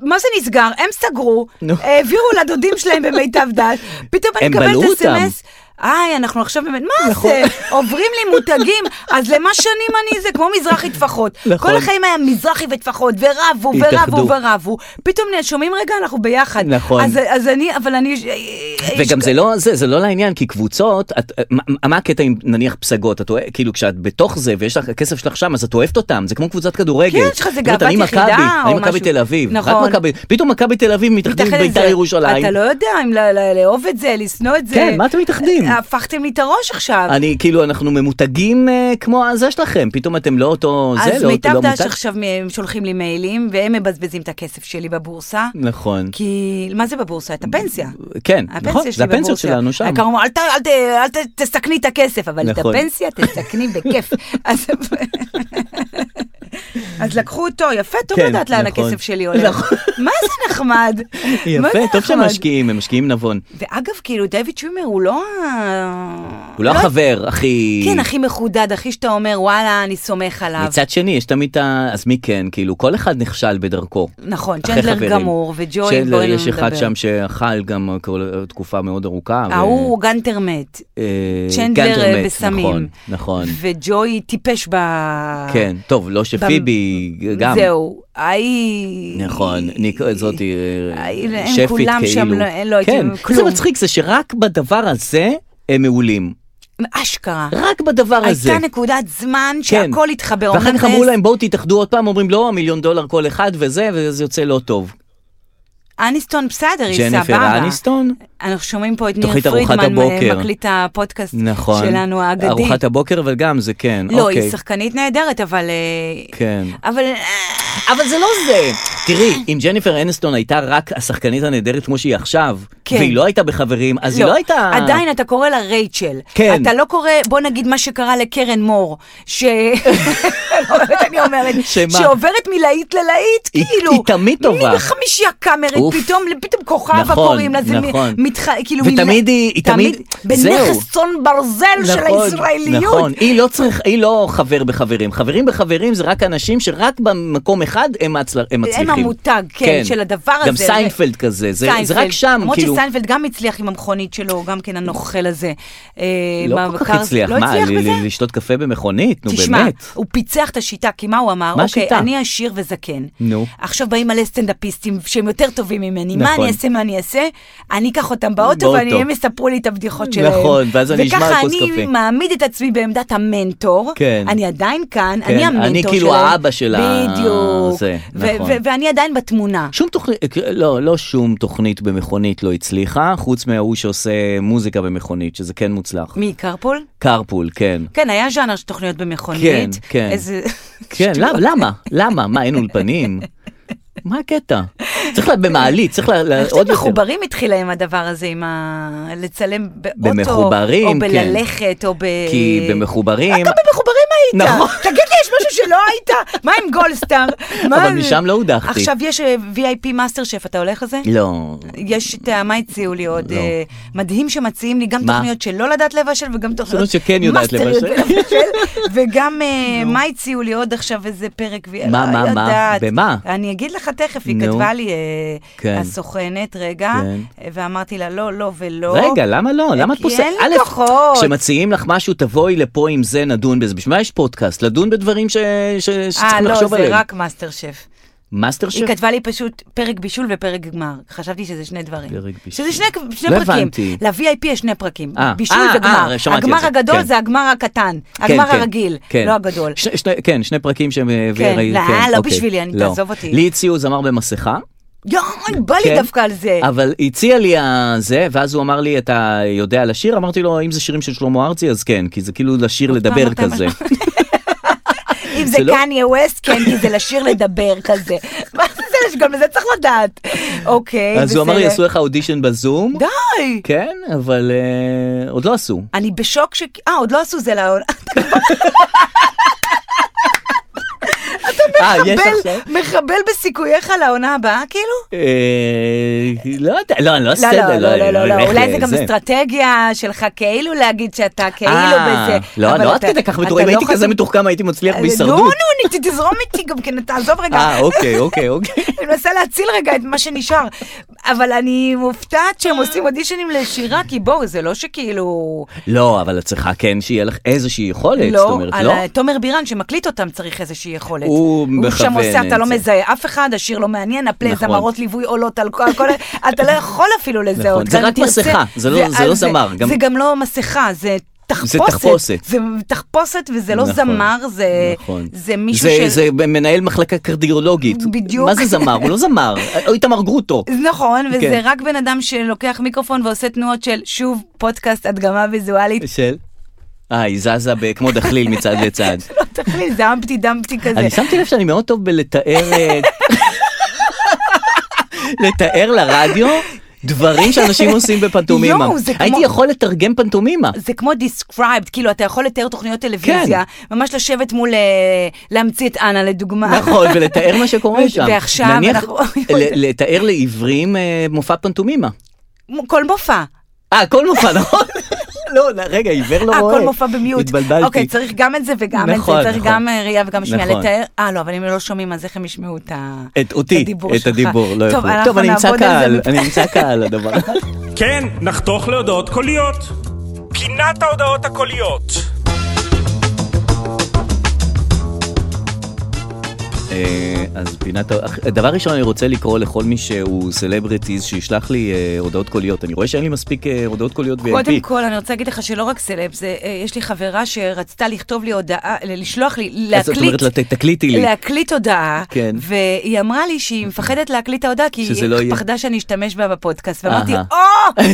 [SPEAKER 3] מה זה נסגר? הם סגרו,
[SPEAKER 2] נו.
[SPEAKER 3] העבירו לדודים שלהם במיטב דת, פתאום אני
[SPEAKER 2] הם בלעו
[SPEAKER 3] מקבלת
[SPEAKER 2] אותם. נכון.
[SPEAKER 3] אס.אם.אס. איי, אנחנו עכשיו באמת, מה זה? עוברים לי מותגים, אז למה שנים אני זה? כמו מזרחי טפחות.
[SPEAKER 2] נכון.
[SPEAKER 3] כל החיים היה מזרחי וטפחות, ורבו,
[SPEAKER 2] התאחדו.
[SPEAKER 3] ורבו, ורבו. פתאום נה- שומעים רגע, אנחנו ביחד.
[SPEAKER 2] נכון.
[SPEAKER 3] אז- אז אני, אבל אני... אה,
[SPEAKER 2] וגם זה לא זה, זה לא לעניין, כי קבוצות, את, אה, מה, מה הקטע עם נניח פסגות, את, אוה- כאילו כשאת בתוך זה ויש לך, הכסף שלך שם, אז את אוהבת אותם, זה כמו קבוצת כדורגל.
[SPEAKER 3] כן, יש לך איזה
[SPEAKER 2] זאת אומרת, אני
[SPEAKER 3] גאוות
[SPEAKER 2] מכבי,
[SPEAKER 3] יחידה
[SPEAKER 2] אני
[SPEAKER 3] או
[SPEAKER 2] מכבי
[SPEAKER 3] משהו.
[SPEAKER 2] תל אביב,
[SPEAKER 3] נכון.
[SPEAKER 2] רק מכבי, פתאום מכבי תל אביב מתאחדים עם
[SPEAKER 3] מתאחד
[SPEAKER 2] בית"ר
[SPEAKER 3] לזה.
[SPEAKER 2] ירושלים.
[SPEAKER 3] אתה לא יודע אם לא- לא- לאהוב את זה, לשנוא את זה.
[SPEAKER 2] כן, מה אתם מתאחדים?
[SPEAKER 3] הפכתם לי את הראש עכשיו.
[SPEAKER 2] אני כאילו אנחנו ממותגים אה, כמו הזה שלכם, פתאום אתם לא אותו זה, לא
[SPEAKER 3] אז
[SPEAKER 2] אותו-
[SPEAKER 3] מיטב
[SPEAKER 2] לא
[SPEAKER 3] דש
[SPEAKER 2] מותג.
[SPEAKER 3] עכשיו הם שולחים לי מיילים, והם מבזבזים את הכסף שלי בבורסה.
[SPEAKER 2] נכון,
[SPEAKER 3] כי, מה זה בבורסה? את הפנסיה.
[SPEAKER 2] כן,
[SPEAKER 3] הפנסיה
[SPEAKER 2] נכון,
[SPEAKER 3] שלי
[SPEAKER 2] זה הפנסיות
[SPEAKER 3] בבורסה.
[SPEAKER 2] שלנו שם.
[SPEAKER 3] העיקר אומרים, אל, ת- אל, ת- אל ת- תסכני את הכסף, אבל
[SPEAKER 2] נכון.
[SPEAKER 3] את הפנסיה תסכני בכיף. אז, אז לקחו אותו, יפה, טוב
[SPEAKER 2] כן,
[SPEAKER 3] לדעת לאן
[SPEAKER 2] נכון.
[SPEAKER 3] הכסף שלי הולך.
[SPEAKER 2] נכון.
[SPEAKER 3] מה זה נחמד. מה זה
[SPEAKER 2] יפה, טוב שהם
[SPEAKER 3] נחמד.
[SPEAKER 2] משקיעים, הם משקיעים נבון.
[SPEAKER 3] ואגב, כאילו, דיוויד שומר הוא לא... ה-
[SPEAKER 2] הוא לא החבר הכי...
[SPEAKER 3] כן, הכי מחודד, הכי שאתה אומר, וואלה, אני סומך עליו.
[SPEAKER 2] מצד שני, יש תמיד את ה... אז מי כן? כאילו, כל אחד נכשל בדרכו.
[SPEAKER 3] נכון,
[SPEAKER 2] אחרי
[SPEAKER 3] צ'נדלר
[SPEAKER 2] חברים.
[SPEAKER 3] גמור, וג'וי,
[SPEAKER 2] צ'נדלר,
[SPEAKER 3] בואי לא
[SPEAKER 2] יש אחד
[SPEAKER 3] נדבר.
[SPEAKER 2] שם שאכל גם כל- תקופה מאוד ארוכה. ו-
[SPEAKER 3] ההוא גנטר מת,
[SPEAKER 2] אה,
[SPEAKER 3] צ'נדלר
[SPEAKER 2] גנטר
[SPEAKER 3] אה,
[SPEAKER 2] מת,
[SPEAKER 3] בסמים.
[SPEAKER 2] נכון, נכון.
[SPEAKER 3] וג'וי טיפש ב...
[SPEAKER 2] כן, טוב, לא שפיבי גם.
[SPEAKER 3] זהו, ההיא...
[SPEAKER 2] נכון, ניקו, זאתי אה,
[SPEAKER 3] אה, הם
[SPEAKER 2] שפית כאילו.
[SPEAKER 3] כולם שם, לא- אין- לא הייתי-
[SPEAKER 2] כן,
[SPEAKER 3] כלום.
[SPEAKER 2] זה מצחיק, זה שרק בדבר הזה הם מעולים.
[SPEAKER 3] אשכרה.
[SPEAKER 2] רק בדבר הזה.
[SPEAKER 3] הייתה נקודת זמן
[SPEAKER 2] כן.
[SPEAKER 3] שהכל התחבר.
[SPEAKER 2] ואחר
[SPEAKER 3] אומרים, "אה,
[SPEAKER 2] כך אמרו
[SPEAKER 3] "אז
[SPEAKER 2] להם, בואו תתאחדו עוד פעם, אומרים, לא, מיליון דולר כל אחד וזה, וזה יוצא לא טוב.
[SPEAKER 3] אניסטון בסדר, היא סבבה.
[SPEAKER 2] ג'ניפר אניסטון?
[SPEAKER 3] אנחנו שומעים פה את ניר
[SPEAKER 2] תוכנית ארוחת
[SPEAKER 3] פרידמן, אה,
[SPEAKER 2] הבוקר.
[SPEAKER 3] מקליט הפודקאסט
[SPEAKER 2] נכון.
[SPEAKER 3] שלנו האגדי.
[SPEAKER 2] ארוחת הבוקר, אבל גם זה כן,
[SPEAKER 3] לא,
[SPEAKER 2] אוקיי.
[SPEAKER 3] היא שחקנית נהדרת, אבל... אה,
[SPEAKER 2] כן.
[SPEAKER 3] אבל... אה,
[SPEAKER 2] אבל זה לא זה. תראי, אם ג'ניפר אניסטון הייתה רק השחקנית הנהדרת כמו שהיא עכשיו,
[SPEAKER 3] כן.
[SPEAKER 2] והיא לא הייתה בחברים, אז היא לא הייתה...
[SPEAKER 3] עדיין אתה קורא לה רייצ'ל.
[SPEAKER 2] כן.
[SPEAKER 3] אתה לא קורא, בוא נגיד מה שקרה לקרן מור, ש... לא אני אומרת,
[SPEAKER 2] שמה?
[SPEAKER 3] שעוברת מלהיט ללהיט,
[SPEAKER 2] היא-
[SPEAKER 3] כאילו.
[SPEAKER 2] היא תמיד טובה.
[SPEAKER 3] מחמישייה קאמרית,
[SPEAKER 2] אוף.
[SPEAKER 3] פתאום, פתאום כוכבה
[SPEAKER 2] נכון,
[SPEAKER 3] קוראים לה, זה מ-
[SPEAKER 2] נכון.
[SPEAKER 3] מתח... כאילו...
[SPEAKER 2] ותמיד היא- היא תמיד- זהו.
[SPEAKER 3] בנכס צאן ברזל של הישראליות.
[SPEAKER 2] נכון, היא לא צריכה, היא לא חבר בחברים. חברים בחברים זה רק אנשים שרק במקום אחד הם, הצל... הם מצליחים.
[SPEAKER 3] המותג, כן, של הדבר
[SPEAKER 2] גם
[SPEAKER 3] הזה.
[SPEAKER 2] גם סיינפלד כזה, זה, זה
[SPEAKER 3] סיינפלד.
[SPEAKER 2] רק שם,
[SPEAKER 3] למרות
[SPEAKER 2] כאילו...
[SPEAKER 3] שסיינפלד גם הצליח עם המכונית שלו, גם כן הנוכל הזה. אה,
[SPEAKER 2] לא כל כך
[SPEAKER 3] בקרס-
[SPEAKER 2] הצליח,
[SPEAKER 3] לא
[SPEAKER 2] מה,
[SPEAKER 3] הצליח
[SPEAKER 2] ל-
[SPEAKER 3] בזה?
[SPEAKER 2] ל- לשתות קפה במכונית? נו
[SPEAKER 3] תשמע,
[SPEAKER 2] באמת.
[SPEAKER 3] הוא פיצח את השיטה, כי מה הוא אמר?
[SPEAKER 2] מה
[SPEAKER 3] אוקיי,
[SPEAKER 2] השיטה?
[SPEAKER 3] אני עשיר וזקן.
[SPEAKER 2] נו.
[SPEAKER 3] עכשיו באים מלא סטנדאפיסטים שהם יותר טובים ממני. מה
[SPEAKER 2] נכון.
[SPEAKER 3] אני אעשה, מה אני אעשה? אני אקח אותם באוטו,
[SPEAKER 2] באוטו.
[SPEAKER 3] ואני, הם יספרו לי את הבדיחות שלהם.
[SPEAKER 2] נכון, ואז אני אשמע על כוס
[SPEAKER 3] וככה אני
[SPEAKER 2] קפה.
[SPEAKER 3] מעמיד את עצמי בעמדת המנטור.
[SPEAKER 2] כן.
[SPEAKER 3] אני עדיין כאן,
[SPEAKER 2] כן,
[SPEAKER 3] אני המנטור שלהם.
[SPEAKER 2] אני כאילו האבא של ה-
[SPEAKER 3] בדיוק.
[SPEAKER 2] זה,
[SPEAKER 3] ו-
[SPEAKER 2] נכון.
[SPEAKER 3] ו- ואני עדיין בתמונה.
[SPEAKER 2] שום תוכנית, לא, לא שום תוכנית במכונית לא הצליחה, חוץ מההוא שעושה מוזיקה במכונית, שזה כן מוצלח.
[SPEAKER 3] מי, קרפול?
[SPEAKER 2] קרפול, כן.
[SPEAKER 3] כן, היה ז'אנר של תוכניות במכונית.
[SPEAKER 2] כן, כן.
[SPEAKER 3] איזה...
[SPEAKER 2] כן, למה? למה? למה? מה, אין אולפנים? מה הקטע? צריך לה במעלית, צריך לה לה-
[SPEAKER 3] אני חושבת
[SPEAKER 2] עוד יותר.
[SPEAKER 3] מחוברים התחילה עם הדבר הזה, עם ה... לצלם באוטו,
[SPEAKER 2] במחוברים,
[SPEAKER 3] או
[SPEAKER 2] כן.
[SPEAKER 3] בללכת, או ב...
[SPEAKER 2] כי במחוברים,
[SPEAKER 3] גם במחוברים היית.
[SPEAKER 2] נכון.
[SPEAKER 3] תגיד לי, יש משהו שלא היית? מה עם גולדסטאר? מה
[SPEAKER 2] אבל
[SPEAKER 3] זה?
[SPEAKER 2] משם לא הודחתי.
[SPEAKER 3] עכשיו יש אה, VIP מאסטר שף, אתה הולך לזה?
[SPEAKER 2] לא.
[SPEAKER 3] יש את ה- מה הציעו לי עוד?
[SPEAKER 2] לא.
[SPEAKER 3] אה, מדהים שמציעים לי גם
[SPEAKER 2] מה?
[SPEAKER 3] תוכניות שלא לדעת לבשל וגם תוכניות
[SPEAKER 2] שכן יודעת
[SPEAKER 3] מאסטריות
[SPEAKER 2] לבשל.
[SPEAKER 3] ולבשל, וגם אה, מה הציעו לי עוד עכשיו איזה פרק, והיא
[SPEAKER 2] מה,
[SPEAKER 3] לא
[SPEAKER 2] מה, מה?
[SPEAKER 3] יודעת.
[SPEAKER 2] במה?
[SPEAKER 3] אני אגיד לך תכף, היא
[SPEAKER 2] נו.
[SPEAKER 3] כתבה לי אה,
[SPEAKER 2] כן.
[SPEAKER 3] הסוכנת, רגע,
[SPEAKER 2] כן.
[SPEAKER 3] אה, ואמרתי לה לא, לא ולא.
[SPEAKER 2] רגע, למה לא? למה את
[SPEAKER 3] כי
[SPEAKER 2] פוסלת?
[SPEAKER 3] אין לי
[SPEAKER 2] א',
[SPEAKER 3] כוחות.
[SPEAKER 2] כשמציעים לך משהו, תבואי לפה עם זה, נדון בזה. בשביל מה יש פודקאסט? לדון בדברים ש- ש-
[SPEAKER 3] אה,
[SPEAKER 2] שצריכים
[SPEAKER 3] לא,
[SPEAKER 2] לחשוב
[SPEAKER 3] זה
[SPEAKER 2] עליהם.
[SPEAKER 3] רק מאסטר שף.
[SPEAKER 2] מאסטר
[SPEAKER 3] היא
[SPEAKER 2] שף?
[SPEAKER 3] כתבה לי פשוט פרק בישול ופרק גמר. חשבתי שזה שני דברים.
[SPEAKER 2] פרק בישול.
[SPEAKER 3] שזה שני, שני
[SPEAKER 2] לא
[SPEAKER 3] פרקים.
[SPEAKER 2] הבנתי.
[SPEAKER 3] ל-VIP יש שני פרקים.
[SPEAKER 2] אה,
[SPEAKER 3] בישול
[SPEAKER 2] אה,
[SPEAKER 3] וגמר.
[SPEAKER 2] אה, שמעתי
[SPEAKER 3] הגמר
[SPEAKER 2] על זה,
[SPEAKER 3] הגדול
[SPEAKER 2] כן.
[SPEAKER 3] זה הגמר הקטן.
[SPEAKER 2] כן,
[SPEAKER 3] הגמר
[SPEAKER 2] כן,
[SPEAKER 3] הרגיל,
[SPEAKER 2] כן.
[SPEAKER 3] לא הגדול.
[SPEAKER 2] ש- שני- כן, שני פרקים שהם...
[SPEAKER 3] כן,
[SPEAKER 2] VR-
[SPEAKER 3] לא, לא
[SPEAKER 2] אוקיי.
[SPEAKER 3] בשבילי, אני-
[SPEAKER 2] לא.
[SPEAKER 3] תעזוב אותי.
[SPEAKER 2] לי הציעו זמר במסכה.
[SPEAKER 3] יואי, בא
[SPEAKER 2] כן.
[SPEAKER 3] לי דווקא על זה.
[SPEAKER 2] אבל הציע לי הזה, ואז הוא אמר לי, אתה יודע לשיר? אמרתי לו, אם זה שירים של שלמה ארצי, אז כן, כי זה כאילו לשיר לדבר
[SPEAKER 3] אתה-
[SPEAKER 2] כזה.
[SPEAKER 3] אם זה
[SPEAKER 2] זה לא-
[SPEAKER 3] קניה ווסט, כן, כי זה לשיר לדבר כזה. מה זה, גם לזה צריך לדעת. אוקיי,
[SPEAKER 2] אז הוא אמר לי,
[SPEAKER 3] בסדר.
[SPEAKER 2] עשו לך אודישן בזום?
[SPEAKER 3] די!
[SPEAKER 2] כן, אבל אה, עוד לא עשו.
[SPEAKER 3] אני בשוק ש... אה, עוד לא עשו זה לעונה. אתה
[SPEAKER 2] אה, יש
[SPEAKER 3] מחבל,
[SPEAKER 2] עכשיו?
[SPEAKER 3] מחבל בסיכוייך לעונה הבאה, כאילו?
[SPEAKER 2] אה, לא יודע, לא, אני לא
[SPEAKER 3] לא,
[SPEAKER 2] אעשה את
[SPEAKER 3] לא,
[SPEAKER 2] זה.
[SPEAKER 3] לא, לא, לא, לא,
[SPEAKER 2] איך
[SPEAKER 3] אולי זה גם
[SPEAKER 2] זה?
[SPEAKER 3] אסטרטגיה שלך כאילו להגיד שאתה כאילו
[SPEAKER 2] אה,
[SPEAKER 3] בזה.
[SPEAKER 2] לא,
[SPEAKER 3] אבל
[SPEAKER 2] לא עד
[SPEAKER 3] אתה-
[SPEAKER 2] כדי כך
[SPEAKER 3] אתה
[SPEAKER 2] מדורים,
[SPEAKER 3] לא
[SPEAKER 2] הייתי כזה
[SPEAKER 3] חושב- אה, לא,
[SPEAKER 2] מתוחכם, הייתי מצליח
[SPEAKER 3] נו,
[SPEAKER 2] בהישרדות.
[SPEAKER 3] נו, נת- תזרום איתי גם כן, תעזוב רגע.
[SPEAKER 2] אה, אוקיי, אוקיי, אוקיי.
[SPEAKER 3] אני מנסה להציל רגע את מה שנשאר. אבל אני מופתעת שהם עושים אודישנים לשירה, כי בואו, זה לא שכאילו...
[SPEAKER 2] לא, אבל את צריכה כן שיהיה לך איזושהי יכולת, זאת אומרת,
[SPEAKER 3] על
[SPEAKER 2] לא?
[SPEAKER 3] ה- תומר בירן שמקליט אותם צריך איזושהי יכולת.
[SPEAKER 2] הוא
[SPEAKER 3] שם
[SPEAKER 2] מכוון
[SPEAKER 3] עושה,
[SPEAKER 2] את
[SPEAKER 3] אתה לא
[SPEAKER 2] זה.
[SPEAKER 3] מזהה אף אחד, השיר לא מעניין, הפלי
[SPEAKER 2] נכון.
[SPEAKER 3] זמרות ליווי עולות על כל... על כל- אתה לא יכול אפילו לזהות.
[SPEAKER 2] נכון, זה
[SPEAKER 3] גם
[SPEAKER 2] רק
[SPEAKER 3] תרצה-
[SPEAKER 2] מסכה, זה לא-
[SPEAKER 3] ועל
[SPEAKER 2] זה לא זמר, גם-
[SPEAKER 3] זה גם לא מסכה, זה... תחפושת,
[SPEAKER 2] תחפושת.
[SPEAKER 3] זה תחפושת וזה לא
[SPEAKER 2] נכון,
[SPEAKER 3] זמר, זה,
[SPEAKER 2] נכון.
[SPEAKER 3] אה, זה מישהו
[SPEAKER 2] זה-
[SPEAKER 3] של...
[SPEAKER 2] זה מנהל מחלקה קרדיולוגית.
[SPEAKER 3] בדיוק.
[SPEAKER 2] מה זה זמר? הוא לא זמר. או איתמר גרוטו.
[SPEAKER 3] נכון, וזה
[SPEAKER 2] כן.
[SPEAKER 3] רק בן אדם שלוקח מיקרופון ועושה תנועות של, שוב, פודקאסט הדגמה ויזואלית.
[SPEAKER 2] של? אה, היא זזה ב- כמו דחליל מצד לצד.
[SPEAKER 3] לא תכליל, זה אמפטי דמפטי כזה.
[SPEAKER 2] אני שמתי לב שאני מאוד טוב בלתאר... אה, לתאר לרדיו דברים שאנשים עושים בפנטומימה.
[SPEAKER 3] יואו, זה כמו-
[SPEAKER 2] הייתי יכול לתרגם פנטומימה.
[SPEAKER 3] זה כמו described, כאילו אתה יכול לתאר תוכניות טלוויזיה,
[SPEAKER 2] כן.
[SPEAKER 3] ממש לשבת מול, אה, להמציא את אנה לדוגמה.
[SPEAKER 2] נכון, ולתאר מה שקורה שם.
[SPEAKER 3] ועכשיו
[SPEAKER 2] נניח,
[SPEAKER 3] אנחנו-
[SPEAKER 2] ל- לתאר לעיוורים אה, מופע פנטומימה.
[SPEAKER 3] כל מופע.
[SPEAKER 2] אה, כל מופע, נכון? לא, לא, רגע, עיוור לא
[SPEAKER 3] אה,
[SPEAKER 2] רואה.
[SPEAKER 3] כל מופע במיוט.
[SPEAKER 2] התבלבלתי.
[SPEAKER 3] אוקיי, צריך גם את זה וגם את זה,
[SPEAKER 2] נכון,
[SPEAKER 3] צריך
[SPEAKER 2] נכון.
[SPEAKER 3] גם אה, ראייה וגם שמיעה
[SPEAKER 2] נכון.
[SPEAKER 3] לתאר. אה, לא, אבל אם הם לא שומעים, אז איך הם ישמעו את ה-
[SPEAKER 2] את אותי,
[SPEAKER 3] הדיבור
[SPEAKER 2] את
[SPEAKER 3] שלך?
[SPEAKER 2] הדיבור, לא
[SPEAKER 3] טוב,
[SPEAKER 2] יכול. טוב,
[SPEAKER 3] אנחנו
[SPEAKER 2] אני אמצא
[SPEAKER 3] נעבוד על
[SPEAKER 2] קהל,
[SPEAKER 3] זה.
[SPEAKER 2] אני אמצא קהל לדבר.
[SPEAKER 1] כן, נחתוך להודעות קוליות. פינת ההודעות הקוליות.
[SPEAKER 2] אה, אז פינת... ה- אח- דבר ראשון, אני רוצה לקרוא לכל מי שהוא סלבריטיז, שישלח לי אה, הודעות קוליות. אני רואה שאין לי מספיק אה, הודעות קוליות ב-MP.
[SPEAKER 3] קודם כל, אני רוצה להגיד לך שלא רק סלב, זה, אה, יש לי חברה שרצתה לכתוב לי הודעה, ל- לשלוח לי, להקליט.
[SPEAKER 2] אז את אה, אומרת לה, "ת- תקליטי לי.
[SPEAKER 3] להקליט הודעה,
[SPEAKER 2] כן. אוקיי.
[SPEAKER 3] והיא אמרה לי שהיא מפחדת להקליט את ההודעה, כי
[SPEAKER 2] שזה
[SPEAKER 3] היא
[SPEAKER 2] לא יהיה.
[SPEAKER 3] פחדה שאני אשתמש בה בפודקאסט, ואמרתי,
[SPEAKER 2] אהה.
[SPEAKER 3] או,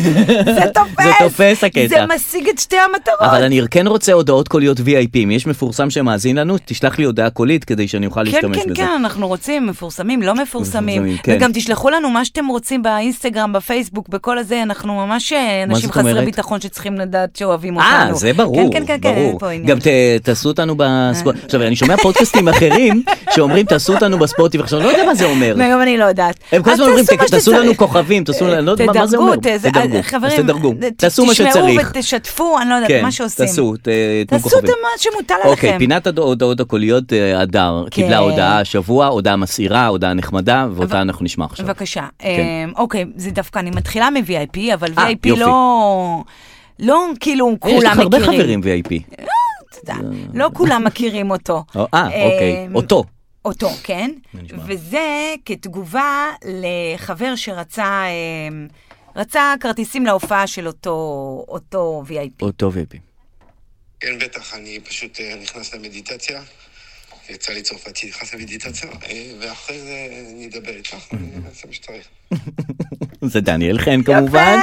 [SPEAKER 3] זה תופס,
[SPEAKER 2] זה תופס הקטע."
[SPEAKER 3] זה משיג את שתי המטרות.
[SPEAKER 2] אבל אני כן רוצה הודעות קוליות VIP. אם יש מפורסם שמאזין לנו, תשלח לי הודעה קולית כדי שאני אוכל
[SPEAKER 3] כן,
[SPEAKER 2] להשתמש
[SPEAKER 3] כן,
[SPEAKER 2] בזה. אה,
[SPEAKER 3] כן, אנחנו רוצים, מפורסמים, לא מפורסמים.
[SPEAKER 2] מפורסמים, כן.
[SPEAKER 3] וגם תשלחו לנו מה שאתם רוצים באינסטגרם, בפייסבוק, בכל הזה, אנחנו ממש אה,
[SPEAKER 2] מה
[SPEAKER 3] אנשים
[SPEAKER 2] זאת אומרת?
[SPEAKER 3] חסרי ביטחון שצריכים לדעת שאוהבים אותנו.
[SPEAKER 2] אה, זה ברור,
[SPEAKER 3] כן, כן, כן, כן, אין
[SPEAKER 2] ברור.
[SPEAKER 3] פה עניין. אה.
[SPEAKER 2] גם ת- תעשו אותנו בספוט... עכשיו, אני שומע פודקאסטים אחרים שאומרים, תעשו אותנו בספוטי, ועכשיו, אני לא יודע מה זה אומר.
[SPEAKER 3] מהיום אני לא יודעת.
[SPEAKER 2] הם כל
[SPEAKER 3] אז
[SPEAKER 2] הזמן אומרים,
[SPEAKER 3] תעשו מה
[SPEAKER 2] "ת- תעשו לנו
[SPEAKER 3] שצריך."
[SPEAKER 2] כוכבים, תעשו לנו, אני לא יודע מה- מה זה
[SPEAKER 3] תדרגו,
[SPEAKER 2] אומר.
[SPEAKER 3] ת- זה-
[SPEAKER 2] תדרגו,
[SPEAKER 3] אה,
[SPEAKER 2] אז
[SPEAKER 3] חברים,
[SPEAKER 2] תדרגו,
[SPEAKER 3] ת-
[SPEAKER 2] תעשו מה שצריך.
[SPEAKER 3] תשמעו ותשתפו, אני לא יודעת, מה שעושים.
[SPEAKER 2] כן, תעשו, ת- תנו
[SPEAKER 3] תעשו את
[SPEAKER 2] כוכבים.
[SPEAKER 3] מה שמוטל
[SPEAKER 2] אוקיי,
[SPEAKER 3] עליכם.
[SPEAKER 2] פינת הד- ההודעות הקוליות, אה, הדר,
[SPEAKER 3] כן.
[SPEAKER 2] קיבלה הודעה השבוע, הודעה מסעירה, הודעה נחמדה, ואותה אנחנו נשמע עכשיו.
[SPEAKER 3] בבקשה.
[SPEAKER 2] כן.
[SPEAKER 3] אמ, אוקיי, זה דווקא, אני מתחילה מ-VIP, אבל
[SPEAKER 2] אה,
[SPEAKER 3] VIP
[SPEAKER 2] יופי.
[SPEAKER 3] לא... לא כאילו כולם מכירים.
[SPEAKER 2] אה, יש לך הרבה חברים VIP.
[SPEAKER 3] אתה יודע, לא כולם מכירים אותו.
[SPEAKER 2] אה, אוקיי,
[SPEAKER 3] אמ,
[SPEAKER 2] אותו.
[SPEAKER 3] אותו, כן?
[SPEAKER 2] נשמע.
[SPEAKER 3] וזה כתגובה לחבר שרצה אמ, רצה כרטיסים להופעה של אותו אותו VIP.
[SPEAKER 2] אותו VIP.
[SPEAKER 4] כן, בטח, אני פשוט אה, נכנס למדיטציה. יצא לי צרפתי, נכנס למדיטציה, אה, ואחרי זה אני אדבר איתך, אני אעשה מה שצריך.
[SPEAKER 2] זה דניאל חן כמובן.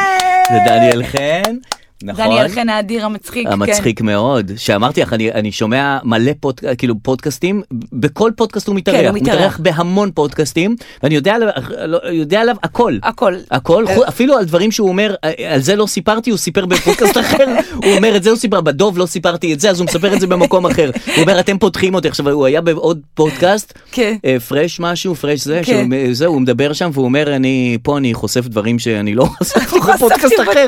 [SPEAKER 2] זה דניאל חן. נכון.
[SPEAKER 3] דניאל חן האדיר המצחיק, כן.
[SPEAKER 2] המצחיק מאוד, שאמרתי לך, אני, אני שומע מלא פוד, כאילו פודקאסטים, בכל פודקאסט הוא מתארח,
[SPEAKER 3] כן, הוא
[SPEAKER 2] הוא
[SPEAKER 3] מתארח.
[SPEAKER 2] מתארח בהמון פודקאסטים, ואני יודע עליו, לא- יודע עליו הכל.
[SPEAKER 3] הכל.
[SPEAKER 2] הכל,
[SPEAKER 3] אה,
[SPEAKER 2] חו- אפילו על דברים שהוא אומר, על זה לא סיפרתי, הוא סיפר בפודקאסט אחר, הוא אומר את זה הוא סיפר, בדוב לא סיפרתי את זה, אז הוא מספר את זה במקום אחר. הוא אומר, אתם פותחים אותי, עכשיו הוא היה בעוד פודקאסט,
[SPEAKER 3] כן.
[SPEAKER 2] אה, פרש משהו, פרש זה,
[SPEAKER 3] כן.
[SPEAKER 2] שהוא- זה, הוא מדבר שם והוא אומר, אני, פה אני חושף דברים שאני לא חשפתי
[SPEAKER 3] חשפתי
[SPEAKER 2] בפודקאסט
[SPEAKER 3] ב-
[SPEAKER 2] אחר,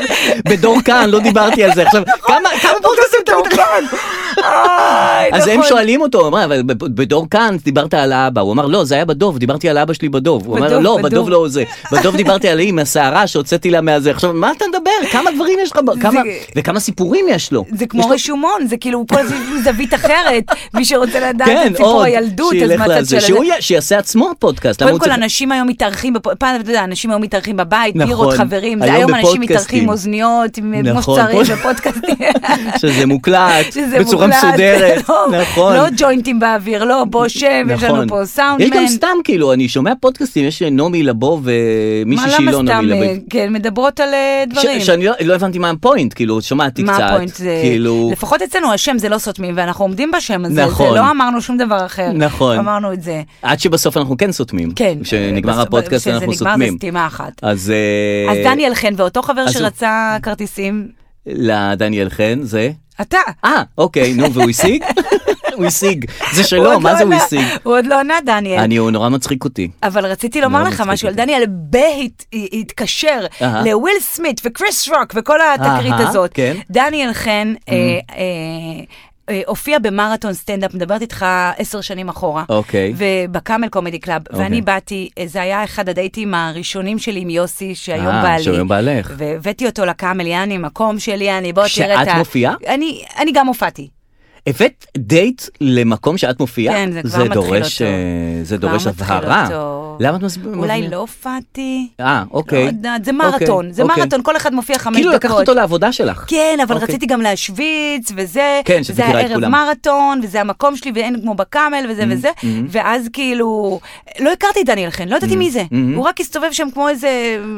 [SPEAKER 2] בדור כאן, לא דיברתי על זה. עכשיו,
[SPEAKER 3] נכון.
[SPEAKER 2] כמה כמה פודקאסטים אתה מתחיל?
[SPEAKER 3] איי,
[SPEAKER 2] אז הם
[SPEAKER 3] נכון.
[SPEAKER 2] שואלים אותו, אמרה, אבל ב- בדור כאן דיברת על האבא, הוא אמר, לא, זה היה בדוב, דיברתי על האבא שלי בדוב. הוא אמר,
[SPEAKER 3] בדוב,
[SPEAKER 2] לא,
[SPEAKER 3] בדוב.
[SPEAKER 2] בדוב לא זה, בדוב דיברתי על עם הסערה שהוצאתי לה מהזה. עכשיו, מה אתה מדבר? כמה דברים יש לך, ב- כמה- וכמה סיפורים יש לו.
[SPEAKER 3] זה
[SPEAKER 2] יש
[SPEAKER 3] כמו
[SPEAKER 2] לו-
[SPEAKER 3] רישומון, זה כאילו כל הזמן זווית אחרת. מי שרוצה לדעת
[SPEAKER 2] כן,
[SPEAKER 3] את סיפור
[SPEAKER 2] עוד,
[SPEAKER 3] הילדות, אז
[SPEAKER 2] שילך
[SPEAKER 3] מהצד
[SPEAKER 2] לזה,
[SPEAKER 3] של הזה.
[SPEAKER 2] שהוא י- שיעשה עצמו פודקאסט. למה
[SPEAKER 3] קודם
[SPEAKER 2] הוא
[SPEAKER 3] כל,
[SPEAKER 2] צריך-
[SPEAKER 3] אנשים היום מתארחים, בפ- פעם, אתה יודע, אנשים היום מתארחים בבית,
[SPEAKER 2] נכון,
[SPEAKER 3] בירות, חברים, זה
[SPEAKER 2] היום
[SPEAKER 3] היום אנשים
[SPEAKER 2] בפודקאסטים.
[SPEAKER 3] מתארחים עם אוזניות, עם- כמו
[SPEAKER 2] נכון,
[SPEAKER 3] שצריך,
[SPEAKER 2] פוד-
[SPEAKER 3] בפודקאסטים.
[SPEAKER 2] שזה מוקלט,
[SPEAKER 3] שזה
[SPEAKER 2] בצורה
[SPEAKER 3] מוקלט,
[SPEAKER 2] מסודרת,
[SPEAKER 3] לא-
[SPEAKER 2] נכון.
[SPEAKER 3] לא ג'וינטים באוויר, לא, בוא שב, יש לנו פה סאונדמן.
[SPEAKER 2] יש גם סתם כאילו אני שומע פודקאסטים יש נעמי לבוב ומישהי
[SPEAKER 3] מה,
[SPEAKER 2] שהיא
[SPEAKER 3] למה
[SPEAKER 2] לא נעמי
[SPEAKER 3] סתם,
[SPEAKER 2] לבוב.
[SPEAKER 3] אה, כן, מדברות על אה, דברים.
[SPEAKER 2] ש- שאני לא, לא הבנתי מה הפוינט, כאילו, שמעתי
[SPEAKER 3] מה
[SPEAKER 2] קצת.
[SPEAKER 3] הפוינט זה,
[SPEAKER 2] כאילו,
[SPEAKER 3] לפחות אצלנו השם זה לא סותמים ואנחנו עומדים בשם הזה,
[SPEAKER 2] נכון.
[SPEAKER 3] זה לא אמנו שום דבר אחר,
[SPEAKER 2] נכון.
[SPEAKER 3] אמרנו את זה,
[SPEAKER 2] עד שבסוף אנחנו כן סותמים.
[SPEAKER 3] כן,
[SPEAKER 2] כשנגמר
[SPEAKER 3] בס-
[SPEAKER 2] הפודקאסט
[SPEAKER 3] כשזה
[SPEAKER 2] אנחנו
[SPEAKER 3] נגמר,
[SPEAKER 2] סותמים.
[SPEAKER 3] זה סתימה אחת.
[SPEAKER 2] אז... אה,
[SPEAKER 3] אז דניאל חן ואותו חבר
[SPEAKER 2] אז הוא-
[SPEAKER 3] שרצה כרטיסים,
[SPEAKER 2] לדניאל חן זה?
[SPEAKER 3] אתה,
[SPEAKER 2] אה, אוקיי, נו, והוא השיג? הוא השיג. זה
[SPEAKER 3] הוא
[SPEAKER 2] שלו,
[SPEAKER 3] עוד
[SPEAKER 2] מה
[SPEAKER 3] לא
[SPEAKER 2] זה הוא
[SPEAKER 3] ענה.
[SPEAKER 2] השיג?
[SPEAKER 3] הוא עוד לא ענה, דניאל.
[SPEAKER 2] אני, הוא נורא מצחיק אותי.
[SPEAKER 3] אבל רציתי לומר
[SPEAKER 2] לא
[SPEAKER 3] לך
[SPEAKER 2] מצחיק
[SPEAKER 3] משהו על
[SPEAKER 2] אותי.
[SPEAKER 3] דניאל ביי הת- התקשר
[SPEAKER 2] אהה.
[SPEAKER 3] לוויל סמית וקריס רוק וכל התקרית
[SPEAKER 2] אהה,
[SPEAKER 3] הזאת.
[SPEAKER 2] כן. Mm-hmm.
[SPEAKER 3] דניאל חן אה, אה, אה, הופיע במרתון סטנדאפ, מדברת איתך עשר שנים אחורה.
[SPEAKER 2] אוקיי.
[SPEAKER 3] ובקאמל קומדי קלאב.
[SPEAKER 2] אוקיי.
[SPEAKER 3] ואני באתי, אה, זה היה אחד הדייטים הראשונים שלי עם יוסי, שהיום
[SPEAKER 2] אה,
[SPEAKER 3] בעלי.
[SPEAKER 2] שהיום בעלך.
[SPEAKER 3] והבאתי אותו לקאמל, יעני, מקום שלי, יעני, בוא תראה את ה...
[SPEAKER 2] שאת מופיעה?
[SPEAKER 3] אני- אני גם הופעתי.
[SPEAKER 2] הבאת דייט למקום שאת מופיעה?
[SPEAKER 3] כן, זה כבר מתחיל
[SPEAKER 2] דורש,
[SPEAKER 3] אותו.
[SPEAKER 2] אה, זה
[SPEAKER 3] כבר
[SPEAKER 2] דורש
[SPEAKER 3] מתחיל
[SPEAKER 2] הבהרה.
[SPEAKER 3] אותו.
[SPEAKER 2] למה את מסבירה?
[SPEAKER 3] אולי לא הופעתי.
[SPEAKER 2] אה, אוקיי.
[SPEAKER 3] לא יודעת, זה
[SPEAKER 2] אוקיי,
[SPEAKER 3] מרתון, זה
[SPEAKER 2] אוקיי.
[SPEAKER 3] מרתון, כל אחד מופיע חמש
[SPEAKER 2] כאילו
[SPEAKER 3] דקות.
[SPEAKER 2] לקחת אותו לעבודה שלך.
[SPEAKER 3] כן, אבל
[SPEAKER 2] אוקיי.
[SPEAKER 3] רציתי גם להשוויץ, וזה,
[SPEAKER 2] כן, שאת
[SPEAKER 3] זה
[SPEAKER 2] מכירה את
[SPEAKER 3] הערב
[SPEAKER 2] כולם. Mm-hmm,
[SPEAKER 3] מרתון, וזה המקום שלי, ואין כמו בקאמל, וזה וזה, ואז כאילו, לא הכרתי את דניאל חן, לא ידעתי מי זה,
[SPEAKER 2] מהמם.
[SPEAKER 3] הוא רק הסתובב שם כמו איזה...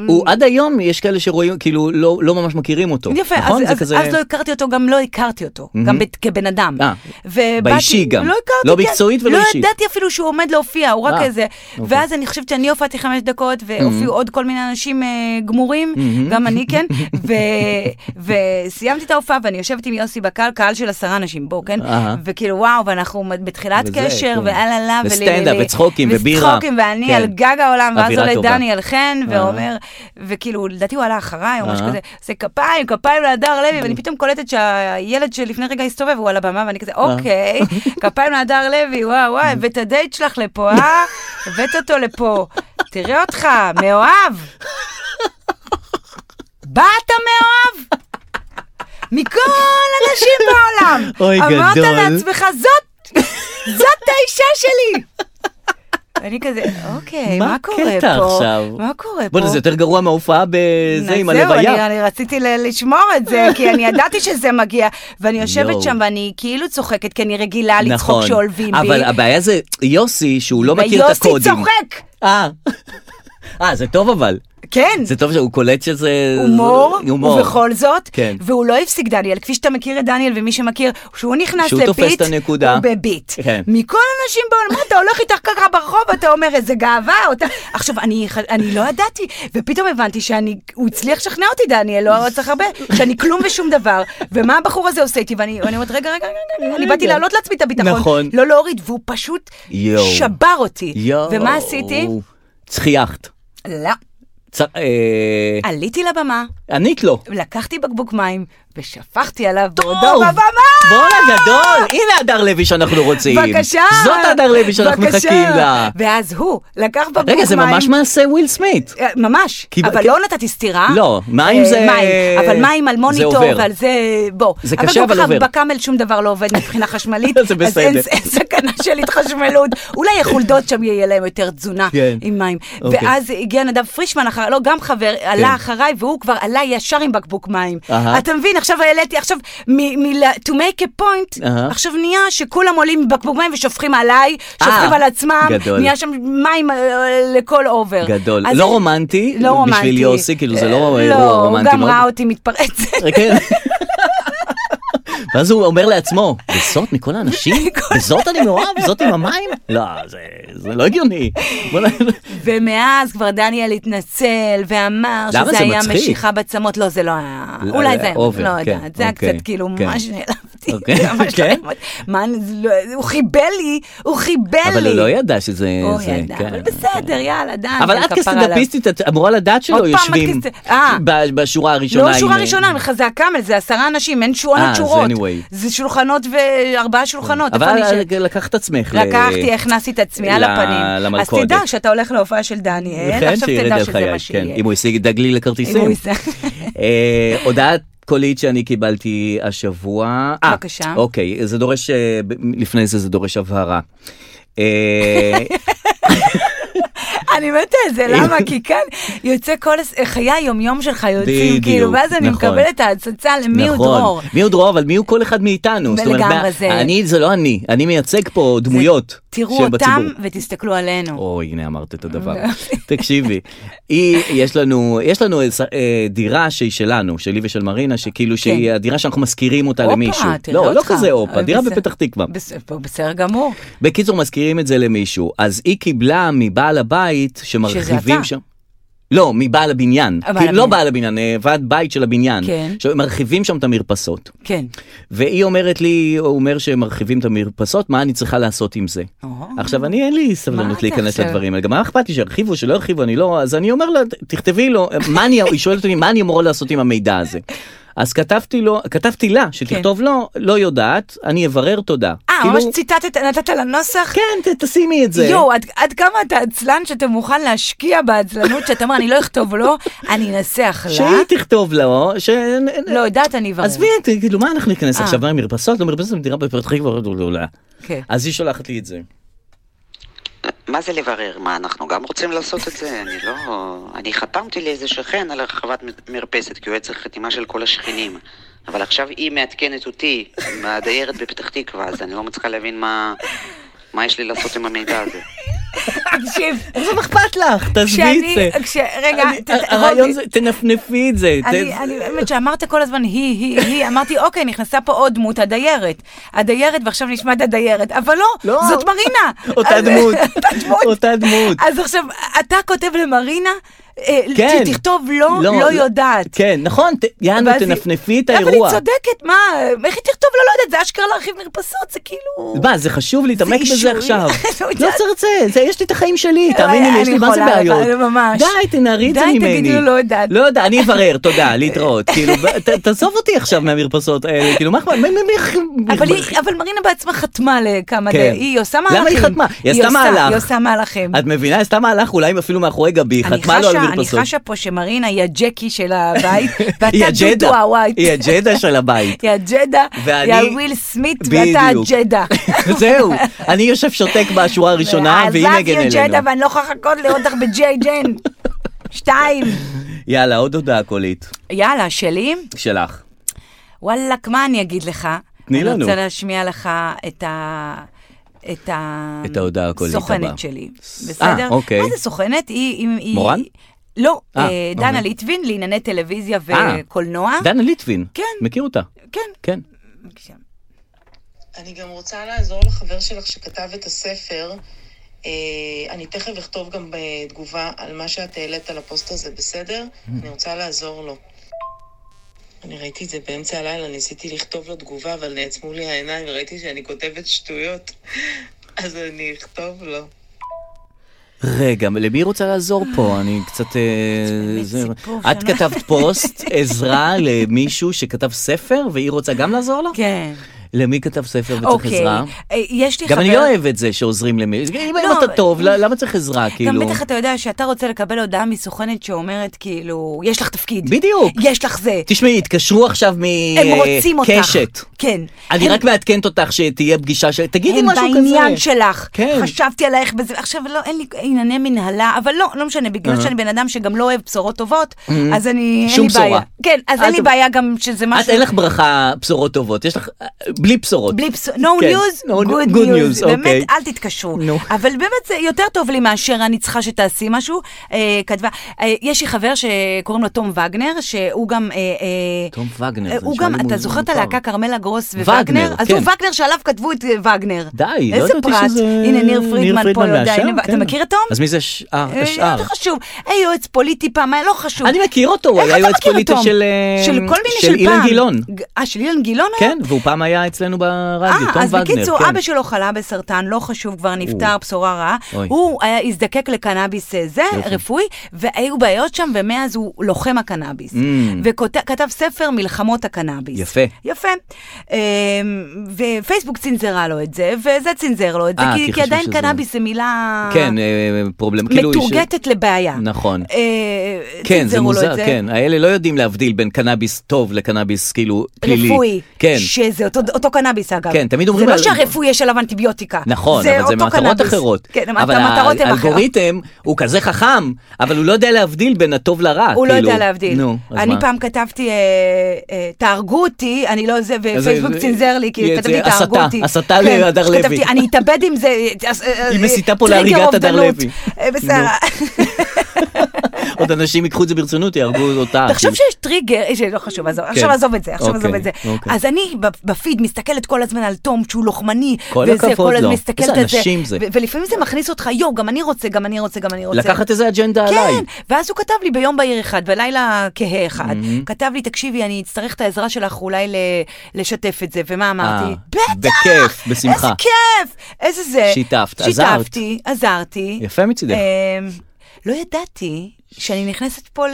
[SPEAKER 2] Mm-hmm, הוא עד היום יש כאלה שרואים, כאילו, לא לא ממש מכירים אותו.
[SPEAKER 3] יפה,
[SPEAKER 2] נכון?
[SPEAKER 3] אז,
[SPEAKER 2] זה
[SPEAKER 3] אז,
[SPEAKER 2] כזה-
[SPEAKER 3] אז לא הכרתי אותו, גם לא הכרתי אותו,
[SPEAKER 2] מהמם.
[SPEAKER 3] גם בת, כבן אדם.
[SPEAKER 2] אה,
[SPEAKER 3] ובאתי-
[SPEAKER 2] באישי גם.
[SPEAKER 3] לא הכרתי,
[SPEAKER 2] לא
[SPEAKER 3] כן.
[SPEAKER 2] מקצועית ולא אישית.
[SPEAKER 3] לא ידעתי אפילו שהוא עומד להופיע, הוא רק
[SPEAKER 2] אה,
[SPEAKER 3] איזה...
[SPEAKER 2] אוקיי.
[SPEAKER 3] ואז אני חושבת שאני הופעתי חמש דקות, והופיעו עוד כל מיני אנשים אה, גמורים, גם אני כן, ו- וסיימתי את ההופעה, ואני יושבת עם יוסי בקהל, קהל של עשרה אנשים, בואו, כן?
[SPEAKER 2] אהה.
[SPEAKER 3] וכאילו, וואו, ואנחנו בתחילת
[SPEAKER 2] וזה,
[SPEAKER 3] קשר,
[SPEAKER 2] כן.
[SPEAKER 3] ואללה לה,
[SPEAKER 2] וסטנדאפ, וצחוקים, ובירה.
[SPEAKER 3] וצחוקים, ואני
[SPEAKER 2] כן.
[SPEAKER 3] על גג העולם, ואז
[SPEAKER 2] אווירה
[SPEAKER 3] עולה
[SPEAKER 2] טובה.
[SPEAKER 3] דניאל חן,
[SPEAKER 2] אהה.
[SPEAKER 3] ואומר, וכאילו, לדעתי הוא עלה אחריי, או משהו
[SPEAKER 2] אהה.
[SPEAKER 3] כזה, עושה כפיים, כפיים להדר לוי,
[SPEAKER 2] אה.
[SPEAKER 3] ואני פתאום קולטת שהילד שלפני רגע הסתובב, הוא על הבמה, ואני כזה, אוקיי,
[SPEAKER 2] אה.
[SPEAKER 3] כפיים להדר לוי, וואו וואו, הבאת הדייט שלך לפה, אה? הבאת אותו לפה, תראה אותך, מאוהב. באת מאוהב? מכל הנשים בעולם.
[SPEAKER 2] אוי,
[SPEAKER 3] אמרת
[SPEAKER 2] גדול.
[SPEAKER 3] לעצמך, זאת, זאת האישה שלי. אני כזה, אוקיי,
[SPEAKER 2] מה
[SPEAKER 3] מה קורה
[SPEAKER 2] הקטע
[SPEAKER 3] פה?
[SPEAKER 2] עכשיו?
[SPEAKER 3] מה קורה פה?
[SPEAKER 2] בוא'נה, זה יותר גרוע מההופעה בזה עם
[SPEAKER 3] זהו, אני-
[SPEAKER 2] הלוויה.
[SPEAKER 3] אני רציתי ל- לשמור את זה, כי אני ידעתי שזה מגיע, ואני יושבת
[SPEAKER 2] יואו.
[SPEAKER 3] שם ואני כאילו צוחקת, כי אני רגילה לצחוק
[SPEAKER 2] נכון.
[SPEAKER 3] שעולבים בי.
[SPEAKER 2] אבל הבעיה זה יוסי, שהוא לא מכיר את
[SPEAKER 3] ויוסי
[SPEAKER 2] הקודים.
[SPEAKER 3] צוחק!
[SPEAKER 2] אה. אה, זה טוב אבל.
[SPEAKER 3] כן.
[SPEAKER 2] זה טוב שהוא קולט שזה...
[SPEAKER 3] הומור,
[SPEAKER 2] הומור.
[SPEAKER 3] ובכל זאת,
[SPEAKER 2] כן.
[SPEAKER 3] והוא לא הפסיק דניאל, כפי שאתה מכיר את דניאל ומי שמכיר, שהוא נכנס
[SPEAKER 2] שהוא
[SPEAKER 3] לביט,
[SPEAKER 2] תופס את הנקודה.
[SPEAKER 3] הוא בביט.
[SPEAKER 2] כן.
[SPEAKER 3] מכל הנשים בעולם, אתה הולך איתך ככה ברחוב, אתה אומר איזה גאווה, אותה... עכשיו, אני, ח- אני לא ידעתי, ופתאום הבנתי שאני, הוא הצליח לשכנע אותי דניאל, לא צריך הרבה, שאני כלום ושום דבר, ומה הבחור הזה עושה איתי, ואני אני אומרת, רגע, רגע, רגע, רגע, אני באתי להעלות לעצמי את הביטחון,
[SPEAKER 2] נכון.
[SPEAKER 3] לא להוריד, והוא פשוט
[SPEAKER 2] יואו.
[SPEAKER 3] שבר אותי.
[SPEAKER 2] יואו.
[SPEAKER 3] ומה עשיתי?
[SPEAKER 2] צחייכת.
[SPEAKER 3] לא.
[SPEAKER 2] צ... אה...
[SPEAKER 3] עליתי לבמה.
[SPEAKER 2] ענית לו.
[SPEAKER 3] לקחתי בקבוק מים ושפכתי עליו בעודו
[SPEAKER 2] טוב.
[SPEAKER 3] בבמה!
[SPEAKER 2] בואנה גדול, הנה הדר לוי שאנחנו רוצים.
[SPEAKER 3] בבקשה!
[SPEAKER 2] זאת הדר לוי שאנחנו
[SPEAKER 3] בבקשה.
[SPEAKER 2] מחכים לה.
[SPEAKER 3] ואז הוא לקח בקבוק מים.
[SPEAKER 2] רגע, זה ממש מעשה וויל סמית.
[SPEAKER 3] אה, ממש,
[SPEAKER 2] כי-
[SPEAKER 3] אבל
[SPEAKER 2] כי-
[SPEAKER 3] לא נתתי סטירה.
[SPEAKER 2] לא, מים
[SPEAKER 3] אה,
[SPEAKER 2] זה-
[SPEAKER 3] מים, אבל מים על
[SPEAKER 2] זה
[SPEAKER 3] מוניטור
[SPEAKER 2] עובר.
[SPEAKER 3] ועל זה... בוא.
[SPEAKER 2] זה קשה, אבל עובר.
[SPEAKER 3] אבל בקאמל שום דבר לא עובד מבחינה חשמלית.
[SPEAKER 2] זה
[SPEAKER 3] אז אין-
[SPEAKER 2] בסדר.
[SPEAKER 3] אין סכנה של התחשמלות. אולי החולדות שם יהיה להם יותר תזונה
[SPEAKER 2] כן.
[SPEAKER 3] עם מים.
[SPEAKER 2] אוקיי. כן.
[SPEAKER 3] ואז הגיע נדב פרישמן, אחר- לא, גם חבר, עלה אחריי, והוא כבר עלה ישר עם בקבוק מים.
[SPEAKER 2] אהה.
[SPEAKER 3] אתה מבין, עכשיו העליתי, עכשיו, מ- מ- to make a point,
[SPEAKER 2] אהה.
[SPEAKER 3] עכשיו נהיה שכולם עולים עם בקבוק מים ושופכים עליי, שופכים
[SPEAKER 2] אה,
[SPEAKER 3] על עצמם,
[SPEAKER 2] גדול.
[SPEAKER 3] נהיה שם מים אה, לכל אובר.
[SPEAKER 2] גדול.
[SPEAKER 3] אז-
[SPEAKER 2] לא רומנטי,
[SPEAKER 3] לא רומנטי.
[SPEAKER 2] בשביל יוסי, כאילו זה לא
[SPEAKER 3] אה,
[SPEAKER 2] אירוע רומנטי
[SPEAKER 3] לא, הוא גם
[SPEAKER 2] מאוד.
[SPEAKER 3] ראה אותי מתפרצת.
[SPEAKER 2] כן. ואז הוא אומר לעצמו, וזאת מכל האנשים? וזאת אני מאוהב? זאת עם המים? לא, זה- זה לא הגיוני. בוא נ-
[SPEAKER 3] ומאז כבר דניאל התנצל ואמר
[SPEAKER 2] למה?
[SPEAKER 3] שזה
[SPEAKER 2] זה
[SPEAKER 3] היה
[SPEAKER 2] מצחיק.
[SPEAKER 3] משיכה בצמות. לא, זה לא היה...
[SPEAKER 2] לא,
[SPEAKER 3] אולי
[SPEAKER 2] זה
[SPEAKER 3] זה היה...
[SPEAKER 2] אובר,
[SPEAKER 3] לא
[SPEAKER 2] כן,
[SPEAKER 3] יודעת, זה היה
[SPEAKER 2] אוקיי,
[SPEAKER 3] קצת כאילו
[SPEAKER 2] כן.
[SPEAKER 3] ממש נעלבתי.
[SPEAKER 2] אוקיי,
[SPEAKER 3] ממש
[SPEAKER 2] כן.
[SPEAKER 3] נעלבתי. מה, זה לא- הוא חיבל לי, הוא חיבל לי.
[SPEAKER 2] אבל הוא לא ידע שזה...
[SPEAKER 3] הוא
[SPEAKER 2] זה,
[SPEAKER 3] ידע,
[SPEAKER 2] כן.
[SPEAKER 3] אבל בסדר, יאללה, דן.
[SPEAKER 2] אבל
[SPEAKER 3] כן,
[SPEAKER 2] את
[SPEAKER 3] כפרה
[SPEAKER 2] כסטנדאפיסטית, את אמורה לדעת שלא
[SPEAKER 3] עוד פעם את
[SPEAKER 2] יושבים
[SPEAKER 3] כסט- אה.
[SPEAKER 2] ב- בשורה
[SPEAKER 3] עליו.
[SPEAKER 2] הראשונה.
[SPEAKER 3] לא שורה
[SPEAKER 2] עם-
[SPEAKER 3] ראשונה, זה הקאמל, זה עשרה אנשים, אין
[SPEAKER 2] אה,
[SPEAKER 3] שורות
[SPEAKER 2] זה
[SPEAKER 3] שורות.
[SPEAKER 2] anyway.
[SPEAKER 3] זה שולחנות וארבעה שולחנות. איפה
[SPEAKER 2] אבל אה,
[SPEAKER 3] אני אשב?
[SPEAKER 2] לקחת את עצמך. ל-
[SPEAKER 3] לקחתי, הכנסתי את עצמי על
[SPEAKER 2] ל-
[SPEAKER 3] הפנים. אז
[SPEAKER 2] למלכודת.
[SPEAKER 3] תדע כשאתה הולך להופעה של דניאל,
[SPEAKER 2] וכן
[SPEAKER 3] עכשיו
[SPEAKER 2] שירד
[SPEAKER 3] תדע
[SPEAKER 2] אל
[SPEAKER 3] שזה
[SPEAKER 2] חיי,
[SPEAKER 3] מה
[SPEAKER 2] כן.
[SPEAKER 3] שיהיה.
[SPEAKER 2] אם הוא השיג דגלי
[SPEAKER 3] אם הוא
[SPEAKER 2] לכרטיסים.
[SPEAKER 3] יסע-
[SPEAKER 2] אה, הודעת קולית שאני קיבלתי השבוע. אה,
[SPEAKER 3] בבקשה.
[SPEAKER 2] אוקיי, זה דורש, אה, ב- לפני זה זה דורש הבהרה. אה,
[SPEAKER 3] אני מתה על זה, למה? כי כאן יוצא כל הס- חיי היומיום שלך יוצאים,
[SPEAKER 2] בדיוק,
[SPEAKER 3] כאילו, ואז אני
[SPEAKER 2] נכון.
[SPEAKER 3] מקבלת את ההצצה למי הוא
[SPEAKER 2] נכון.
[SPEAKER 3] דרור.
[SPEAKER 2] מי הוא דרור, אבל מי הוא כל אחד מאיתנו. זאת אומרת,
[SPEAKER 3] לגמרי,
[SPEAKER 2] מה-
[SPEAKER 3] זה-
[SPEAKER 2] אני, זה לא אני, אני מייצג פה דמויות.
[SPEAKER 3] תראו
[SPEAKER 2] שהם בציבור.
[SPEAKER 3] אותם ותסתכלו עלינו.
[SPEAKER 2] או, הנה אמרת את הדבר. תקשיבי, היא, יש לנו, יש לנו איזה, אה, דירה שהיא שלנו, שלי ושל מרינה, שכאילו שהיא הדירה שאנחנו משכירים אותה
[SPEAKER 3] הופה,
[SPEAKER 2] למישהו.
[SPEAKER 3] כן. תראה
[SPEAKER 2] לא,
[SPEAKER 3] אותך.
[SPEAKER 2] לא כזה אופה,
[SPEAKER 3] אבל
[SPEAKER 2] דירה
[SPEAKER 3] בסדר.
[SPEAKER 2] בפתח תקווה.
[SPEAKER 3] בס- בסדר גמור.
[SPEAKER 2] בקיצור, מזכירים את זה למישהו. אז היא קיבלה מבעל הבית שמרחיבים
[SPEAKER 3] אתה.
[SPEAKER 2] שם. לא, מבעל הבניין.
[SPEAKER 3] הבעל
[SPEAKER 2] כאילו, לא
[SPEAKER 3] הבניין.
[SPEAKER 2] בעל הבניין, אה, ועד בית של הבניין.
[SPEAKER 3] כן.
[SPEAKER 2] שמרחיבים שם את המרפסות.
[SPEAKER 3] כן.
[SPEAKER 2] והיא אומרת לי, הוא אומר שמרחיבים את המרפסות, מה אני צריכה לעשות עם זה?
[SPEAKER 3] או.
[SPEAKER 2] עכשיו, אני אין לי
[SPEAKER 3] מה
[SPEAKER 2] סבלנות
[SPEAKER 3] אתה
[SPEAKER 2] להיכנס
[SPEAKER 3] עכשיו?
[SPEAKER 2] לדברים האלה. גם מה אכפת לי שירחיבו, שלא ירחיבו, אני לא... אז אני אומר לה, תכתבי לו, מה אני... היא שואלת אותי, מה אני אמורה לעשות עם המידע הזה? אז כתבתי לו, כתבתי לה, שתכתוב לו, לא יודעת, אני אברר תודה.
[SPEAKER 3] כן. אה,
[SPEAKER 2] כאילו,
[SPEAKER 3] ממש ציטטת, נתת לה נוסח?
[SPEAKER 2] כן, ת- תשימי את זה.
[SPEAKER 3] יואו, עד, עד כמה אתה עצלן שאתה מוכן להשקיע בעצלנות, שאתה אומר, אני לא אכתוב לו, אני אנסח לה.
[SPEAKER 2] שהיא תכתוב לו, ש...
[SPEAKER 3] לא יודעת, אני אברר.
[SPEAKER 2] עזבי, ת- כאילו, מה אנחנו ניכנס
[SPEAKER 3] אה.
[SPEAKER 2] עכשיו? מה, מרפסות? לא מרפסות, דירה בפתח תקווה, לא, לא, לא.
[SPEAKER 3] כן.
[SPEAKER 2] אז היא שולחת לי את זה.
[SPEAKER 5] מה זה לברר? מה, אנחנו גם רוצים לעשות את זה? אני לא... אני חתמתי לאיזה שכן על הרחבת מ- מרפסת, כי הוא היה צריך חתימה של כל השכנים. אבל עכשיו היא מעדכנת אותי, מהדיירת בפתח תקווה, אז אני לא מצליחה להבין מה... מה יש לי לעשות עם המידע הזה.
[SPEAKER 3] תקשיב,
[SPEAKER 2] אז מה אכפת לך? תעזבי את
[SPEAKER 3] כשאני,
[SPEAKER 2] זה.
[SPEAKER 3] כש... רגע,
[SPEAKER 2] אני-
[SPEAKER 3] ת- רובי,
[SPEAKER 2] הרעיון זה, תנפנפי את זה.
[SPEAKER 3] אני,
[SPEAKER 2] ת-
[SPEAKER 3] אני, באמת שאמרת כל הזמן היא, היא, היא, אמרתי, אוקיי, נכנסה פה עוד דמות, הדיירת. הדיירת, ועכשיו נשמע את הדיירת, אבל לא,
[SPEAKER 2] לא.
[SPEAKER 3] זאת מרינה.
[SPEAKER 2] אותה
[SPEAKER 3] אז-
[SPEAKER 2] דמות.
[SPEAKER 3] אותה דמות. אה,
[SPEAKER 2] אותה דמות.
[SPEAKER 3] אז עכשיו, אתה כותב למרינה, אה,
[SPEAKER 2] כן.
[SPEAKER 3] תכתוב לא, לא יודעת.
[SPEAKER 2] כן, נכון, ת- יענו,
[SPEAKER 3] ואז היא-
[SPEAKER 2] תנפנפי את
[SPEAKER 3] אבל
[SPEAKER 2] האירוע.
[SPEAKER 3] היא צודקת, מה, איך היא תכתוב לא, לא יודעת, זה אשכרה להרחיב מרפסות, זה כאילו...
[SPEAKER 2] מה, זה חשוב להתעמק בזה
[SPEAKER 3] אישורי.
[SPEAKER 2] עכשיו.
[SPEAKER 3] לא יודעת.
[SPEAKER 2] לא צריך זה, זה, יש לי את החיים שלי, תאמיני לי,
[SPEAKER 3] אני
[SPEAKER 2] יש לי מה זה
[SPEAKER 3] יכולה,
[SPEAKER 2] בעיות.
[SPEAKER 3] אבל ממש.
[SPEAKER 2] די, תנערי את זה
[SPEAKER 3] די,
[SPEAKER 2] ממני.
[SPEAKER 3] תגידי לו, לא יודעת.
[SPEAKER 2] לא יודע, אני אברר, תודה, להתראות. כאילו, ב- ת- תעזוב אותי עכשיו מהמרפסות האלה, כאילו, מה אכפת? מי- מי- מי-
[SPEAKER 3] אבל,
[SPEAKER 2] מי-
[SPEAKER 3] היא, אבל מרינה בעצמה חתמה לכמה
[SPEAKER 2] כן.
[SPEAKER 3] כן. היא עושה
[SPEAKER 2] למה היא
[SPEAKER 3] מהלכים.
[SPEAKER 2] חתמה? היא עשתה
[SPEAKER 3] עושה-
[SPEAKER 2] מהלך.
[SPEAKER 3] היא עושה מהלכים.
[SPEAKER 2] את מבינה? עשתה מהלך אולי אפילו מאחורי גבי,
[SPEAKER 3] אני
[SPEAKER 2] חתמה לו על
[SPEAKER 3] חשה-
[SPEAKER 2] מרפסות.
[SPEAKER 3] אני חשה פה שמרינה היא הג'קי של הבית,
[SPEAKER 2] היא
[SPEAKER 3] ואתה
[SPEAKER 2] הג'דה,
[SPEAKER 3] דודו הווייט.
[SPEAKER 2] היא הג'דה של הבית.
[SPEAKER 3] היא הג'דה,
[SPEAKER 2] ואני-
[SPEAKER 3] היא הוויל סמית, ואתה
[SPEAKER 2] בדיוק.
[SPEAKER 3] הג'דה.
[SPEAKER 2] זהו, אני יושב שותק בשורה
[SPEAKER 3] אה,
[SPEAKER 2] הראשונה והיא מגן
[SPEAKER 3] עזבתי הג'דה
[SPEAKER 2] אלינו.
[SPEAKER 3] ואני לא יכולה לחכות לראות אותך בג'יי ג'ן. שתיים.
[SPEAKER 2] יאללה, עוד הודעה קולית
[SPEAKER 3] יאללה, שלי?
[SPEAKER 2] שלך.
[SPEAKER 3] וואלכ, מה אני אגיד לך?
[SPEAKER 2] תני לנו.
[SPEAKER 3] אני רוצה להשמיע לך את ה... את, ה...
[SPEAKER 2] את ההודעה הקולית הבאה. אה,
[SPEAKER 3] סוכנת שלי, בסדר?
[SPEAKER 2] אוקיי.
[SPEAKER 3] מה זה סוכנת? היא... היא- היא-
[SPEAKER 2] מורן?
[SPEAKER 3] לא,
[SPEAKER 2] אה,
[SPEAKER 3] אה, דנה
[SPEAKER 2] אוקיי.
[SPEAKER 3] ליטבין לענייני טלוויזיה
[SPEAKER 2] אה.
[SPEAKER 3] וקולנוע.
[SPEAKER 2] דנה ליטבין.
[SPEAKER 3] כן.
[SPEAKER 2] מכיר אותה?
[SPEAKER 3] כן.
[SPEAKER 2] כן.
[SPEAKER 6] אני גם רוצה לעזור לחבר שלך שכתב את הספר. אה, אני תכף אכתוב גם אה, תגובה על מה שאת העלית על הפוסט הזה, בסדר? אני רוצה לעזור לו. אני ראיתי את זה באמצע הלילה, ניסיתי לכתוב לו תגובה, אבל נעצמו לי העיניים, וראיתי שאני כותבת שטויות. אז אני אכתוב לו.
[SPEAKER 2] רגע, למי היא רוצה לעזור פה? אני קצת... אה,
[SPEAKER 3] באמת
[SPEAKER 2] זה-
[SPEAKER 3] סיפור
[SPEAKER 2] את
[SPEAKER 3] שלא-
[SPEAKER 2] כתבת פוסט עזרה למישהו שכתב ספר והיא רוצה גם לעזור לך?
[SPEAKER 3] כן.
[SPEAKER 2] למי כתב ספר וצריך
[SPEAKER 3] אוקיי.
[SPEAKER 2] עזרה?
[SPEAKER 3] אה, יש לי חבר...
[SPEAKER 2] גם אני לא אוהב את זה שעוזרים למישהו. אם
[SPEAKER 3] לא,
[SPEAKER 2] אתה
[SPEAKER 3] אבל-
[SPEAKER 2] טוב, ל- למה צריך עזרה?
[SPEAKER 3] גם
[SPEAKER 2] כאילו...
[SPEAKER 3] בטח אתה יודע שאתה רוצה לקבל הודעה מסוכנת שאומרת כאילו, יש לך תפקיד.
[SPEAKER 2] בדיוק.
[SPEAKER 3] יש לך זה.
[SPEAKER 2] תשמעי, התקשרו עכשיו מ...
[SPEAKER 3] הם רוצים אותך.
[SPEAKER 2] קשת.
[SPEAKER 3] כן.
[SPEAKER 2] אני
[SPEAKER 3] הם-
[SPEAKER 2] רק מעדכנת אותך שתהיה פגישה של... תגידי
[SPEAKER 3] הם
[SPEAKER 2] משהו כזה.
[SPEAKER 3] בעניין שלך.
[SPEAKER 2] כן.
[SPEAKER 3] חשבתי עלייך בזה. עכשיו, לא, אין לי ענייני מנהלה, אבל לא, לא משנה, בגלל שאני בן אדם שגם לא אוהב בשורות טובות, אז אני, אין
[SPEAKER 2] אה. שום
[SPEAKER 3] לי בעיה.
[SPEAKER 2] בשורה.
[SPEAKER 3] כן, אז אין
[SPEAKER 2] את-
[SPEAKER 3] לי בעיה גם שזה משהו...
[SPEAKER 2] את אין לך ברכה בשורות טובות, יש לך... אה, בלי בשורות.
[SPEAKER 3] בלי בשורות, no
[SPEAKER 2] כן.
[SPEAKER 3] news,
[SPEAKER 2] No
[SPEAKER 3] good,
[SPEAKER 2] good
[SPEAKER 3] news,
[SPEAKER 2] news, אוקיי.
[SPEAKER 3] באמת אל תתקשרו,
[SPEAKER 2] נו.
[SPEAKER 3] אבל באמת זה יותר טוב לי מאשר אני צריכה שתעשי משהו, אה, כתבה, אה, יש לי חבר שקוראים לו תום וגנר, שהוא גם, אה, אה,
[SPEAKER 2] תום וגנר,
[SPEAKER 3] אה,
[SPEAKER 2] זה
[SPEAKER 3] הוא
[SPEAKER 2] נשמע
[SPEAKER 3] גם,
[SPEAKER 2] לי
[SPEAKER 3] אתה
[SPEAKER 2] מוזר.
[SPEAKER 3] זוכר את הלהקה כרמלה גרוס
[SPEAKER 2] וגנר,
[SPEAKER 3] ווגנר? אז הוא
[SPEAKER 2] כן.
[SPEAKER 3] וגנר שעליו כתבו את אה, וגנר.
[SPEAKER 2] די, לא
[SPEAKER 3] איזה
[SPEAKER 2] ידעתי
[SPEAKER 3] פרט.
[SPEAKER 2] שזה...
[SPEAKER 3] הנה ניר פרידמן פה יודע,
[SPEAKER 2] מהשאר,
[SPEAKER 3] הנה, אתה
[SPEAKER 2] כן.
[SPEAKER 3] מכיר את תום?
[SPEAKER 2] אז מי זה ש- אה,
[SPEAKER 3] אה,
[SPEAKER 2] השאר?
[SPEAKER 3] לא חשוב, אה, יועץ פוליטי פעם, אה, לא חשוב.
[SPEAKER 2] אני מכיר אותו, הוא
[SPEAKER 3] איך
[SPEAKER 2] היה
[SPEAKER 3] אתה
[SPEAKER 2] יועץ
[SPEAKER 3] מכיר
[SPEAKER 2] פוליטי
[SPEAKER 3] אותו?
[SPEAKER 2] של... אה,
[SPEAKER 3] של כל מיני
[SPEAKER 2] של
[SPEAKER 3] של פעם.
[SPEAKER 2] אילן גילאון.
[SPEAKER 3] ג- אה, של אילן גילאון היה?
[SPEAKER 2] כן, והוא פעם היה אצלנו ברדיו,
[SPEAKER 3] אה,
[SPEAKER 2] תום
[SPEAKER 3] אז
[SPEAKER 2] וגנר.
[SPEAKER 3] בקיצור,
[SPEAKER 2] כן.
[SPEAKER 3] אבא שלו חלה בסרטן, לא חשוב, כבר נפטר, בשורה רעה.
[SPEAKER 2] אוי.
[SPEAKER 3] הוא היה- הזדקק לקנאביס אה, זה,
[SPEAKER 2] יופי.
[SPEAKER 3] רפואי, והיו בעיות שם, ומאז הוא לוחם הקנאביס. וכתב ספר מלחמות הקנאביס.
[SPEAKER 2] Mm. יפה.
[SPEAKER 3] יפה. אמ, ופייסבוק צנזרה לו את זה, וזה צנזר לו את זה,
[SPEAKER 2] אה, כי
[SPEAKER 3] כי- כי
[SPEAKER 2] חשבו
[SPEAKER 3] עדיין
[SPEAKER 2] שזה-
[SPEAKER 3] קנאביס זה מילה...
[SPEAKER 2] כן, אה, פרובלם. כאילו, איש-
[SPEAKER 3] מתורגטת לבעיה.
[SPEAKER 2] נכון.
[SPEAKER 3] אה,
[SPEAKER 2] כן, זה
[SPEAKER 3] צנזרו לו את
[SPEAKER 2] מוזר, כן. האלה לא יודעים להבדיל בין קנאביס טוב לקנאביס כאילו פלילי.
[SPEAKER 3] רפואי,
[SPEAKER 2] כן.
[SPEAKER 3] שזה אותו, אותו קנאביס אגב.
[SPEAKER 2] כן, תמיד אומרים
[SPEAKER 3] זה
[SPEAKER 2] על-
[SPEAKER 3] לא שהרפואי יש עליו אנטיביוטיקה.
[SPEAKER 2] נכון, אבל זה
[SPEAKER 3] אותו
[SPEAKER 2] מטרות
[SPEAKER 3] קנאביס.
[SPEAKER 2] אחרות.
[SPEAKER 3] כן,
[SPEAKER 2] אבל
[SPEAKER 3] המטרות הן אחרות.
[SPEAKER 2] האלגוריתם הוא כזה חכם, אבל הוא לא יודע להבדיל בין הטוב לרע.
[SPEAKER 3] הוא לא
[SPEAKER 2] כאילו.
[SPEAKER 3] יודע להבדיל.
[SPEAKER 2] נו, אז
[SPEAKER 3] אני
[SPEAKER 2] מה?
[SPEAKER 3] פעם כתבתי, אה, אה, תהרגו אותי, אני לא זה,
[SPEAKER 2] אז זה-
[SPEAKER 3] ופייסבוק
[SPEAKER 2] זה-
[SPEAKER 3] צנזר לי,
[SPEAKER 2] זה-
[SPEAKER 3] כי כתבתי
[SPEAKER 2] זה
[SPEAKER 3] תהרגו
[SPEAKER 2] הסתה,
[SPEAKER 3] אותי.
[SPEAKER 2] הסתה
[SPEAKER 3] כן,
[SPEAKER 2] להדר לוי.
[SPEAKER 3] כתבתי, אני אתאבד עם זה. אה, אה,
[SPEAKER 2] היא
[SPEAKER 3] אה,
[SPEAKER 2] מסיתה פה
[SPEAKER 3] טריגר אה,
[SPEAKER 2] להריגת הדר
[SPEAKER 3] אובדנות."
[SPEAKER 2] לוי.
[SPEAKER 3] אה, בסדר.
[SPEAKER 2] עוד אנשים ייקחו את זה ברצינות, יהרגו אותה.
[SPEAKER 3] תחשוב
[SPEAKER 2] כאילו.
[SPEAKER 3] שיש טריגר, שלא חשוב, עזוב, עכשיו עזוב את זה, עכשיו
[SPEAKER 2] אוקיי,
[SPEAKER 3] עזוב את זה.
[SPEAKER 2] אוקיי.
[SPEAKER 3] אז אני ב- בפיד מסתכלת כל הזמן על תום, שהוא לוחמני,
[SPEAKER 2] כל הכבוד
[SPEAKER 3] כל הזמן
[SPEAKER 2] לו.
[SPEAKER 3] מסתכלת
[SPEAKER 2] איזה
[SPEAKER 3] על זה,
[SPEAKER 2] אנשים זה.
[SPEAKER 3] ו- ולפעמים זה מכניס אותך, יואו, גם אני רוצה, גם אני רוצה, גם אני רוצה.
[SPEAKER 2] לקחת איזה אג'נדה עליי.
[SPEAKER 3] כן, ואז הוא כתב לי ביום בהיר אחד, בלילה כהה אחד,
[SPEAKER 2] Mm-hmm.
[SPEAKER 3] כתב לי, תקשיבי, אני אצטרך את העזרה שלך אולי ל- לשתף את זה, ומה אמרתי? בטח!
[SPEAKER 2] בכיף, אה, בשמחה.
[SPEAKER 3] איזה כיף! איזה זה.
[SPEAKER 2] שיתפת, עזרת.
[SPEAKER 3] שיתפתי, עזרתי.
[SPEAKER 2] יפה מצידך.
[SPEAKER 3] אמ, לא ידעתי שאני נכנסת פה ל...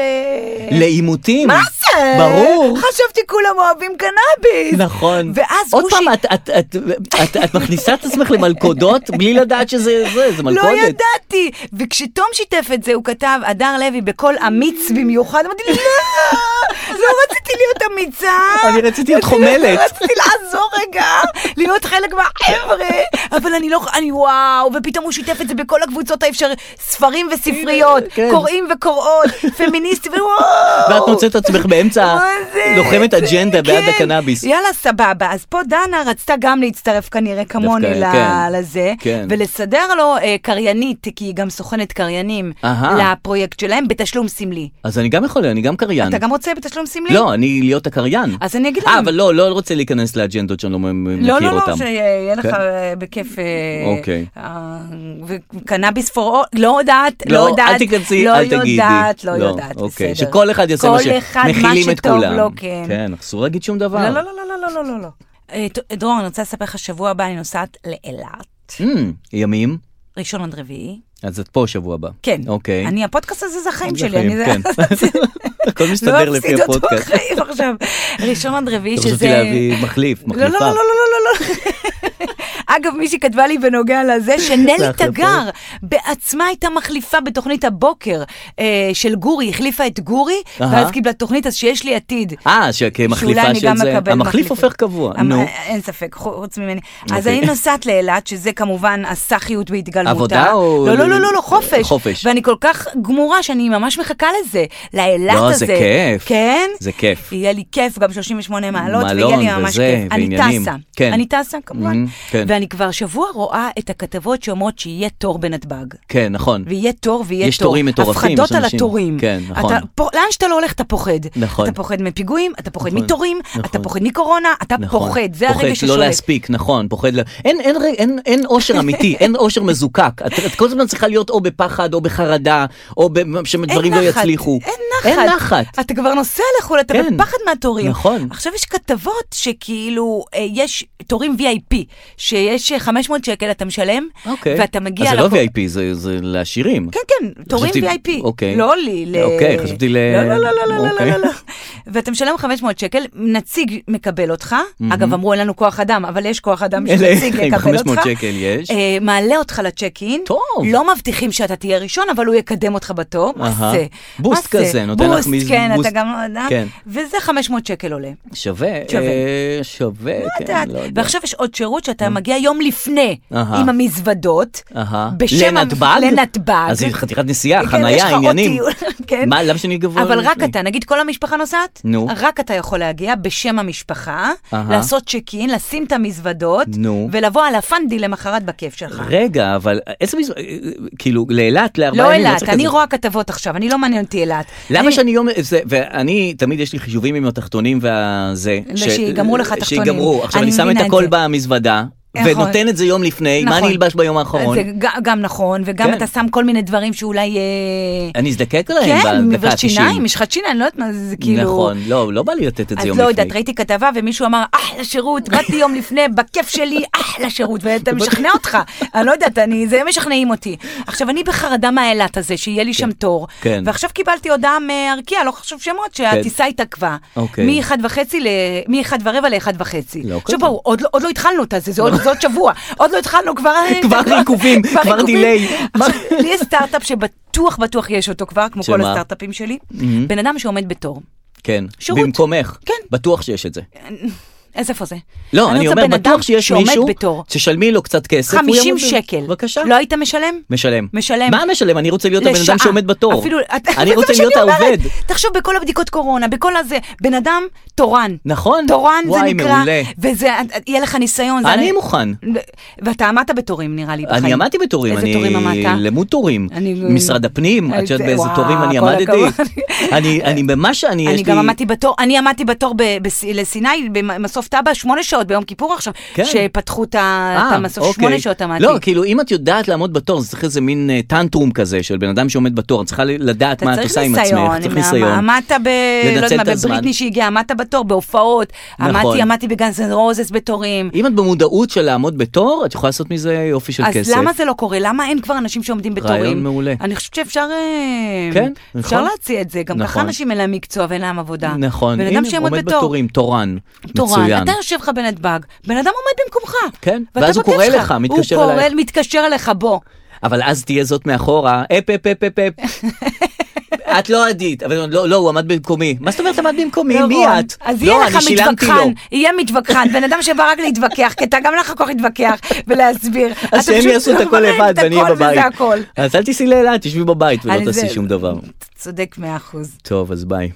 [SPEAKER 2] לעימותים.
[SPEAKER 3] מה זה?
[SPEAKER 2] ברור.
[SPEAKER 3] חשבתי כולם אוהבים קנאביס.
[SPEAKER 2] נכון.
[SPEAKER 3] ואז
[SPEAKER 2] עוד
[SPEAKER 3] הוא
[SPEAKER 2] פעם, את, את, את, את, את מכניסה את עצמך למלכודות בלי לדעת שזה זה, זה מלכודת.
[SPEAKER 3] לא ידעתי. וכשתום שיתף את זה, הוא כתב, הדר לוי, בקול אמיץ במיוחד, אמרתי לי, לא, לא רציתי להיות אמיצה.
[SPEAKER 2] אני רציתי להיות חומלת."
[SPEAKER 3] רציתי לעזור רגע, להיות חלק מהחבר'ה, אבל אני לא, אני וואו, ופתאום הוא שיתף את זה בכל הקבוצות האפשריות, ספרים וספריות,
[SPEAKER 2] כן.
[SPEAKER 3] קוראים וקוראות, פמיניסטים, וואו.
[SPEAKER 2] ואת מוצאת את עצמך באמצע
[SPEAKER 3] מה זה?
[SPEAKER 2] לוחמת אג'נדה בעד
[SPEAKER 3] כן.
[SPEAKER 2] הקנאביס.
[SPEAKER 3] יאללה, סבבה. אז פה דנה רצתה גם להצטרף כנראה כמוני
[SPEAKER 2] דווקא,
[SPEAKER 3] ל-
[SPEAKER 2] כן.
[SPEAKER 3] לזה,
[SPEAKER 2] כן.
[SPEAKER 3] ולסדר לו אה, קריינית, כי היא גם סוכנת קריינים,
[SPEAKER 2] אהה.
[SPEAKER 3] לפרויקט שלהם בתשלום סמלי.
[SPEAKER 2] אז אני גם יכול, אני גם קריין.
[SPEAKER 3] אתה גם רוצה בתשלום סמלי?
[SPEAKER 2] לא, אני להיות הקריין.
[SPEAKER 3] אז אני אגיד
[SPEAKER 2] אה,
[SPEAKER 3] להם.
[SPEAKER 2] אבל לא, לא רוצה להיכנס לאג'נדות שאני לא מ- מכיר
[SPEAKER 3] לא,
[SPEAKER 2] אותן.
[SPEAKER 3] לא, לא, שיהיה לך
[SPEAKER 2] כן.
[SPEAKER 3] אה, בכיף, אה,
[SPEAKER 2] אוקיי.
[SPEAKER 3] אה, וקנאביס פור אול, לא יודעת, לא
[SPEAKER 2] לא,
[SPEAKER 3] יודעת,
[SPEAKER 2] אל תיכנסי,
[SPEAKER 3] לא
[SPEAKER 2] אל תגידי.
[SPEAKER 3] יודעת, לא
[SPEAKER 2] לא,
[SPEAKER 3] יודעת,
[SPEAKER 2] אוקיי,
[SPEAKER 3] בסדר.
[SPEAKER 2] שכל אחד יעשה מה ש-
[SPEAKER 3] כל אחד מה
[SPEAKER 2] מכילים את
[SPEAKER 3] שטוב
[SPEAKER 2] כולם.
[SPEAKER 3] לו, כן.
[SPEAKER 2] כן, אסור להגיד שום דבר.
[SPEAKER 3] לא, לא, לא, לא, לא, לא, לא, לא. אה, ת- דרור, אני רוצה לספר לך, שבוע הבא אני נוסעת לאילת,
[SPEAKER 2] Mm, ימים?
[SPEAKER 3] ראשון עד רביעי.
[SPEAKER 2] אז את פה שבוע הבא.
[SPEAKER 3] כן.
[SPEAKER 2] אוקיי.
[SPEAKER 3] אני, הפודקאסט הזה זה החיים כן.
[SPEAKER 2] זה
[SPEAKER 3] שלי. אני
[SPEAKER 2] חיים, כן. הכל מסתדר
[SPEAKER 3] לא
[SPEAKER 2] לפי
[SPEAKER 3] אפסיד אותו
[SPEAKER 2] הפודקאסט.
[SPEAKER 3] חיים עכשיו. ראשון עד רביעי שזה...
[SPEAKER 2] חשבתי להביא מחליף,
[SPEAKER 3] לא, לא,
[SPEAKER 2] מחליפה.
[SPEAKER 3] לא, לא, לא, לא, לא. אגב, מישהי כתבה לי בנוגע לזה, שנלי
[SPEAKER 2] להחלפות.
[SPEAKER 3] תגר בעצמה הייתה מחליפה בתוכנית הבוקר אה, של גורי, החליפה את גורי,
[SPEAKER 2] אהה.
[SPEAKER 3] ואז קיבלה תוכנית, אז שיש לי עתיד.
[SPEAKER 2] אה,
[SPEAKER 3] שאולי
[SPEAKER 2] שכמחליפה
[SPEAKER 3] אני
[SPEAKER 2] של
[SPEAKER 3] גם
[SPEAKER 2] זה.
[SPEAKER 3] אקבל
[SPEAKER 2] המחליף
[SPEAKER 3] מחליפים. אמ, אה,
[SPEAKER 2] הופך קבוע,
[SPEAKER 3] המ-
[SPEAKER 2] נו.
[SPEAKER 3] אין ספק, חוץ ממני. אז
[SPEAKER 2] אוקיי.
[SPEAKER 3] אני נוסעת לאילת, שזה כמובן הסאחיות בהתגלמותה.
[SPEAKER 2] עבודה או-
[SPEAKER 3] לא, לא, לא, לא, לא, חופש.
[SPEAKER 2] חופש.
[SPEAKER 3] ואני כל כך גמורה שאני ממש מחכה לזה, לאילת הזה.
[SPEAKER 2] לא, זה כיף.
[SPEAKER 3] כן?
[SPEAKER 2] זה כיף.
[SPEAKER 3] יהיה לי כיף, גם 38 מעלות, ויהיה
[SPEAKER 2] מלון
[SPEAKER 3] לי ממש
[SPEAKER 2] וזה,
[SPEAKER 3] כיף. אני
[SPEAKER 2] ועניינים.
[SPEAKER 3] טסה.
[SPEAKER 2] כן.
[SPEAKER 3] אני טסה, כמובן.
[SPEAKER 2] Mhm, כן.
[SPEAKER 3] ואני כבר שבוע רואה את הכתבות שאומרות שיהיה תור בנתב"ג.
[SPEAKER 2] כן, נכון.
[SPEAKER 3] ויהיה תור ויהיה תור.
[SPEAKER 2] יש תורים מטורפים, יש
[SPEAKER 3] הפחדות על
[SPEAKER 2] אנשים-
[SPEAKER 3] התורים.
[SPEAKER 2] כן, נכון.
[SPEAKER 3] אתה, פה, לאן שאתה לא הולך אתה פוחד.
[SPEAKER 2] נכון.
[SPEAKER 3] אתה פוחד מפיגועים, אתה פוחד
[SPEAKER 2] נכון,
[SPEAKER 3] מתורים, אתה
[SPEAKER 2] נכון.
[SPEAKER 3] פוחד מקורונה, אתה
[SPEAKER 2] נכון.
[SPEAKER 3] פוחד, זה
[SPEAKER 2] פוחד
[SPEAKER 3] הרגע ששולט.
[SPEAKER 2] לא להספיק, נכון, פוחד ל... אין, אין, ר- אין, אין אושר אמיתי, אין אושר מזוקק. את, את כל הזמן צריכה להיות או בפחד, או בחרדה, או ב-
[SPEAKER 3] אין
[SPEAKER 2] שדברים לא
[SPEAKER 3] נחת,
[SPEAKER 2] יצליחו.
[SPEAKER 3] אין נחת.
[SPEAKER 2] אין נחת.
[SPEAKER 3] אתה כבר נוסע לחו"ל, אתה
[SPEAKER 2] כן.
[SPEAKER 3] בפחד מהתורים.
[SPEAKER 2] נכון.
[SPEAKER 3] עכשיו יש כתבות שכאילו, אה, יש תורים VIP, שיש אה, 500 שקל אתה משלם,
[SPEAKER 2] אוקיי.
[SPEAKER 3] ואתה מגיע...
[SPEAKER 2] אז זה לא
[SPEAKER 3] לקו-
[SPEAKER 2] VIP, זה, זה לעשירים.
[SPEAKER 3] כן, כן, תורים
[SPEAKER 2] חשבתי-
[SPEAKER 3] VIP.
[SPEAKER 2] אוקיי.
[SPEAKER 3] לא לי, ל...
[SPEAKER 2] אוקיי, חשבתי ל-
[SPEAKER 3] לא, לא, לא, לא, לא, לא,
[SPEAKER 2] אוקיי.
[SPEAKER 3] לא, לא. ואתה משלם 500 שקל, נציג מקבל אותך. אגב, אמרו, אין לנו כוח אדם, אבל יש כוח אדם
[SPEAKER 2] אלה,
[SPEAKER 3] שנציג
[SPEAKER 2] עם
[SPEAKER 3] יקבל אותך.
[SPEAKER 2] 500 שקל יש.
[SPEAKER 3] אה, מעלה אותך לצ'ק אין.
[SPEAKER 2] טוב.
[SPEAKER 3] לא מבטיחים שאתה תהיה ראשון, אבל הוא יקדם אותך בתור. מה
[SPEAKER 2] אהה.
[SPEAKER 3] זה?
[SPEAKER 2] בוסט
[SPEAKER 3] מה זה?
[SPEAKER 2] כזה, נותן לך
[SPEAKER 3] בוסט,
[SPEAKER 2] מז-
[SPEAKER 3] כן,
[SPEAKER 2] בוסט.
[SPEAKER 3] אתה גם לא יודע.
[SPEAKER 2] כן.
[SPEAKER 3] וזה 500 שקל עולה.
[SPEAKER 2] שווה,
[SPEAKER 3] כן. שווה.
[SPEAKER 2] אה, שווה, כן,
[SPEAKER 3] יודעת.
[SPEAKER 2] לא יודע. אה.
[SPEAKER 3] ועכשיו יש עוד שירות שאתה מגיע יום לפני
[SPEAKER 2] אהה.
[SPEAKER 3] עם המזוודות.
[SPEAKER 2] אהה.
[SPEAKER 3] בשם ה-
[SPEAKER 2] לנתב"ג?
[SPEAKER 3] לנתב"ג.
[SPEAKER 2] אז היא חתיכת נסיעה,
[SPEAKER 3] כן, יש
[SPEAKER 2] חנייה,
[SPEAKER 3] לך עוד
[SPEAKER 2] עניינים.
[SPEAKER 3] טיול, כן.
[SPEAKER 2] מה, למה שאני גבוה?
[SPEAKER 3] אבל רק אתה, נגיד כל המשפחה נוסעת,
[SPEAKER 2] נו.
[SPEAKER 3] רק אתה יכול להגיע בשם המשפחה,
[SPEAKER 2] אהה.
[SPEAKER 3] לעשות צ'ק אין, לשים את המזוודות,
[SPEAKER 2] נו.
[SPEAKER 3] ולבוא על הפנדי למחרת בכיף שלך.
[SPEAKER 2] רגע, אבל איזה מזווד, כאילו, לאילת, לארבעה
[SPEAKER 3] לא
[SPEAKER 2] ימים,
[SPEAKER 3] אילת,
[SPEAKER 2] צריך
[SPEAKER 3] אני
[SPEAKER 2] כזה.
[SPEAKER 3] רואה כתבות עכשיו, אני לא מעניין אותי אילת.
[SPEAKER 2] למה
[SPEAKER 3] אני-
[SPEAKER 2] שאני יום, זה, ואני, תמיד יש לי חישובים עם התחתונים והזה. ש-
[SPEAKER 3] שיגמרו לך תחתונים.
[SPEAKER 2] שיגמרו. עכשיו
[SPEAKER 3] אני
[SPEAKER 2] אני שם
[SPEAKER 3] מבינה
[SPEAKER 2] את
[SPEAKER 3] את
[SPEAKER 2] הכל
[SPEAKER 3] זה.
[SPEAKER 2] במזוודה,
[SPEAKER 3] נכון.
[SPEAKER 2] ונותן את זה יום לפני, מה
[SPEAKER 3] נכון.
[SPEAKER 2] אני אלבש ביום האחרון?
[SPEAKER 3] זה ג- גם נכון, וגם
[SPEAKER 2] כן.
[SPEAKER 3] אתה שם כל מיני דברים שאולי... אה,
[SPEAKER 2] אני אזדקק להם
[SPEAKER 3] כן,
[SPEAKER 2] בדקה
[SPEAKER 3] מברשת שיניים,
[SPEAKER 2] ה-90.
[SPEAKER 3] משחת שיניים, לא יודעת מה זה, זה כאילו...
[SPEAKER 2] נכון, לא, לא בא לי לתת את זה
[SPEAKER 3] אז
[SPEAKER 2] יום
[SPEAKER 3] לא
[SPEAKER 2] לפני.
[SPEAKER 3] יודעת, ראיתי כתבה ומישהו אמר, "אה, אחלה שירות, באתי יום לפני, בכיף שלי, אחלה שירות, ואתה משכנע אותך. אני לא יודעת, אני, זה משכנעים אותי. עכשיו, אני בחרדה מהאילת הזה, שיהיה לי שם תור,
[SPEAKER 2] כן.
[SPEAKER 3] ועכשיו קיבלתי הודעה מארקיע, לא חשוב שמות, שהטיסה התעכבה.
[SPEAKER 2] אוקיי.
[SPEAKER 3] מ-1 וחצי ל... מ-1 ורבע ל-1 וחצי.
[SPEAKER 2] לא
[SPEAKER 3] עכשיו
[SPEAKER 2] כזה.
[SPEAKER 3] בואו, עוד לא- עוד לא התחלנו את הזה, זה עוד זה עוד שבוע. עוד לא התחלנו, כבר...
[SPEAKER 2] כבר עיכובים, כבר
[SPEAKER 3] עיכובים.
[SPEAKER 2] delay. מה-
[SPEAKER 3] עכשיו, לי יש סטארט-אפ שבטוח בטוח יש אותו כבר, כמו כל
[SPEAKER 2] שמה?
[SPEAKER 3] הסטארט-אפים שלי. בן אדם שעומד בתור.
[SPEAKER 2] כן,
[SPEAKER 3] שירות.
[SPEAKER 2] במקומך.
[SPEAKER 3] כן.
[SPEAKER 2] בטוח שיש את זה.
[SPEAKER 3] אז איפה זה?
[SPEAKER 2] לא, אני
[SPEAKER 3] רוצה
[SPEAKER 2] אומר,
[SPEAKER 3] בן אדם
[SPEAKER 2] בטוח שיש מישהו,
[SPEAKER 3] שעומד בתור.
[SPEAKER 2] תשלמי לו קצת כסף. הוא
[SPEAKER 3] 50
[SPEAKER 2] יעמוד ב-
[SPEAKER 3] שקל.
[SPEAKER 2] בבקשה.
[SPEAKER 3] לא היית משלם?
[SPEAKER 2] משלם.
[SPEAKER 3] משלם.
[SPEAKER 2] מה משלם? אני רוצה להיות הבן אדם
[SPEAKER 3] לשעה.
[SPEAKER 2] שעומד בתור.
[SPEAKER 3] אפילו, את-
[SPEAKER 2] אני
[SPEAKER 3] זה
[SPEAKER 2] רוצה
[SPEAKER 3] מה
[SPEAKER 2] להיות
[SPEAKER 3] שאני אומרת.
[SPEAKER 2] העובד.
[SPEAKER 3] תחשוב, בכל הבדיקות קורונה, בכל הזה, בן אדם תורן.
[SPEAKER 2] נכון.
[SPEAKER 3] תורן זה
[SPEAKER 2] וואי,
[SPEAKER 3] נקרא,
[SPEAKER 2] מעולה.
[SPEAKER 3] וזה, יהיה לך ניסיון. זה
[SPEAKER 2] אני מוכן.
[SPEAKER 3] ואתה עמדת בתורים, נראה לי, בחיים.
[SPEAKER 2] אני עמדתי בתורים,
[SPEAKER 3] איזה
[SPEAKER 2] אני
[SPEAKER 3] תורים עמדת?
[SPEAKER 2] למוד תורים,
[SPEAKER 3] אני-
[SPEAKER 2] משרד הפנים,
[SPEAKER 3] אה,
[SPEAKER 2] את יודעת
[SPEAKER 3] זה-
[SPEAKER 2] באיזה
[SPEAKER 3] וואו,
[SPEAKER 2] תורים אני
[SPEAKER 3] כל
[SPEAKER 2] עמדתי,
[SPEAKER 3] הכבוד.
[SPEAKER 2] אני, אני ממש, אני, יש
[SPEAKER 3] אני
[SPEAKER 2] לי,
[SPEAKER 3] גם עמדתי בתור, אני עמדתי בתור ב- בס- לסיני, במסוף טאבה, שמונה שעות ביום כיפור עכשיו,
[SPEAKER 2] כן.
[SPEAKER 3] שפתחו את ה-
[SPEAKER 2] אה,
[SPEAKER 3] את המסוף,
[SPEAKER 2] אוקיי.
[SPEAKER 3] שמונה שעות עמדתי.
[SPEAKER 2] לא, כאילו אם את יודעת לעמוד בתור, זה צריך איזה מין אה, טנטרום כזה של בן אדם שעומד בתור, את צריכה ל- לדעת מה את עושה עם עצמך, צריך ניסיון.
[SPEAKER 3] עמדת ב...
[SPEAKER 2] לנצל
[SPEAKER 3] לא יודעת מה,
[SPEAKER 2] את הזמן.
[SPEAKER 3] בבריטני שהגיעה, עמדת בתור, בהופעות,
[SPEAKER 2] נכון.
[SPEAKER 3] עמדתי, עמדתי בגאנס אנד רוזס בתורים.
[SPEAKER 2] אם את במודעות של לעמוד בתור, את יכולה לעשות מזה יופי של
[SPEAKER 3] אז
[SPEAKER 2] כסף.
[SPEAKER 3] למה זה לא קורה? למה אין כבר אנשים שעומדים בתורים?
[SPEAKER 2] רעיון מעולה.
[SPEAKER 3] אני חושבת שאפשר אה,
[SPEAKER 2] כן,
[SPEAKER 3] אפשר
[SPEAKER 2] נכון.
[SPEAKER 3] להציע את זה. גם ככה
[SPEAKER 2] נכון.
[SPEAKER 3] אנשים אין להם מקצוע ואין להם עבודה.
[SPEAKER 2] נכון,
[SPEAKER 3] בן אדם
[SPEAKER 2] הנה,
[SPEAKER 3] שיעמוד
[SPEAKER 2] עומד
[SPEAKER 3] בתור.
[SPEAKER 2] בתורים, תורן,
[SPEAKER 3] תורן,
[SPEAKER 2] מצוין.
[SPEAKER 3] אתה יושב לך בנתב"ג, בן אדם עומד במקומך.
[SPEAKER 2] כן,
[SPEAKER 3] ואתה
[SPEAKER 2] ואז הוא
[SPEAKER 3] בכיף
[SPEAKER 2] קורא
[SPEAKER 3] שלך.
[SPEAKER 2] לך, מתקשר
[SPEAKER 3] הוא קורא,
[SPEAKER 2] אלייך.
[SPEAKER 3] מתקשר אליך, בוא.
[SPEAKER 2] אבל אז תהיה זאת מאחורה, אפ אפ אפ אפ אפ. את לא עדית, אבל לא, לא, הוא עמד במקומי. מה זאת אומרת עמד במקומי? מי
[SPEAKER 3] נכון.
[SPEAKER 2] את?
[SPEAKER 3] אז יהיה
[SPEAKER 2] לא,
[SPEAKER 3] לך
[SPEAKER 2] אני שילמתי
[SPEAKER 3] מתווכחן,
[SPEAKER 2] לו.
[SPEAKER 3] יהיה מתווכחן, בן אדם שבא רק להתווכח, כי אתה גם לך כוח להתווכח ולהסביר.
[SPEAKER 2] אז
[SPEAKER 3] אתה
[SPEAKER 2] שהם
[SPEAKER 3] פשוט
[SPEAKER 2] יעשו את הכל
[SPEAKER 3] מרים
[SPEAKER 2] לבד
[SPEAKER 3] את
[SPEAKER 2] ואני אהיה
[SPEAKER 3] הכל
[SPEAKER 2] בבית.
[SPEAKER 3] וזה הכל.
[SPEAKER 2] אז אל תיסעי לאילת, תשבי בבית ולא
[SPEAKER 3] אני זה-
[SPEAKER 2] תעשי שום דבר.
[SPEAKER 3] צודק מאה אחוז.
[SPEAKER 2] טוב, אז ביי.